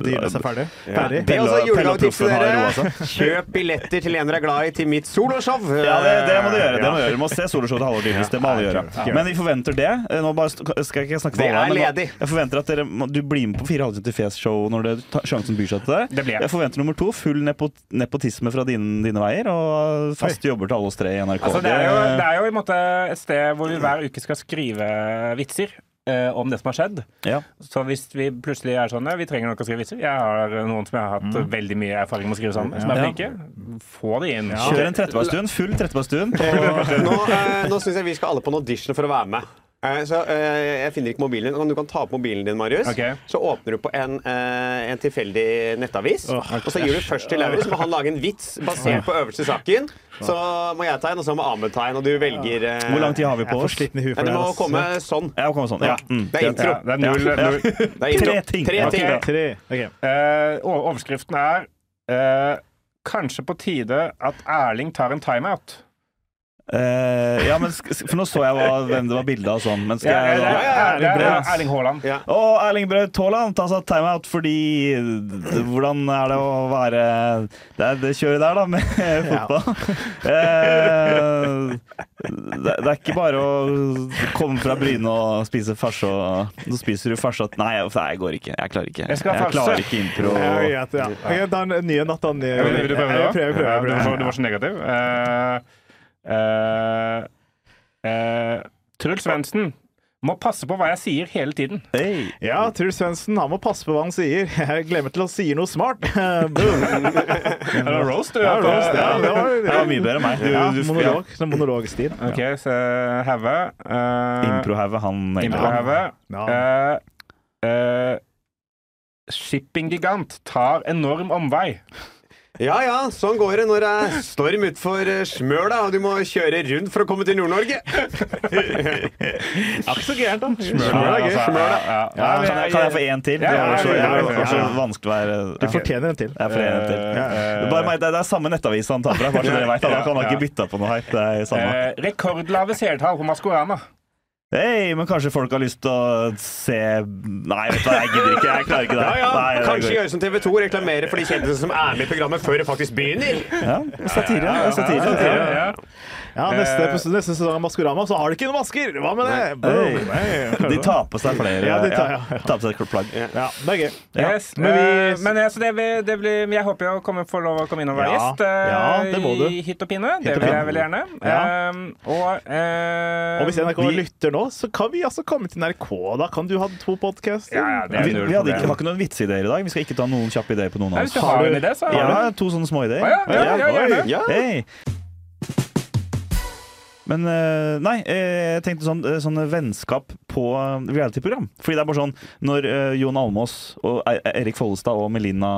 [SPEAKER 2] Dynes er ferdig. Ferdig.
[SPEAKER 4] Det er
[SPEAKER 5] Pelle
[SPEAKER 4] også
[SPEAKER 5] og-
[SPEAKER 4] julegavetips til
[SPEAKER 5] Pelle og Proffen har
[SPEAKER 4] dere. Kjøp billetter til en dere er glad i til mitt soloshow.
[SPEAKER 5] Ja, det, det må du gjøre. Det må du gjøre. Du må se soloshowet til Halvor Dyrnes. Det må alle gjøre. Men vi forventer det. Eh, Nå bare st- skal jeg ikke snakke for
[SPEAKER 4] Det
[SPEAKER 5] alle, her,
[SPEAKER 4] er
[SPEAKER 5] men nå-
[SPEAKER 4] ledig.
[SPEAKER 5] jeg forventer at dere, må- du blir med på Fire halvtimer til fjes-show når det, ta, sjansen byr seg til deg.
[SPEAKER 3] Det blir jeg.
[SPEAKER 5] Jeg forventer nummer to. Full nepo, nepotisme fra dine, dine veier, og faste jobber til alle oss tre i NRK.
[SPEAKER 3] Altså, det, er jo, det er jo i en måte et sted hvor vi hver uke skal skrive vitser eh, om det som har skjedd.
[SPEAKER 5] ja.
[SPEAKER 3] Så hvis vi plutselig er sånn ja, Vi trenger noen å skrive vitser. Jeg har eh, noen som jeg har hatt veldig mye erfaring med å skrive sammen, som er
[SPEAKER 5] Ja.
[SPEAKER 3] flinke. Få det inn.
[SPEAKER 5] Kjør en Trettebergstuen. Full Trettebergstuen. på-
[SPEAKER 4] Nå, eh, nå syns jeg vi skal alle på en audition for å være med. Eh, Så eh, Jeg finner ikke mobilen din. Du kan ta opp mobilen din, Marius.
[SPEAKER 3] Ok.
[SPEAKER 4] Så åpner du på en, eh, en tilfeldig nettavis.
[SPEAKER 2] Åh,
[SPEAKER 4] og så gir du først til Lauritz, så må han lage en vits basert på øverste saken. Så må jeg ta en, og så må Ahmed ta en, og du velger eh,
[SPEAKER 5] Hvor lang tid har vi
[SPEAKER 2] Jeg
[SPEAKER 5] på
[SPEAKER 2] er for
[SPEAKER 5] oss?
[SPEAKER 2] sliten i huet for
[SPEAKER 4] Nei, Du
[SPEAKER 2] det.
[SPEAKER 4] må
[SPEAKER 2] her, ass.
[SPEAKER 4] komme sånn.
[SPEAKER 5] Ja, kom sånn. Ja. Mm.
[SPEAKER 4] Det er intro.
[SPEAKER 3] Ja, det er null, null.
[SPEAKER 4] Det er intro.
[SPEAKER 5] Tre ting.
[SPEAKER 4] Tre ting.
[SPEAKER 5] Ok,
[SPEAKER 2] Tre. Ok.
[SPEAKER 3] Eh, o- overskriften er eh, Kanskje på tide at Erling tar en timeout.
[SPEAKER 5] Eh, ja, men sk sk- for nå så jeg hva, hvem det var bilde av sånn. Men skal
[SPEAKER 3] Ja,
[SPEAKER 5] jeg
[SPEAKER 3] det
[SPEAKER 5] da
[SPEAKER 3] er-
[SPEAKER 4] ja,
[SPEAKER 3] det er
[SPEAKER 5] Braut.
[SPEAKER 3] Erling Haaland.
[SPEAKER 4] Ja.
[SPEAKER 5] Og Erling Braut Haaland tas av timeout fordi d- Hvordan er det å være Det er det kjøret der, da, med fotball. Eh, det, det er ikke bare å komme fra Bryne og spise farse og Så spiser du farse og Nei, uff, nei, jeg går ikke. Jeg klarer ikke.
[SPEAKER 3] Jeg skal ha farse.
[SPEAKER 5] klarer ikke impro.
[SPEAKER 2] Ja, greit, ja. Ok, da er det en ny en, da. Ny,
[SPEAKER 3] Ja, men vil du prøve det
[SPEAKER 2] Jeg
[SPEAKER 3] òg?
[SPEAKER 2] prøver, prøver,
[SPEAKER 3] Ja,
[SPEAKER 2] jeg
[SPEAKER 3] du, var så-
[SPEAKER 2] prøver.
[SPEAKER 3] du var så negativ. Eh, eh, eh, Truls Svendsen må passe på hva jeg sier hele tiden.
[SPEAKER 5] Hey.
[SPEAKER 2] Ja, Truls Svendsen, han må passe på hva han sier. Jeg glemmer til å si noe smart. Boom.
[SPEAKER 3] Er det roast, du?
[SPEAKER 2] Ja, roast, ja, det var,
[SPEAKER 5] Det var mye bedre enn meg. Du,
[SPEAKER 2] Ja,
[SPEAKER 5] du, ja.
[SPEAKER 2] monolog. Sånn monologstil.
[SPEAKER 3] OK, så eh, Hauge. Uh,
[SPEAKER 5] Improhauget, han
[SPEAKER 3] Impro-Hauge.
[SPEAKER 2] Ja.
[SPEAKER 3] Eh, eh, Shippinggigant tar enorm omvei.
[SPEAKER 4] Ja ja, sånn går det når det er storm utfor eh, Smøla, og du må kjøre rundt for å komme til Nord-Norge.
[SPEAKER 2] Ikke så gærent, da.
[SPEAKER 3] Smøla,
[SPEAKER 2] gøy.
[SPEAKER 3] altså.
[SPEAKER 4] Smøla.
[SPEAKER 3] Ja,
[SPEAKER 5] Ja, kan, jeg, kan jeg få én til?
[SPEAKER 3] Ja,
[SPEAKER 5] det var så,
[SPEAKER 3] ja, ja,
[SPEAKER 5] det var så
[SPEAKER 2] ja.
[SPEAKER 5] vanskelig å være
[SPEAKER 2] Du
[SPEAKER 5] ja.
[SPEAKER 2] fortjener en til.
[SPEAKER 5] Jeg får en til.
[SPEAKER 3] Eh,
[SPEAKER 5] Det er Bare meg, det det er samme nettavise han tar fra. Bare så dere vet, da kan han ikke bytte på noe her. Det er samme.
[SPEAKER 3] eh, rekordlave seertall på Maskorama.
[SPEAKER 5] Hei, men kanskje folk har lyst til å se Nei, vet du hva, jeg gidder ikke. Jeg klarer ikke det.
[SPEAKER 4] Ja ja,
[SPEAKER 5] Nei, det
[SPEAKER 4] kanskje
[SPEAKER 5] går ikke.
[SPEAKER 4] gjøre som TV 2 reklamerer for de kjendisene som er med i programmet før det faktisk begynner.
[SPEAKER 5] Ja, satire. ja, satire.
[SPEAKER 3] Ja, ja, ja.
[SPEAKER 2] Ja, neste,
[SPEAKER 5] Eh.
[SPEAKER 2] episode, neste sesong av Maskorama, så har du ikke noen masker! Hva med det? Boom. Hey.
[SPEAKER 5] De tar på seg flere
[SPEAKER 2] Ja, de tar- ja, ja.
[SPEAKER 5] tar på seg et plagg.
[SPEAKER 2] Ja, det er gøy.
[SPEAKER 3] Yes,
[SPEAKER 2] Men vi-
[SPEAKER 3] eh, men altså, det, blir- det blir, jeg håper jeg kommer, får lov å komme inn og være
[SPEAKER 2] Ja,
[SPEAKER 3] gjest eh,
[SPEAKER 2] ja, det må du.
[SPEAKER 3] i hytt og pine. Det
[SPEAKER 2] Hytt og
[SPEAKER 3] vil
[SPEAKER 2] pine.
[SPEAKER 3] jeg veldig gjerne.
[SPEAKER 2] Ja.
[SPEAKER 3] Um, og, eh,
[SPEAKER 2] Og hvis NRK
[SPEAKER 3] vi-
[SPEAKER 2] lytter nå, så kan vi altså komme til NRK. Da kan du ha to podcaster.
[SPEAKER 3] ja, ja, det
[SPEAKER 5] Vi,
[SPEAKER 3] er
[SPEAKER 5] vi
[SPEAKER 3] null
[SPEAKER 5] hadde ikke,
[SPEAKER 3] problem.
[SPEAKER 5] har ikke noen vitseidéer i dag. Vi skal ikke ta noen kjappe ideer på noen
[SPEAKER 3] Nei,
[SPEAKER 5] av
[SPEAKER 3] Hvis
[SPEAKER 5] oss.
[SPEAKER 3] du har
[SPEAKER 2] Har du-
[SPEAKER 3] en idé, så
[SPEAKER 5] Jeg
[SPEAKER 3] har du
[SPEAKER 5] har to sånne småideer.
[SPEAKER 3] Å, ja, ja, ja, gjerne.
[SPEAKER 5] Oi.
[SPEAKER 4] Ja.
[SPEAKER 5] Hei. Men eh, nei, eh, jeg tenkte sånn, eh, sånn vennskap på eh, reality-program. Fordi det er bare sånn når eh, Jon Almås og E- Erik Follestad og Melina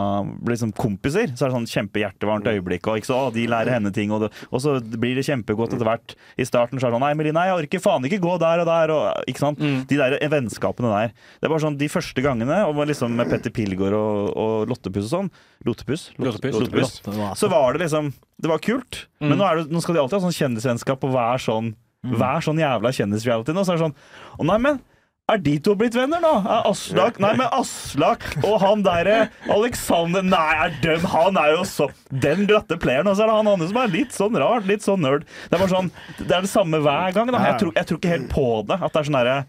[SPEAKER 5] blir liksom kompiser, så er det sånn kjempehjertevarmt øyeblikk. Og ikke så, å, de lærer henne ting, og, det, og så blir det kjempegodt etter hvert. I starten så er det sånn Nei, Melina, jeg orker faen ikke gå der og der. Og, ikke sant? De der vennskapene der. Det er bare sånn de første gangene, og liksom med Petter Pilgaard og, og Lottepuss og sånn Lottepuss?
[SPEAKER 3] Lottepuss.
[SPEAKER 5] Lottepuss så Mm. var det liksom Det var kult, men nå, er det, nå skal de alltid ha sånn kjendisvennskap og være sånn Vær sånn jævla kjendisreality nå. Så er det sånn Å, nei, men er de to blitt venner nå? Er Aslak Nei, men Aslak og han derre Alexander Nei, er dem Han er jo så Den glatte playeren, og så er det han andre som er litt sånn rar, litt sånn nerd. Det er bare sånn Det er det samme hver gang. Da. Jeg, tror, jeg tror ikke helt på det. At det er sånn derre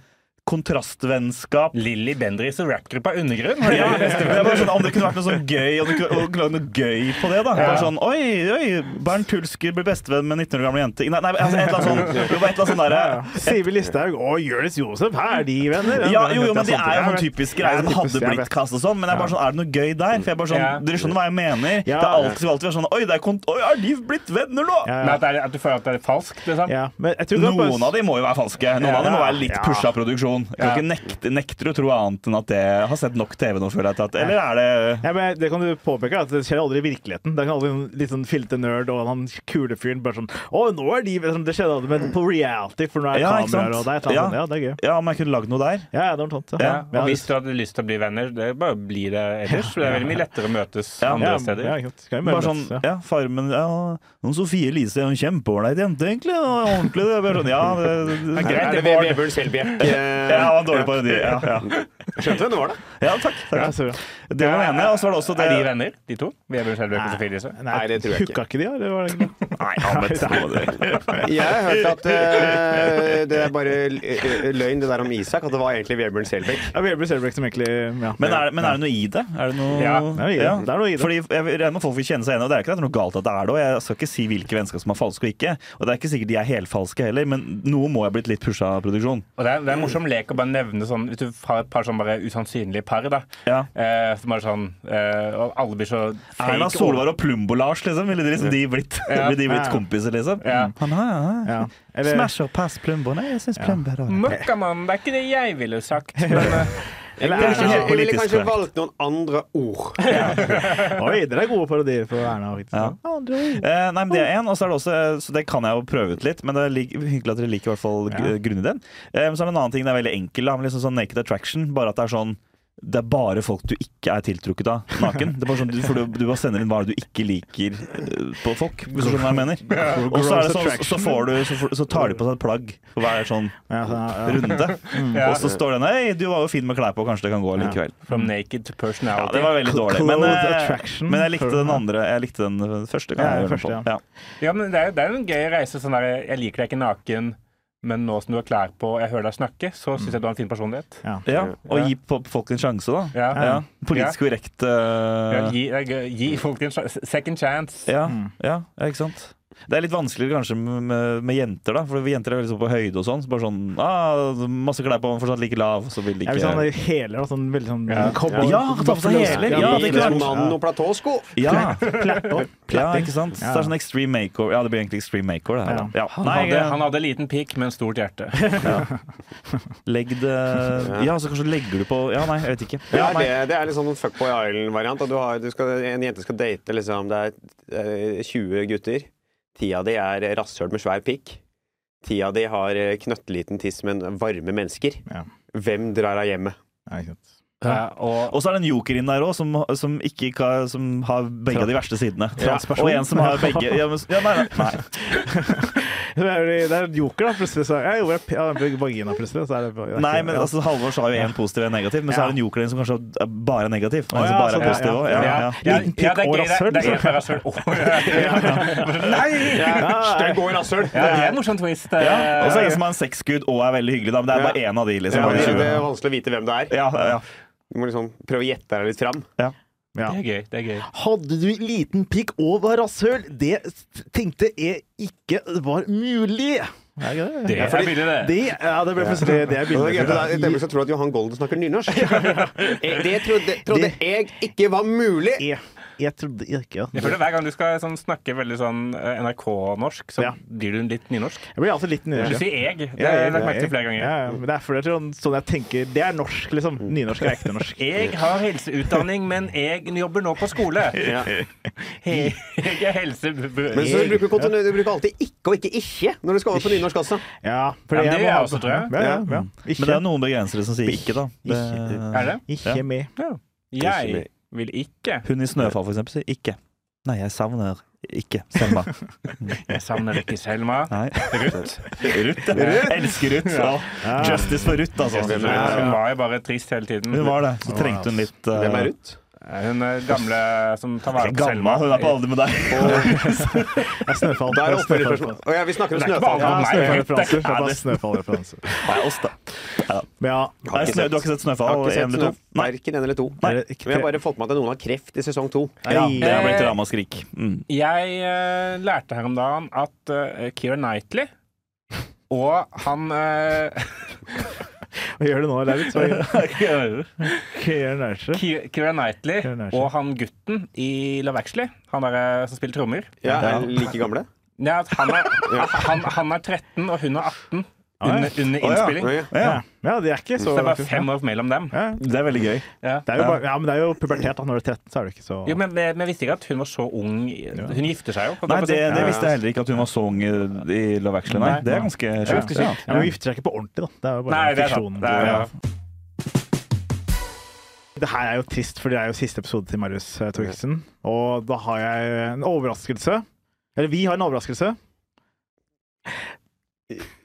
[SPEAKER 5] kontrastvennskap
[SPEAKER 3] Lilly Bendriss og rappgruppa Undergrunn.
[SPEAKER 5] ja, det er bare sånn, Om det kunne vært noe sånn gøy, og du kunne og lagd noe gøy på det, da. Bare sånn Oi, oi, Bernt Tulsker blir bestevenn med en 19 år gammel jente. Nei, nei altså, et eller annet sånn, jo, bare et eller annet sånn derre
[SPEAKER 2] Sivi Listhaug og Jonis Josef, her er de venner.
[SPEAKER 5] ja, jo, jo, men det
[SPEAKER 2] Sånn
[SPEAKER 5] er jo
[SPEAKER 2] ting.
[SPEAKER 5] sånn typisk greie som
[SPEAKER 2] Ja, typisk,
[SPEAKER 5] hadde
[SPEAKER 2] jeg
[SPEAKER 5] blitt
[SPEAKER 2] vet.
[SPEAKER 5] kastet sånn, men jeg er bare sånn, er det noe gøy der? For jeg er bare sånn,
[SPEAKER 3] Ja.
[SPEAKER 5] Dere skjønner hva jeg mener? Det
[SPEAKER 2] Ja.
[SPEAKER 5] er alltid, skal alltid være sånn Oi, det er kont oi, er de blitt venner nå?
[SPEAKER 2] Ja,
[SPEAKER 3] Men at, det er, at du føler at det er falskt, liksom?
[SPEAKER 2] Ja, men jeg tror det var
[SPEAKER 5] Noen av de må jo være falske. Noen av de må være litt
[SPEAKER 2] Ja.
[SPEAKER 5] pusha produksjon. Jeg kan ikke nekte, nekter å tro annet enn at det har sett nok TV nå, føler jeg. til at- Eller er det
[SPEAKER 2] Ja, men det kan du påpeke, at det skjer aldri i virkeligheten. Det kan aldri en litt sånn filte nerd og han kule fyren bare sånn Å, nå er de liksom, Det skjedde aldri, men på reality, for nå er
[SPEAKER 5] Ja, ikke sant?
[SPEAKER 2] kameraer og det er et eller annet.
[SPEAKER 5] Ja.
[SPEAKER 2] Ja, det er gøy.
[SPEAKER 5] Ja, om jeg kunne lagd noe der?
[SPEAKER 2] Ja, ja, det var tomt.
[SPEAKER 5] Ja,
[SPEAKER 3] Ja, og hvis du hadde lyst til å bli venner, det er bare å bli det ellers. for Det er veldig mye lettere å møtes
[SPEAKER 5] Ja.
[SPEAKER 3] andre steder.
[SPEAKER 2] Ja, ikke sant. Skal jo
[SPEAKER 5] Bare
[SPEAKER 2] møtes,
[SPEAKER 5] sånn,
[SPEAKER 2] ja.
[SPEAKER 5] ja, Farmen ja, Noen Sofie Elise er jo en kjempeålreit jente, egentlig. Og ordentlig. Det er bare sånn, ja, det, det, det
[SPEAKER 3] greit.
[SPEAKER 4] Er det Vebjørn Selbjekk?
[SPEAKER 5] Ja, det var en dårlig parodi. Ja, ja.
[SPEAKER 4] Skjønte hvem det var, da?
[SPEAKER 5] ja, takk.
[SPEAKER 2] Ja,
[SPEAKER 5] takk.
[SPEAKER 2] så bra.
[SPEAKER 5] Det var det ene. Og så var det også det
[SPEAKER 3] Er de venner, de to? Vebjørn Skjelbøk og Sofie Elise?
[SPEAKER 2] Nei,
[SPEAKER 4] det tror jeg ikke.
[SPEAKER 2] Hooka ikke de, ja, eller var det ikke det?
[SPEAKER 5] Nei, han vet ikke hva det er.
[SPEAKER 4] Jeg har hørt at eh, det er bare l- eh, løgn, det der om Isak, at det var egentlig Vebjørn Selbekk.
[SPEAKER 2] Ja, Vebjørn Selbekk som egentlig ja.
[SPEAKER 5] Men er, men er det noe i det? Er det noe,
[SPEAKER 3] Ja,
[SPEAKER 2] det er noe i det. Det er noe i det.
[SPEAKER 5] Fordi jeg regner med folk vil kjenne seg igjen, og det er ikke at det er noe galt at det er det. Og jeg skal ikke si hvilke vennskap som er falske og ikke. Og det er ikke sikkert de er helfalske heller, men noe må jeg ha blitt litt pusha av produksjon.
[SPEAKER 3] Og det er, det er en morsom lek å bare nevne sånn Hvis du har et par sånn bare usannsynlige par, da.
[SPEAKER 5] Ja.
[SPEAKER 3] Eh, som bare sånn eh, Og alle blir så fake.
[SPEAKER 5] Erna Solberg og Plumbo-Lars, liksom. Ville de, liksom, de blitt,
[SPEAKER 3] Ja.
[SPEAKER 5] ville de blitt
[SPEAKER 2] Ja.
[SPEAKER 5] kompiser, liksom?
[SPEAKER 3] Ja.
[SPEAKER 5] Han har, han har.
[SPEAKER 2] Ja. Eller,
[SPEAKER 5] Smash og pass Plumbo. Nei, jeg syns Plumbo er rar.
[SPEAKER 3] Møkkamann, det er ikke det jeg ville sagt. Men
[SPEAKER 2] er
[SPEAKER 3] eh,
[SPEAKER 4] Jeg ville
[SPEAKER 2] det
[SPEAKER 4] kanskje,
[SPEAKER 5] helt
[SPEAKER 4] jeg ville
[SPEAKER 5] politisk
[SPEAKER 4] kanskje
[SPEAKER 5] korrekt?
[SPEAKER 4] valgt noen andre ord.
[SPEAKER 2] Oi, dere er gode parodier på Erna. faktisk.
[SPEAKER 5] Ja.
[SPEAKER 2] Andre ord.
[SPEAKER 5] Eh, nei, men det er en, og så er det også, eh, så det kan jeg jo prøve ut litt, men det er lik- hyggelig at dere liker i hvert fall gr- grunnideen. Eh, men så er det en annen ting, det er veldig enkel, da, men liksom sånn naked attraction, bare at det er sånn det er bare folk du ikke er tiltrukket av naken. Det er bare sånn, du- for du, du bare sender inn hva du ikke liker eh, på folk, hvis du skjønner hva jeg mener. Og så, er det sånn, så, får du, så, får, så tar de på seg et plagg for hver sånn
[SPEAKER 2] Ja, så, altså, ja. Mm.
[SPEAKER 5] runde. Og så står den Hei, du var jo fin med klær på, kanskje det kan gå likevel.
[SPEAKER 3] From naked to
[SPEAKER 5] Ja,
[SPEAKER 3] personality.
[SPEAKER 5] det var veldig dårlig. Men,
[SPEAKER 2] Clothes
[SPEAKER 5] eh,
[SPEAKER 2] attraction.
[SPEAKER 5] men jeg likte den andre. Jeg likte den første. Kan
[SPEAKER 2] Ja,
[SPEAKER 5] jeg gjøre
[SPEAKER 2] første,
[SPEAKER 5] den på. Ja.
[SPEAKER 3] Ja, men det er, det er jo en gøy reise. sånn der, Jeg liker deg ikke naken, men nå som du har klær på og jeg hører deg snakke, så syns jeg du har en fin personlighet.
[SPEAKER 5] Ja. Og gi po- folk en sjanse, da.
[SPEAKER 3] Ja.
[SPEAKER 5] Ja. Politisk korrekt.
[SPEAKER 3] Ja,
[SPEAKER 5] eh,
[SPEAKER 3] gi, det er gøy. gi folk en sjan- second chance.
[SPEAKER 5] Ja,
[SPEAKER 2] Mm.
[SPEAKER 5] ja, ja, ikke sant? Det er litt vanskeligere kanskje med, med jenter, da. For jenter er veldig sånn på høyde og sånn. Så bare sånn ah, Masse klær på, men fortsatt like lav. Så vil de
[SPEAKER 2] Jeg
[SPEAKER 5] ikke
[SPEAKER 2] vil sånn heler og sånn veldig sånn
[SPEAKER 3] Ja.
[SPEAKER 2] cowboy-
[SPEAKER 5] Ja, ta på seg hæler. Ja, det er klart.
[SPEAKER 4] Mann og platåsko.
[SPEAKER 5] ja.
[SPEAKER 2] Platt opp.
[SPEAKER 5] ja, ikke sant? Så
[SPEAKER 2] Ja.
[SPEAKER 5] det er sånn extreme makeover. Ja, det blir egentlig extreme makeover, det her. da. Ja.
[SPEAKER 3] Han,
[SPEAKER 5] Nei, eh,
[SPEAKER 3] hadde,
[SPEAKER 5] det,
[SPEAKER 3] han hadde liten pikk, men stort hjerte.
[SPEAKER 5] legg det Ja, så kanskje legger du på Ja, nei, jeg vet ikke.
[SPEAKER 4] Det
[SPEAKER 5] Ja,
[SPEAKER 4] er,
[SPEAKER 5] nei.
[SPEAKER 4] det, det er litt sånn en Fuckboy Island-variant. at du har- du skal- En jente skal date liksom, Det er eh, 20 gutter. Ti av de er rasshøl med svær pikk. Ti av de har eh, knøttliten tiss, men varme mennesker.
[SPEAKER 2] Ja.
[SPEAKER 4] Hvem drar av hjemmet?
[SPEAKER 2] Ja, ikke sant.
[SPEAKER 3] Ja, og,
[SPEAKER 5] Og så er det en joker inn der òg, som, som, ikke ka- som har begge av de verste sidene.
[SPEAKER 2] Transperson.
[SPEAKER 5] Og en som har begge Ja, men, ja nei, nei. nei.
[SPEAKER 2] Det er jo- det er en joker, da. Plutselig så jeg gjorde jeg ja, vagina, plutselig. Så er det, det er
[SPEAKER 5] Nei,
[SPEAKER 2] ikke-
[SPEAKER 5] men
[SPEAKER 2] ja.
[SPEAKER 5] altså, Halvor sa jo én positiv og én negativ, men så
[SPEAKER 2] Ja.
[SPEAKER 5] er det en joker inn som kanskje er bare er negativ. Og
[SPEAKER 2] Å,
[SPEAKER 5] en som
[SPEAKER 2] ja,
[SPEAKER 5] bare
[SPEAKER 2] sånn,
[SPEAKER 5] er
[SPEAKER 2] ja,
[SPEAKER 5] positiv
[SPEAKER 2] ja,
[SPEAKER 5] også.
[SPEAKER 3] ja,
[SPEAKER 5] Ja, ja,
[SPEAKER 3] ja,
[SPEAKER 2] Liten pikk
[SPEAKER 3] ja, det er
[SPEAKER 2] og
[SPEAKER 3] gøy, det er- Det er en
[SPEAKER 2] rasshøl.
[SPEAKER 3] fra rasshøl. Å, ja, ja. Nei!
[SPEAKER 2] Ja,
[SPEAKER 4] Stygg og rasshøl!
[SPEAKER 3] Ja, det er en morsom twist. eh.
[SPEAKER 5] Og så er det en som har en sexgud og er veldig hyggelig, da, men det er bare én av de. liksom.
[SPEAKER 4] Ja,
[SPEAKER 5] av de
[SPEAKER 4] det, det
[SPEAKER 5] 20.
[SPEAKER 4] er vanskelig å vite hvem det er.
[SPEAKER 5] Ja, ja, ja.
[SPEAKER 4] Du må liksom prøve å gjette deg litt fram.
[SPEAKER 2] ja.
[SPEAKER 3] Det er gøy. det er gøy.
[SPEAKER 2] Hadde du liten pikk og var rasshøl? Det tenkte jeg ikke var mulig. Er ikke
[SPEAKER 3] Det
[SPEAKER 2] Ja,
[SPEAKER 3] er
[SPEAKER 2] fordi-
[SPEAKER 3] billig, det.
[SPEAKER 2] Det, ja, det ble plutselig det er
[SPEAKER 4] Og det er
[SPEAKER 2] bildet.
[SPEAKER 4] gøy, for det er et øyeblikk så tror jeg at Johan Golden snakker nynorsk. Eh, Det trodde, trodde
[SPEAKER 2] Det-
[SPEAKER 4] jeg ikke var mulig!
[SPEAKER 2] Jeg, jeg trodde ikke
[SPEAKER 3] Jeg
[SPEAKER 2] at
[SPEAKER 3] føler Hver gang du skal sånn, snakke veldig sånn eh, NRK-norsk, så
[SPEAKER 2] Ja.
[SPEAKER 3] blir du litt nynorsk.
[SPEAKER 2] Jeg blir alltid litt
[SPEAKER 3] Du
[SPEAKER 2] nynorsk.
[SPEAKER 3] sier 'eg'. Det
[SPEAKER 2] Ja,
[SPEAKER 3] har
[SPEAKER 2] jeg-
[SPEAKER 3] jeg lagt merke til flere ganger.
[SPEAKER 2] Ja, ja, men det er fordi det er sånn, sånn jeg tenker Det er norsk, liksom. Nynorsk er ekte norsk.
[SPEAKER 3] Jeg har helseutdanning, men jeg jobber nå på skole.
[SPEAKER 4] Ja.
[SPEAKER 3] Jeg er helsebrød.
[SPEAKER 4] Men så bruker du, kontinu- du bruker alltid ikke og ikke ikke når du skal over på nynorsk også.
[SPEAKER 2] Ja,
[SPEAKER 3] Ja,
[SPEAKER 2] fordi
[SPEAKER 3] men
[SPEAKER 2] jeg
[SPEAKER 3] det
[SPEAKER 2] må
[SPEAKER 3] er
[SPEAKER 2] ha-
[SPEAKER 3] også, tror jeg.
[SPEAKER 2] Ja, ja, ja.
[SPEAKER 5] Men det
[SPEAKER 2] Ikke,
[SPEAKER 5] er noen begrensere som sier ikke, da.
[SPEAKER 2] Ikke.
[SPEAKER 5] Det,
[SPEAKER 3] Er det?
[SPEAKER 5] Ja.
[SPEAKER 2] sånn- ikke med.
[SPEAKER 3] Jeg vil ikke.
[SPEAKER 5] hun i Snøfall, for eksempel, sier ikke. Nei, jeg savner ikke Selma.
[SPEAKER 3] Jeg savner ikke Selma.
[SPEAKER 5] Nei.
[SPEAKER 3] Ruth.
[SPEAKER 5] Ruth, ja. Elsker Ruth. Ja. Justice for Ruth, altså.
[SPEAKER 3] Hun var jo bare trist hele tiden.
[SPEAKER 5] Hun var det. Så trengte hun litt uh,
[SPEAKER 4] Hvem er Ruth?
[SPEAKER 3] Hun er gamle som tar vare på Selma.
[SPEAKER 5] Gamma. Hun er på alder med deg.
[SPEAKER 2] Det er snøfall.
[SPEAKER 4] Da er det
[SPEAKER 2] Det er snøfall.
[SPEAKER 4] oppfølger spørsmål. Å ja, vi snakker om
[SPEAKER 3] Det er ikke
[SPEAKER 4] snøfall.
[SPEAKER 2] Ja,
[SPEAKER 3] bare Nei,
[SPEAKER 2] snøfallreferanser. Det
[SPEAKER 3] det
[SPEAKER 2] er bare snøfallreferanser.
[SPEAKER 5] Nei, oss, da.
[SPEAKER 2] Men ja,
[SPEAKER 5] Nei, snø, du har ikke sett
[SPEAKER 4] Jeg
[SPEAKER 5] Snøfall
[SPEAKER 4] har ikke
[SPEAKER 5] 1
[SPEAKER 4] sett
[SPEAKER 5] eller 2?
[SPEAKER 4] snø- verken en eller to.
[SPEAKER 2] Nei.
[SPEAKER 4] Men jeg har bare fått med meg at noen har kreft i sesong to.
[SPEAKER 5] Ja,
[SPEAKER 2] Nei.
[SPEAKER 5] det har blitt ramaskrik. Mm.
[SPEAKER 3] Jeg eh, lærte her om dagen at eh, Keira Knightley og han eh,
[SPEAKER 2] Hva gjør du nå, Lauritz? Keir Nørse.
[SPEAKER 3] Ki- Keira Knightley
[SPEAKER 2] Keira Knightley.
[SPEAKER 3] og han gutten i Love Actually, han der eh, som spiller trommer
[SPEAKER 4] Ja, er like gamle.
[SPEAKER 3] Nei, at han, er, han, han er 13, og hun er 18
[SPEAKER 2] Ah, ja.
[SPEAKER 3] under, under
[SPEAKER 5] Ah, ja.
[SPEAKER 3] innspilling.
[SPEAKER 4] Ja, ja.
[SPEAKER 5] Ja,
[SPEAKER 2] Ja, ja, de er ikke så
[SPEAKER 3] Så det er bare fem år mellom dem.
[SPEAKER 2] Ja.
[SPEAKER 5] det er veldig gøy.
[SPEAKER 3] Ja.
[SPEAKER 2] Det er jo bare, ja, men det er jo pubertet. da. Når du er 13, så er du ikke så
[SPEAKER 3] Jo, men, men jeg visste ikke at hun var så ung. Hun gifter seg jo. holdt jeg
[SPEAKER 5] Nei,
[SPEAKER 3] på å si.
[SPEAKER 5] det, det visste jeg heller ikke at hun var så ung i i Love Actually. Nei,
[SPEAKER 3] Nei.
[SPEAKER 5] det er ganske
[SPEAKER 3] Det er
[SPEAKER 5] sjukt.
[SPEAKER 3] ganske
[SPEAKER 5] Ja.
[SPEAKER 3] sykt.
[SPEAKER 2] ja, men Du gifter seg ikke på ordentlig, da. Det er jo bare
[SPEAKER 3] Nei, det er sant.
[SPEAKER 2] fiksjonen.
[SPEAKER 3] Det er, ja.
[SPEAKER 2] Det her er jo trist, for det er jo siste episode til Marius eh, Thorkildsen. Og da har jeg en overraskelse. Eller vi har en overraskelse.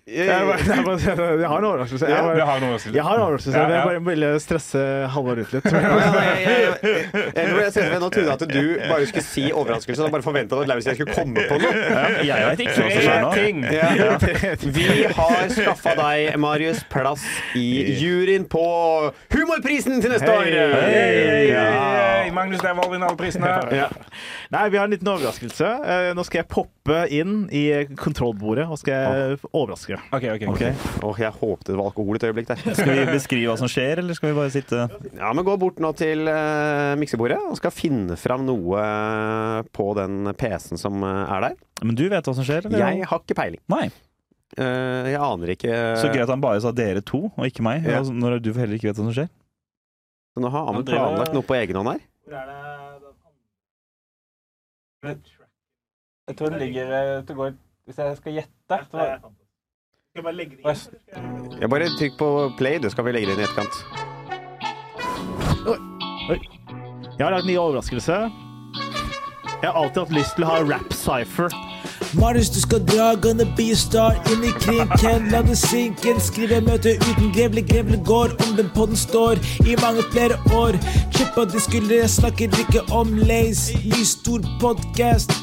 [SPEAKER 2] Jeg, bare, jeg, bare, jeg har en overraskelse. Jeg,
[SPEAKER 3] Vi
[SPEAKER 2] bare,
[SPEAKER 3] har noe å si.
[SPEAKER 2] jeg har en overraskelse.
[SPEAKER 3] Ja,
[SPEAKER 2] men
[SPEAKER 3] ja.
[SPEAKER 2] Jeg bare ville stresse Halvard ut litt.
[SPEAKER 4] Ja, ja, ja, ja, ja. Jeg tror jeg ser for meg Nå trodde jeg at du bare skulle si overraskelse. Og bare forventa at Lauritzen skulle komme på noe.
[SPEAKER 5] Jeg vet ikke hva som skjer
[SPEAKER 3] Tre
[SPEAKER 5] nå.
[SPEAKER 3] ting!
[SPEAKER 4] Ja. Vi har skaffa deg, Marius, plass i juryen på Humorprisen til neste år!
[SPEAKER 3] Hey,
[SPEAKER 2] Ja.
[SPEAKER 3] Magnus Devold vinner alle prisene.
[SPEAKER 4] Ja.
[SPEAKER 2] Nei, vi har en liten overraskelse. Eh, Nå skal jeg poppe inn i kontrollbordet og skal jeg overraske.
[SPEAKER 3] Ok, ok, ok.
[SPEAKER 5] Ok.
[SPEAKER 4] Åh, jeg håpte det var alkohol et øyeblikk der.
[SPEAKER 5] Skal vi beskrive hva som skjer, eller skal vi bare sitte
[SPEAKER 4] Ja, men gå bort nå til eh, miksebordet og skal finne fram noe eh, på den PC-en som eh, er der.
[SPEAKER 5] Men du vet hva som skjer? Eller?
[SPEAKER 4] Jeg har ikke peiling.
[SPEAKER 5] Nei.
[SPEAKER 4] Eh, jeg aner ikke
[SPEAKER 5] Så gøy at han bare sa dere to, og ikke meg.
[SPEAKER 4] Ja.
[SPEAKER 5] altså, Når du heller ikke vet hva som skjer.
[SPEAKER 4] Så Nå har
[SPEAKER 3] Ja,
[SPEAKER 4] Amund
[SPEAKER 3] det var-
[SPEAKER 4] planlagt noe på egen hånd her.
[SPEAKER 3] Jeg tror den ligger eh, til går, Hvis jeg skal gjette så var-
[SPEAKER 4] Jeg bare trykk på play, du, skal vi legge det inn i etterkant.
[SPEAKER 2] Jeg har lagd en ny overraskelse. Jeg har alltid hatt lyst til å ha rap-cypher.
[SPEAKER 6] Marius, du skal dra, gonna be a star inn i krinken. La det synke inn, skrive møte uten grevle. Grevle går om den podden står i mange flere år. Chippa de skuldre, jeg snakker ikke om lays. Ny stor podkast.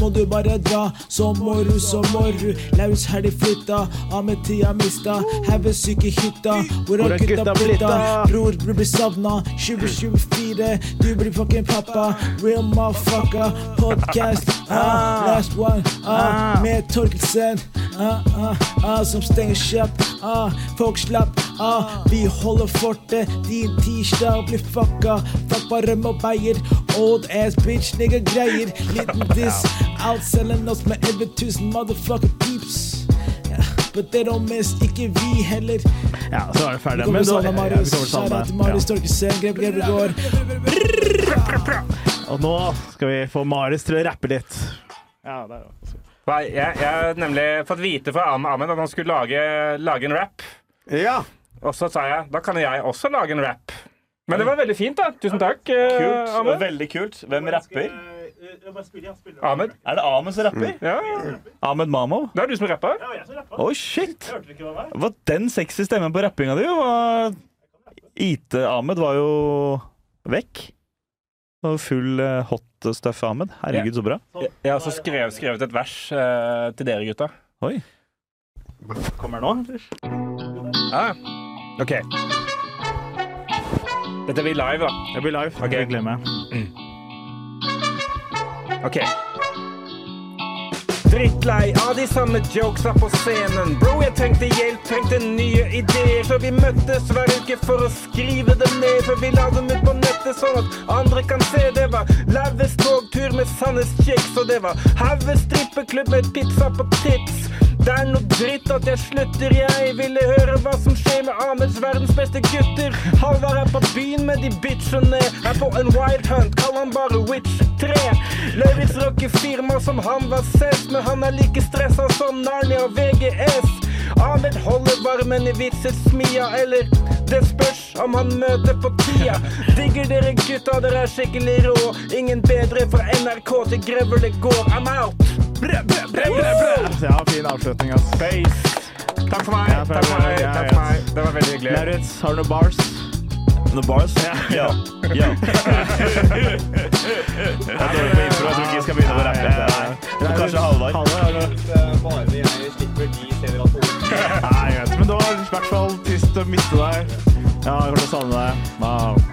[SPEAKER 6] Må du bare dra, så må du, så må du. Laus her de flytta, av med tida mista. Hauge syke hytta, hvor har gutta blitta? Bror, du blir savna. 2024, du blir fucking pappa. Real motherfucker. Podcast, ah, last one, ah, med Torkelsen. Ah, ah, ah, som stenger kjapt. Ah, folk slapp av. Vi holder fortet. Din tirsdag blir fucka. Fuck bare rømme og beier. Old ass bitch, nigga greier. Liten diss. Outselging oss med 11 000 motherfucker peeps. Yeah, But they don't miss. Ikke vi heller.
[SPEAKER 2] Ja, så er vi ferdige
[SPEAKER 6] Kommer
[SPEAKER 2] med
[SPEAKER 6] Sanna
[SPEAKER 2] Ja, vi
[SPEAKER 6] Marius.
[SPEAKER 2] kommer til
[SPEAKER 6] Kjære
[SPEAKER 2] Sanna.
[SPEAKER 6] til Marius Torkelsen. Grep, grep, grep, går.
[SPEAKER 2] Ja. Og nå skal vi få Marius til å rappe litt. Ja, det er jo
[SPEAKER 3] Nei, Jeg, jeg har nemlig fått vite fra Am- Ahmed at han skulle lage, lage en rap.
[SPEAKER 4] Ja.
[SPEAKER 3] Og så sa jeg da kan jeg også lage en rap. Men det var veldig fint, da. Tusen takk, eh,
[SPEAKER 5] Kult, og
[SPEAKER 3] Ahmed.
[SPEAKER 5] veldig kult. Hvem rapper?
[SPEAKER 3] Ahmed.
[SPEAKER 5] Er det Ahmed som rapper?
[SPEAKER 3] Ja,
[SPEAKER 5] Ahmed Mamov?
[SPEAKER 3] det er du som rapper.
[SPEAKER 5] Oh, shit! Hva den sexy stemmen på rappinga di var IT-Ahmed var jo vekk. Det var Full eh, hot stuff Ahmed. Herregud, så bra.
[SPEAKER 3] Jeg, jeg har også skrev, skrevet et vers eh, til dere gutta.
[SPEAKER 5] Oi.
[SPEAKER 2] Kommer nå, eller?
[SPEAKER 3] Ja. OK. Dette blir live, da.
[SPEAKER 2] Det blir live.
[SPEAKER 3] Ok.
[SPEAKER 2] Jeg glemmer.
[SPEAKER 3] Ok. Drittlei av de samme jokesa på scenen. Bro, jeg trengte hjelp, trengte nye ideer. Så vi møttes hver uke for å skrive dem ned. For vi la dem ut på nettet sånn at andre kan se. Det var Lauves togtur med Sandnes Chicks, og det var Hauges strippeklubb med pizza på tits. Det er noe dritt at jeg slutter, jeg ville høre hva som skjer med Ahmeds verdens beste gutter. Halvard er på byen med de bitchene, er på en wild hunt, kall han bare Witch 3. Lauritz rocker firma som han var sess, men han er like stressa som Narnia og VGS. Ahmed holder varmen i vitser smia, eller det spørs om han møter på tida. Digger dere gutta, dere er skikkelig rå. Ingen bedre fra NRK til Grevle gård. I'm out! Brø, brø, brø, brø, brø.
[SPEAKER 2] Så Ja, fin avslutning, ass.
[SPEAKER 3] Takk for meg.
[SPEAKER 2] Ja,
[SPEAKER 3] Takk for meg.
[SPEAKER 2] ja,
[SPEAKER 3] Takk
[SPEAKER 2] ja.
[SPEAKER 3] for meg. Det var veldig hyggelig.
[SPEAKER 2] Lauritz, har du noen bars?
[SPEAKER 5] The bars? Ja. ja. Jeg tror ikke jeg tror ikke jeg skal begynne å rappe. Og kanskje Halvard.
[SPEAKER 2] Halvard, har du noen?
[SPEAKER 7] Eh, Bare jeg slipper de steder at ord
[SPEAKER 2] Nei, jeg vet. Men det var i hvert fall trist å miste deg. Ja, jeg kommer til å savne deg. Wow.